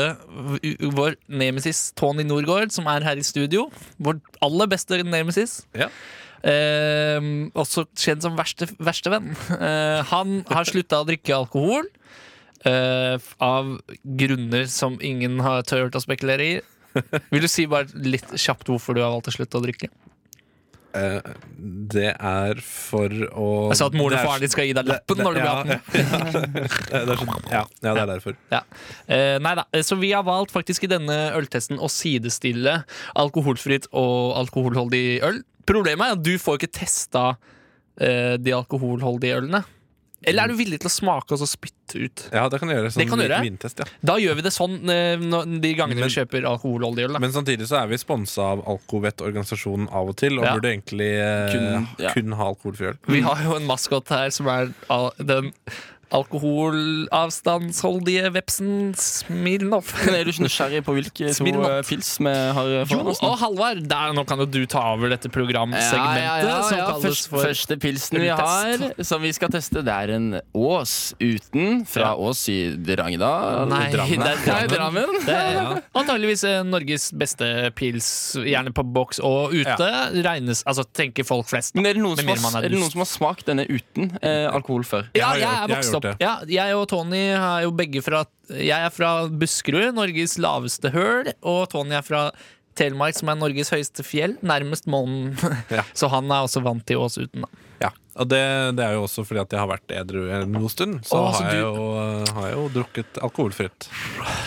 S5: Vår nemesis Tony Norgård, som er her i studio, vår aller beste nemesis eh, også kjent som verste, verste venn. Eh, han har slutta å drikke alkohol eh, av grunner som ingen har tørt å spekulere i. Vil du si bare litt kjapt hvorfor du har valgt å slutte å drikke?
S3: Eh, det er for å
S5: Altså at moren
S3: det
S5: og
S3: er-
S5: faren din skal gi deg
S3: det-
S5: lappen
S3: det-
S5: når du blir
S3: ja,
S5: 18.
S3: Ja, det er så- ja, ja, det er derfor.
S5: Ja. Eh, nei da. eh, Så vi har valgt faktisk i denne øltesten å sidestille alkoholfritt og alkoholholdig øl. Problemet er at du får ikke testa eh, de alkoholholdige ølene. Eller er du villig til å smake og så spytte ut?
S3: Ja, det kan jeg gjøre. Sånn
S5: Det kan du gjøre.
S3: vintest, ja.
S5: Da gjør vi det sånn eh, når- de gangene
S3: Men-
S5: vi kjøper alkoholholdig øl. Da.
S3: Men samtidig så er vi sponsa av Alkovet-organisasjonen av og til, og
S5: Ja.
S3: burde egentlig eh,
S5: Kun-
S3: kun,
S5: ja.
S3: ha alkoholfri øl.
S5: Vi har jo en maskot her som er al- den alkoholavstandsholdige vepsen Smirnov.
S6: Men er du ikke nysgjerrig på hvilke to
S5: Smirnoff.
S6: eh, pils vi har eh,
S5: Jo,
S6: foran oss? nå?
S5: og Halvard, der, nå kan jo du ta over dette programsegmentet
S6: Ja, ja, ja,
S5: som
S6: ja.
S5: kalles
S6: Først-
S5: for
S6: Første pilsen vi
S5: øltest.
S6: har, som vi skal teste, det er en Ås uten fra Ås i Drangedal.
S5: Nei, det
S6: Drammen.
S5: er
S6: Nei, Drammen.
S5: Det er antageligvis eh, Norges beste pils, gjerne på boks og ute. Regnes, altså tenker folk flest. da.
S6: Men er det, noen
S5: Med
S6: som
S5: mindre man
S6: har, er det noen
S5: dust.
S6: som har smakt denne uten eh, alkohol før?
S5: Ja,
S3: Jeg har gjort-
S5: jeg er
S3: jeg har
S5: vokst
S3: gjort
S5: opp. Ja, jeg og Tony er jo begge fra Jeg er fra Buskerud, Norges laveste høl, og Tony er fra Telemark, som er Norges høyeste fjell, nærmest månen.
S3: Ja.
S5: Så han er også vant til Ås uten, da.
S3: Ja, og det, det er jo også fordi at jeg har vært edru en god stund. Så,
S5: Å, så
S3: har,
S5: du-
S3: jeg jo, eh, har jeg jo drukket alkoholfritt.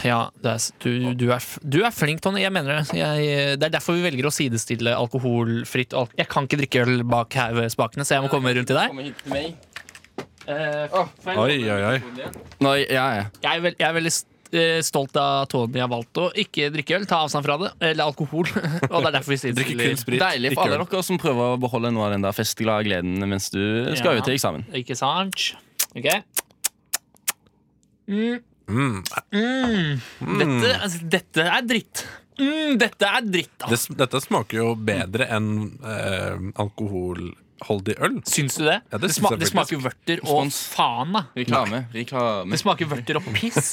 S5: Ja, det er, du, du, er, f- du er flink, Tony. Jeg mener det. Jeg, det er derfor vi velger å sidestille alkoholfritt og al- Jeg kan ikke drikke øl bak her ved spakene, så jeg må komme rundt til deg.
S6: Kommer hit til meg.
S3: Oi, oi, oi.
S6: Nei, ja, ja.
S5: Jeg er, vel- jeg er veldig st- eh, stolt av at Tony har valgt å ikke drikke øl, ta avstand fra det, eller alkohol. og det er derfor vi
S3: Drikke kun
S5: sidestiller.
S3: sprit.
S6: Deilig for
S3: ikke
S6: alle
S3: øl.
S6: dere som prøver å beholde noe av den der festglade gleden mens du skal
S5: Ja.
S6: ut til eksamen.
S5: Ikke sant? Ok
S3: Mm.
S5: mm. Dette, altså, dette er dritt. Mm, dette er dritt, da.
S3: Det, sm- dette smaker jo bedre enn eh, alkoholholdig øl.
S5: Syns du det?
S3: Ja, det
S5: det,
S3: syns
S5: sma
S3: jeg
S5: det
S3: faktisk.
S5: smaker vørter og faen, da.
S6: Reklame. Reklame.
S5: Det smaker vørter og piss.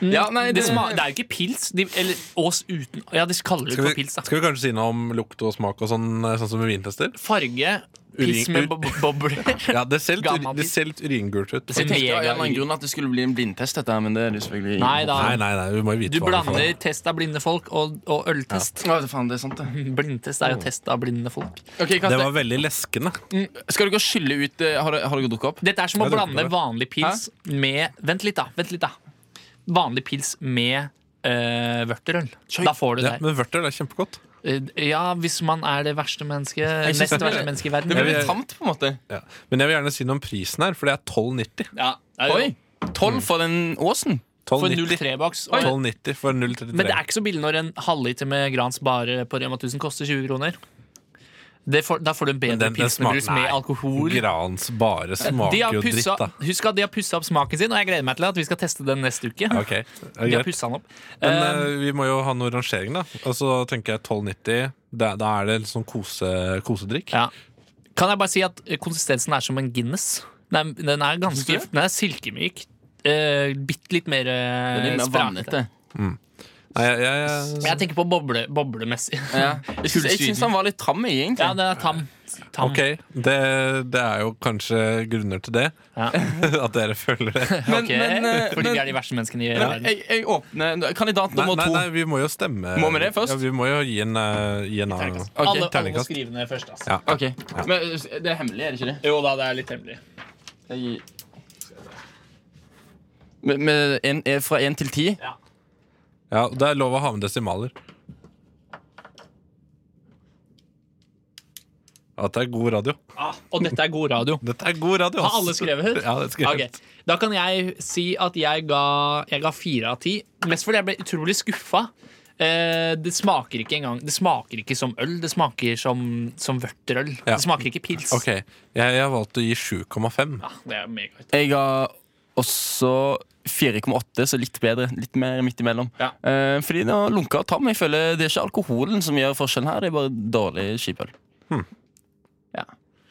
S6: Ja, nei,
S5: det,
S6: det-
S5: sma- det er jo ikke pils. De, eller Ås uten Ja, de kaller det
S3: Skal
S5: for
S3: vi,
S5: pils. da
S3: skal vi kanskje si noe om lukt og smak og sånn, eh, sånn som med vintester?
S5: Farge, piss
S3: Urin-
S5: med bo- bo- bobler.
S3: Ja, det ser litt,
S5: Gammel
S3: det ser litt uringult ut.
S6: Jeg tenkte av en eller annen grunn at det skulle bli en blindtest, dette her, men det er det selvfølgelig ingen
S5: Nei, da.
S3: Nei, nei, nei, vi må jo vite
S5: Du
S3: hva vi får.
S5: blander test av blinde folk og, og øltest.
S6: Ja, faen, det er sant det
S5: Blindtest er jo test av blinde folk.
S6: Ok, Karsten.
S3: Det var veldig leskende.
S5: Mm.
S6: Skal du ikke skylle ut eh, Har, har dere drukket opp?
S5: Dette er som å
S6: Jeg drukket
S5: blande
S6: det.
S5: vanlig pils med Vent litt, da. Vent litt da Vanlig pils med eh, vørterøl. Da får du det.
S3: Ja, men vørterøl er kjempegodt.
S5: Eh, Ja, hvis man er det verste mennesket
S3: Jeg synes
S5: Nest
S3: det-
S5: verste mennesket i verden.
S3: Det blir litt
S6: tamt, på en måte.
S3: Ja. Men jeg vil gjerne si noe om prisen her, for det er 12,90.
S5: Ja,
S6: Oi!
S5: Mm.
S6: 12 for den åsen?
S5: For 03-boks.
S3: 12,90 for 0,33.
S5: Men det er ikke så billig når en halvliter med Grans bare på Rema 1000 koster 20 kroner. Det får, da får du en bedre
S3: Men den- den
S5: pilsnerbrus
S3: smaker-
S5: med
S3: nei,
S5: alkohol.
S3: Grans bare
S5: De
S3: smaker
S5: har
S3: jo dritt,
S5: pussa-
S3: da.
S5: Husk at de har pussa opp smaken sin, og jeg gleder meg til at vi skal teste den neste uke.
S3: Ja, ok. Er det
S5: De har
S3: greit?
S5: pusset den opp.
S3: Men
S5: Eh,
S3: eh, vi må jo ha noe rangering, da. Og så tenker jeg 12,90. Da, da er det litt sånn kose, kosedrikk.
S5: kan jeg bare si at eh, konsistensen er som en Guinness? Den er, den er ganske
S3: Synes
S5: Den er silkemyk. Uh, Bitte litt mer uh,
S6: Den er mer vannete.
S3: Mm. Nei, jeg, jeg,
S5: Jeg tenker på boble, boblemessig.
S6: Ja. Jeg syns- jeg syns han var litt tam i, egentlig.
S5: Ja, den er tam. tam.
S3: Ok, det, det er jo kanskje grunner til det. At dere føler det.
S6: Men-
S5: Ok,
S6: men, eh,
S5: Fordi
S6: men-
S5: vi er de verste menneskene i
S6: Men
S5: verden.
S6: jeg, jeg åpner Kandidat
S3: Nei,
S6: nummer
S3: nei,
S6: to.
S3: nei, vi må jo stemme.
S6: Må vi det først?
S3: Ja, vi må jo gi en, eh, gi en eh,
S5: Alle- alle må
S3: terningkast.
S5: skrive ned først, altså.
S3: Ja.
S6: Ok. Men eh, det er hemmelig, er det ikke det?
S5: Jo da, det er litt hemmelig.
S6: Jeg- Med, med en, eh, fra én til ti?
S3: Ja, Det er lov å ha med desimaler. At det er god radio.
S5: og dette er god radio.
S3: Dette er god radio
S5: Har alle skrevet?
S3: Ja, det er skrevet.
S5: Ok. Da kan jeg si at jeg ga, jeg ga fire av ti. Mest fordi jeg ble utrolig skuffa. Eh, det smaker ikke engang Det smaker ikke som øl. Det smaker som, som vørterøl.
S3: Ja.
S5: Det smaker ikke pils. Ah,
S3: Ok, Jeg, jeg har valgt å gi 7,5.
S5: Det er mega
S6: Jeg ga også 4,8, så litt bedre. Litt mer midt imellom. Eh, fordi det var lunka og tam. Jeg føler Det er ikke alkoholen som gjør forskjellen her, det er bare dårlig skipøl.
S3: Hmm.
S6: Ja.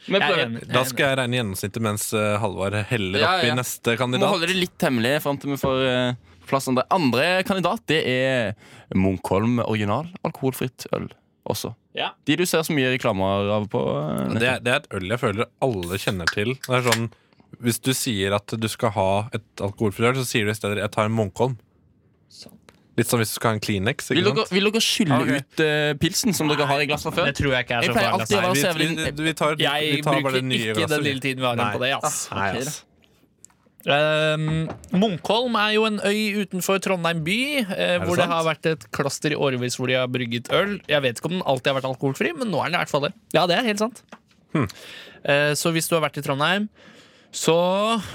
S6: Men prøv.
S3: Da skal jeg regne gjennomsnittet mens eh, Halvard heller
S6: Ja,
S3: opp
S6: ja.
S3: i neste
S6: Må
S3: kandidat.
S6: holde det litt hemmelig fram til vi får eh, på plass andre. Andre kandidat det er Munkholm original alkoholfritt øl også.
S5: Ja.
S6: De du ser så mye reklamer av på eh,
S3: Det er, det er et øl jeg føler alle kjenner til. Det er sånn, hvis du sier at du skal ha et alkoholfritt øl, så sier du i stedet 'jeg tar en Munkholm'.
S5: Sånn.
S3: Litt som hvis du skal ha en Kleenex.
S6: Vil
S3: Ikke
S6: dere,
S3: sant?
S6: vil dere skylle
S3: Ja, ok.
S6: ut eh, pilsen som dere har i glassene før?
S5: Det tror jeg ikke er så
S6: Jeg pleier
S5: farlig,
S6: alltid å
S5: altså.
S6: være
S5: Nei,
S6: så
S5: vi-
S6: jævlig-
S3: vi tar-
S5: Jeg
S3: Vi tar bare det
S5: bruker
S3: nye
S5: ikke
S3: glasset,
S5: den
S3: vi.
S5: lille tiden vi har igjen på det. Ass.
S3: Ah, nei, ass.
S5: Um, Munkholm er jo en øy utenfor Trondheim by, eh,
S3: det
S5: hvor det
S3: sant?
S5: har vært et kloster i årevis hvor de har brygget øl. Jeg vet ikke om den alltid har vært alkoholfri, men nå er den i hvert fall det. Ja, det er helt sant.
S3: Hm.
S5: Eh, så hvis du har vært i Trondheim så,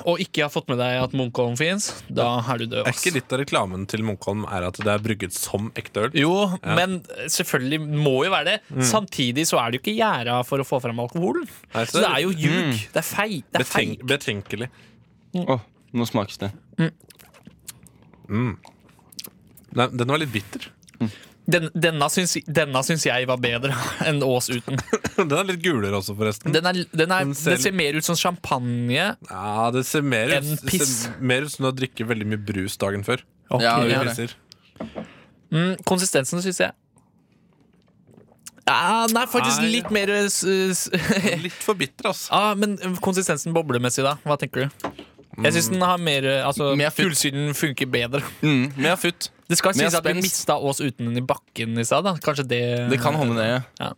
S5: og ikke har fått med deg at Munkholm fins, da er du død.
S3: Er
S5: ass.
S3: ikke litt av reklamen til Munkholm er at det er brygget som ekte øl?
S5: Jo,
S3: Ja. Hm.
S5: men selvfølgelig må jo være det. Samtidig så er det jo ikke gjerda for å få fram alkoholen.
S3: Nei, Hm.
S5: Så det er jo ljug. Det er feil. Det er feil.
S3: Beten betenkelig.
S6: Åh, nå smakes det.
S3: Mm. Nei, den var litt bitter.
S5: Den, denne, syns, denne syns jeg var bedre enn Ås uten.
S3: Den er litt gulere også, forresten.
S5: Den, er, den, er,
S3: Den ser-
S5: den ser mer ut som champagne.
S3: Ja, det ser mer ut,
S5: En
S3: det
S5: piss.
S3: ser mer ut som du har drukket veldig mye brus dagen før.
S5: Ok.
S3: Ja,
S5: Ja,
S3: det
S5: det.
S3: pisser.
S5: Mm, konsistensen syns jeg ja, Den er faktisk
S3: Nei.
S5: litt mer s- s-
S3: Litt for bitter, altså.
S5: ja, Men konsistensen boblemessig, da? Hva tenker du? Jeg
S6: Mm.
S5: syns den har mer altså,
S6: Mer futt.
S5: Kullsyren funker bedre.
S6: Mm, mer futt.
S5: Det skal
S6: Mer
S5: sies at vi
S6: spenst.
S5: mista Ås uten den i bakken i stad. da. Kanskje det
S6: Det kan holde nede.
S5: Ja.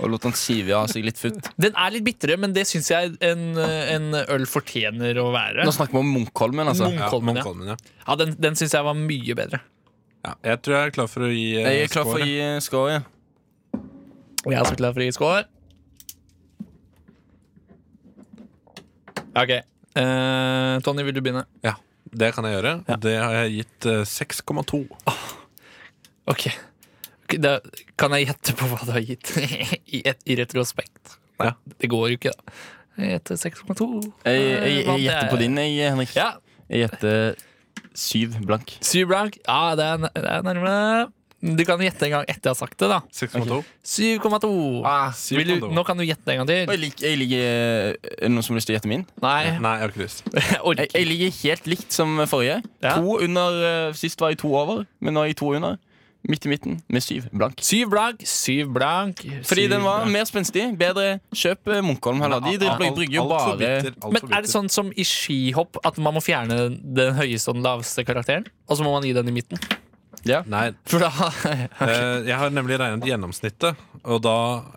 S6: Og lot han sive av seg litt futt.
S5: Den er litt bitre, men det syns jeg en, en øl fortjener å være.
S6: Nå snakker vi om Munkholmen, altså.
S5: Munkholmen, ja.
S3: Munkholmen, ja.
S5: Ja, Den, den syns jeg var mye bedre.
S3: ja. Jeg tror jeg er klar for å gi eh,
S6: Jeg er klar for å
S3: score.
S6: gi eh, score. ja.
S5: Og jeg er så klar for å gi score. Ok. Eh, Tony, vil du begynne?
S3: Ja, det kan jeg gjøre. Det har jeg gitt eh, 6,2.
S5: Ok. Ok, Da kan jeg gjette på hva du har gitt i, et, i retrospekt.
S3: Ja.
S5: Det går jo ikke, da. Jeg gjetter 6,2.
S6: Jeg, jeg, jeg
S5: Vant
S6: gjetter på din, jeg, Henrik.
S5: Ja.
S6: Jeg gjetter syv blank.
S5: Syv blank. Ja, det er, det er nærme. Du kan gjette en gang etter jeg har sagt det. da
S3: 6,2.
S5: 7,2.
S6: Ah,
S5: Vil du-
S6: 7,2.
S5: nå kan du gjette en gang til.
S6: Jeg ligger, jeg ligger eh, Er det noen som har lyst til å gjette min?
S5: Nei.
S3: Nei, jeg har ikke lyst.
S6: jeg, jeg ligger helt likt som forrige. To under eh, Sist var jeg to over, men nå er jeg to under. Midt i midten med syv blank.
S5: Syv blank, syv blank
S6: Fordi
S5: syv
S6: den var
S5: blank.
S6: mer spenstig. Bedre kjøp eh, Munkholm heller. De driver- brygger jo bare
S5: Men er det sånn som i skihopp at man må fjerne den høyeste og den laveste karakteren? Og så må man gi den i midten?
S3: Nei. Eh, Jeg har nemlig regnet gjennomsnittet, og da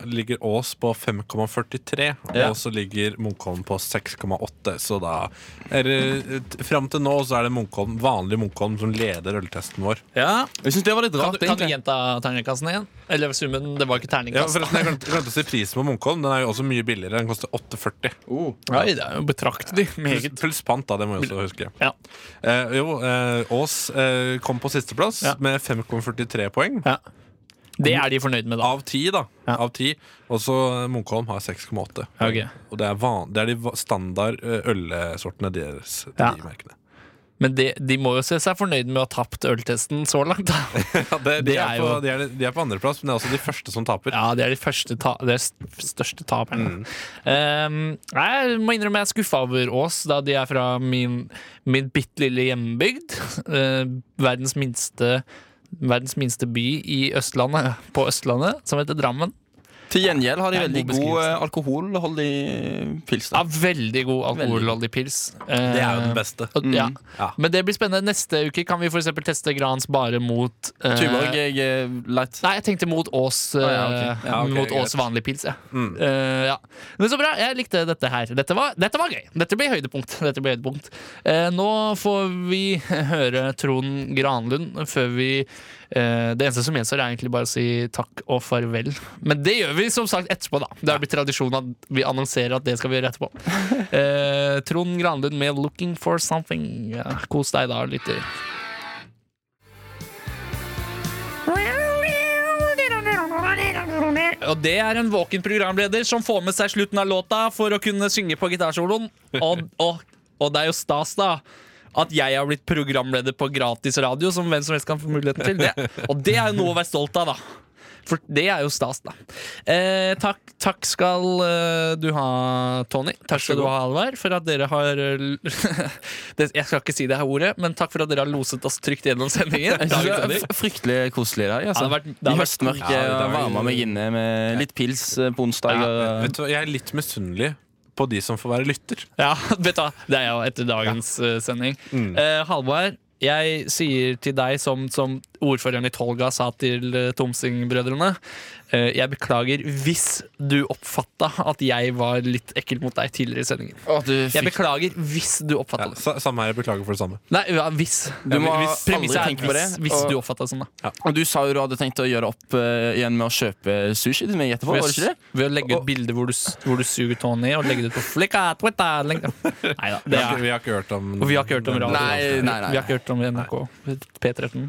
S3: ligger Ås på 5,43.
S6: Ja.
S3: Og så ligger Munkholm på 6,8. Så da er det, eh, Fram til nå så er det Munkholm, vanlig Munkholm som leder øltesten vår.
S6: Jeg synes det var litt
S5: Kan, du- kan du gjenta terningkassen igjen? Eller summen? Det var ikke
S3: Ja,
S5: terningkast.
S3: forresten, Jeg glemte- glemte å si prisen på Munkholm. Den er jo også mye billigere. Den koster 8,40.
S5: Oi, det er jo betraktelig.
S3: Pluss, pluss pant, da. Det må jeg også huske. Eh, jo, eh, Ås eh, kom på sisteplass med 5,43 poeng.
S5: Det er de fornøyd med, da.
S3: Av ti, da. Av ti. Og så eh, Munkholm har 6,8.
S5: Ok.
S3: Og det er, van, det er de va- standard eh, ølsortene deres. De
S5: Ja.
S3: merkene.
S5: Men de, de må jo se seg fornøyd med å ha tapt øltesten så langt, da.
S3: Ja, det, de,
S5: Det er
S3: er på,
S5: jo-
S3: de, er, de er på andreplass, men det er også de første som taper.
S5: Ja, det er de første ta det er st- største
S3: Mm.
S5: taperne. Ehm, jeg må innrømme jeg er skuffa over Ås, da de er fra min, min bitte lille hjembygd. Eh, verdens, minste, verdens minste by i Østlandet, på Østlandet, som heter Drammen.
S6: Til gjengjeld har de
S5: Det er en
S6: veldig
S5: god
S6: god
S5: beskrivelse.
S6: eh, alkoholholdig pils.
S5: Ja, veldig god alkoholholdig pils. Ehm,
S3: Det er jo den beste.
S5: og- ja.
S6: Mm.
S5: Men det blir spennende. Neste uke kan vi for eksempel teste Grans bare mot eh,
S6: Tuborg jeg eh, light.
S5: Nei, jeg tenkte mot Ås, eh,
S6: Å, ja, ok. Ja, ok,
S5: mot
S6: greit. Mm.
S5: Ås vanlig pils. Ja. Eh, ja. Men så bra, jeg likte dette her. Dette var, dette var gøy. Dette blir høydepunkt. Dette blir høydepunkt. Eh, nå får vi høre Trond Granlund før vi eh, Det eneste som gjenstår, er egentlig bare å si takk og farvel. Men det gjør vi som sagt etterpå, da. Det har blitt tradisjon at vi annonserer at det skal vi gjøre etterpå. Eh, Trond Granlund med 'Looking for Something'. Ja, kos deg da, lytter. Og det er en våken programleder som får med seg slutten av låta for å kunne synge på gitarsoloen. Og, og, og det er jo stas, da. At jeg har blitt programleder på gratis radio, som hvem som helst kan få muligheten til. det Og det er jo noe å være stolt av, da. For det er jo stas, da. Eh, takk, takk skal eh, du ha, Tony. Takk skal du ha, Alvar, for at dere har eh, l- det, Jeg skal ikke si det her ordet, men takk for at dere har loset oss trygt gjennom sendingen.
S6: Jeg synes
S5: Dagens
S6: det
S5: sending.
S6: er f- Fryktelig koselig i dag.
S5: Ja,
S6: Altså.
S5: det har vært- det har
S6: I
S5: vært-
S6: høstmørket
S5: Ja, det har
S6: og
S5: vært-
S6: varma meg inne med litt pils eh, på onsdag. og-
S3: Vet du, hva, jeg er litt misunnelig på de som får være lytter.
S5: Ja, vet du hva, det er jo etter dagens eh, sending.
S6: Mm.
S5: Eh, Halvard, jeg sier til deg som, som ordføreren i Tolga sa til eh, Tomsing-brødrene eh, Jeg beklager hvis du oppfatta at jeg var litt ekkel mot deg tidligere i sendingen. Jeg beklager hvis du oppfatta det.
S3: Sa- Samme her, jeg beklager for det samme.
S5: Nei, ja, hvis.
S6: Du må
S5: hvis
S6: aldri
S5: Premisset er
S6: tenke på
S5: hvis,
S6: det,
S5: hvis
S6: og-
S5: du oppfatta det sånn, da.
S6: Og du sa jo du hadde tenkt å gjøre opp eh, igjen med å kjøpe sushi til meg etterpå,
S5: Ved,
S6: var det ikke det?
S5: ved å legge ut bilder hvor du, s- hvor du suger tåa ned, og legge det ut på flikka Twitter lenka. Nei da.
S3: Vi
S5: Det
S3: har, ikke-
S5: er,
S3: vi har ikke hørt om
S5: og vi har ikke hørt om radio.
S6: Nei, nei, nei.
S5: Vi har ikke hørt om NRK P13.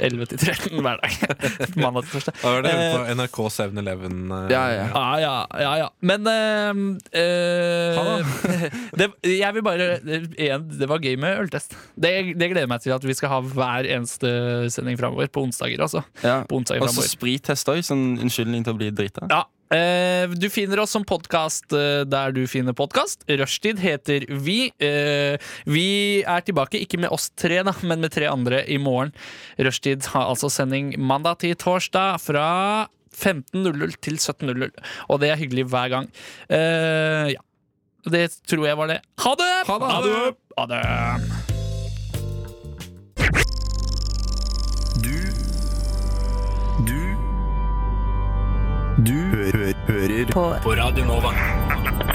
S5: 11 til 13 hver dag. Mandag til torsdag.
S3: Da var det på
S5: Eh,
S3: NRK 7-Eleven. eh,
S6: Ja, ja.
S5: Ja, ja, ja, ja. Men eh, eh, det, Jeg vil bare igjen, Det var gøy med øltest. Det, det gleder jeg meg til at vi skal ha hver eneste sending framover. På onsdager, altså.
S6: Ja.
S5: På onsdager
S6: Og så
S5: fremover.
S6: sprittest òg. Sånn unnskyldning til å bli drita.
S5: Ja. Eh, du finner oss som podkast eh, der du finner podkast. Rushtid heter vi. Eh, vi er tilbake, ikke med oss tre, da, men med tre andre i morgen. Rushtid har altså sending mandag til torsdag fra 15.00 til 17.00. Og det er hyggelig hver gang. Eh, ja. Det tror jeg var det. Ha det! Ha det! Ha det! Ha det.
S12: Du Du Du hø hø hører på. på Radio Nova.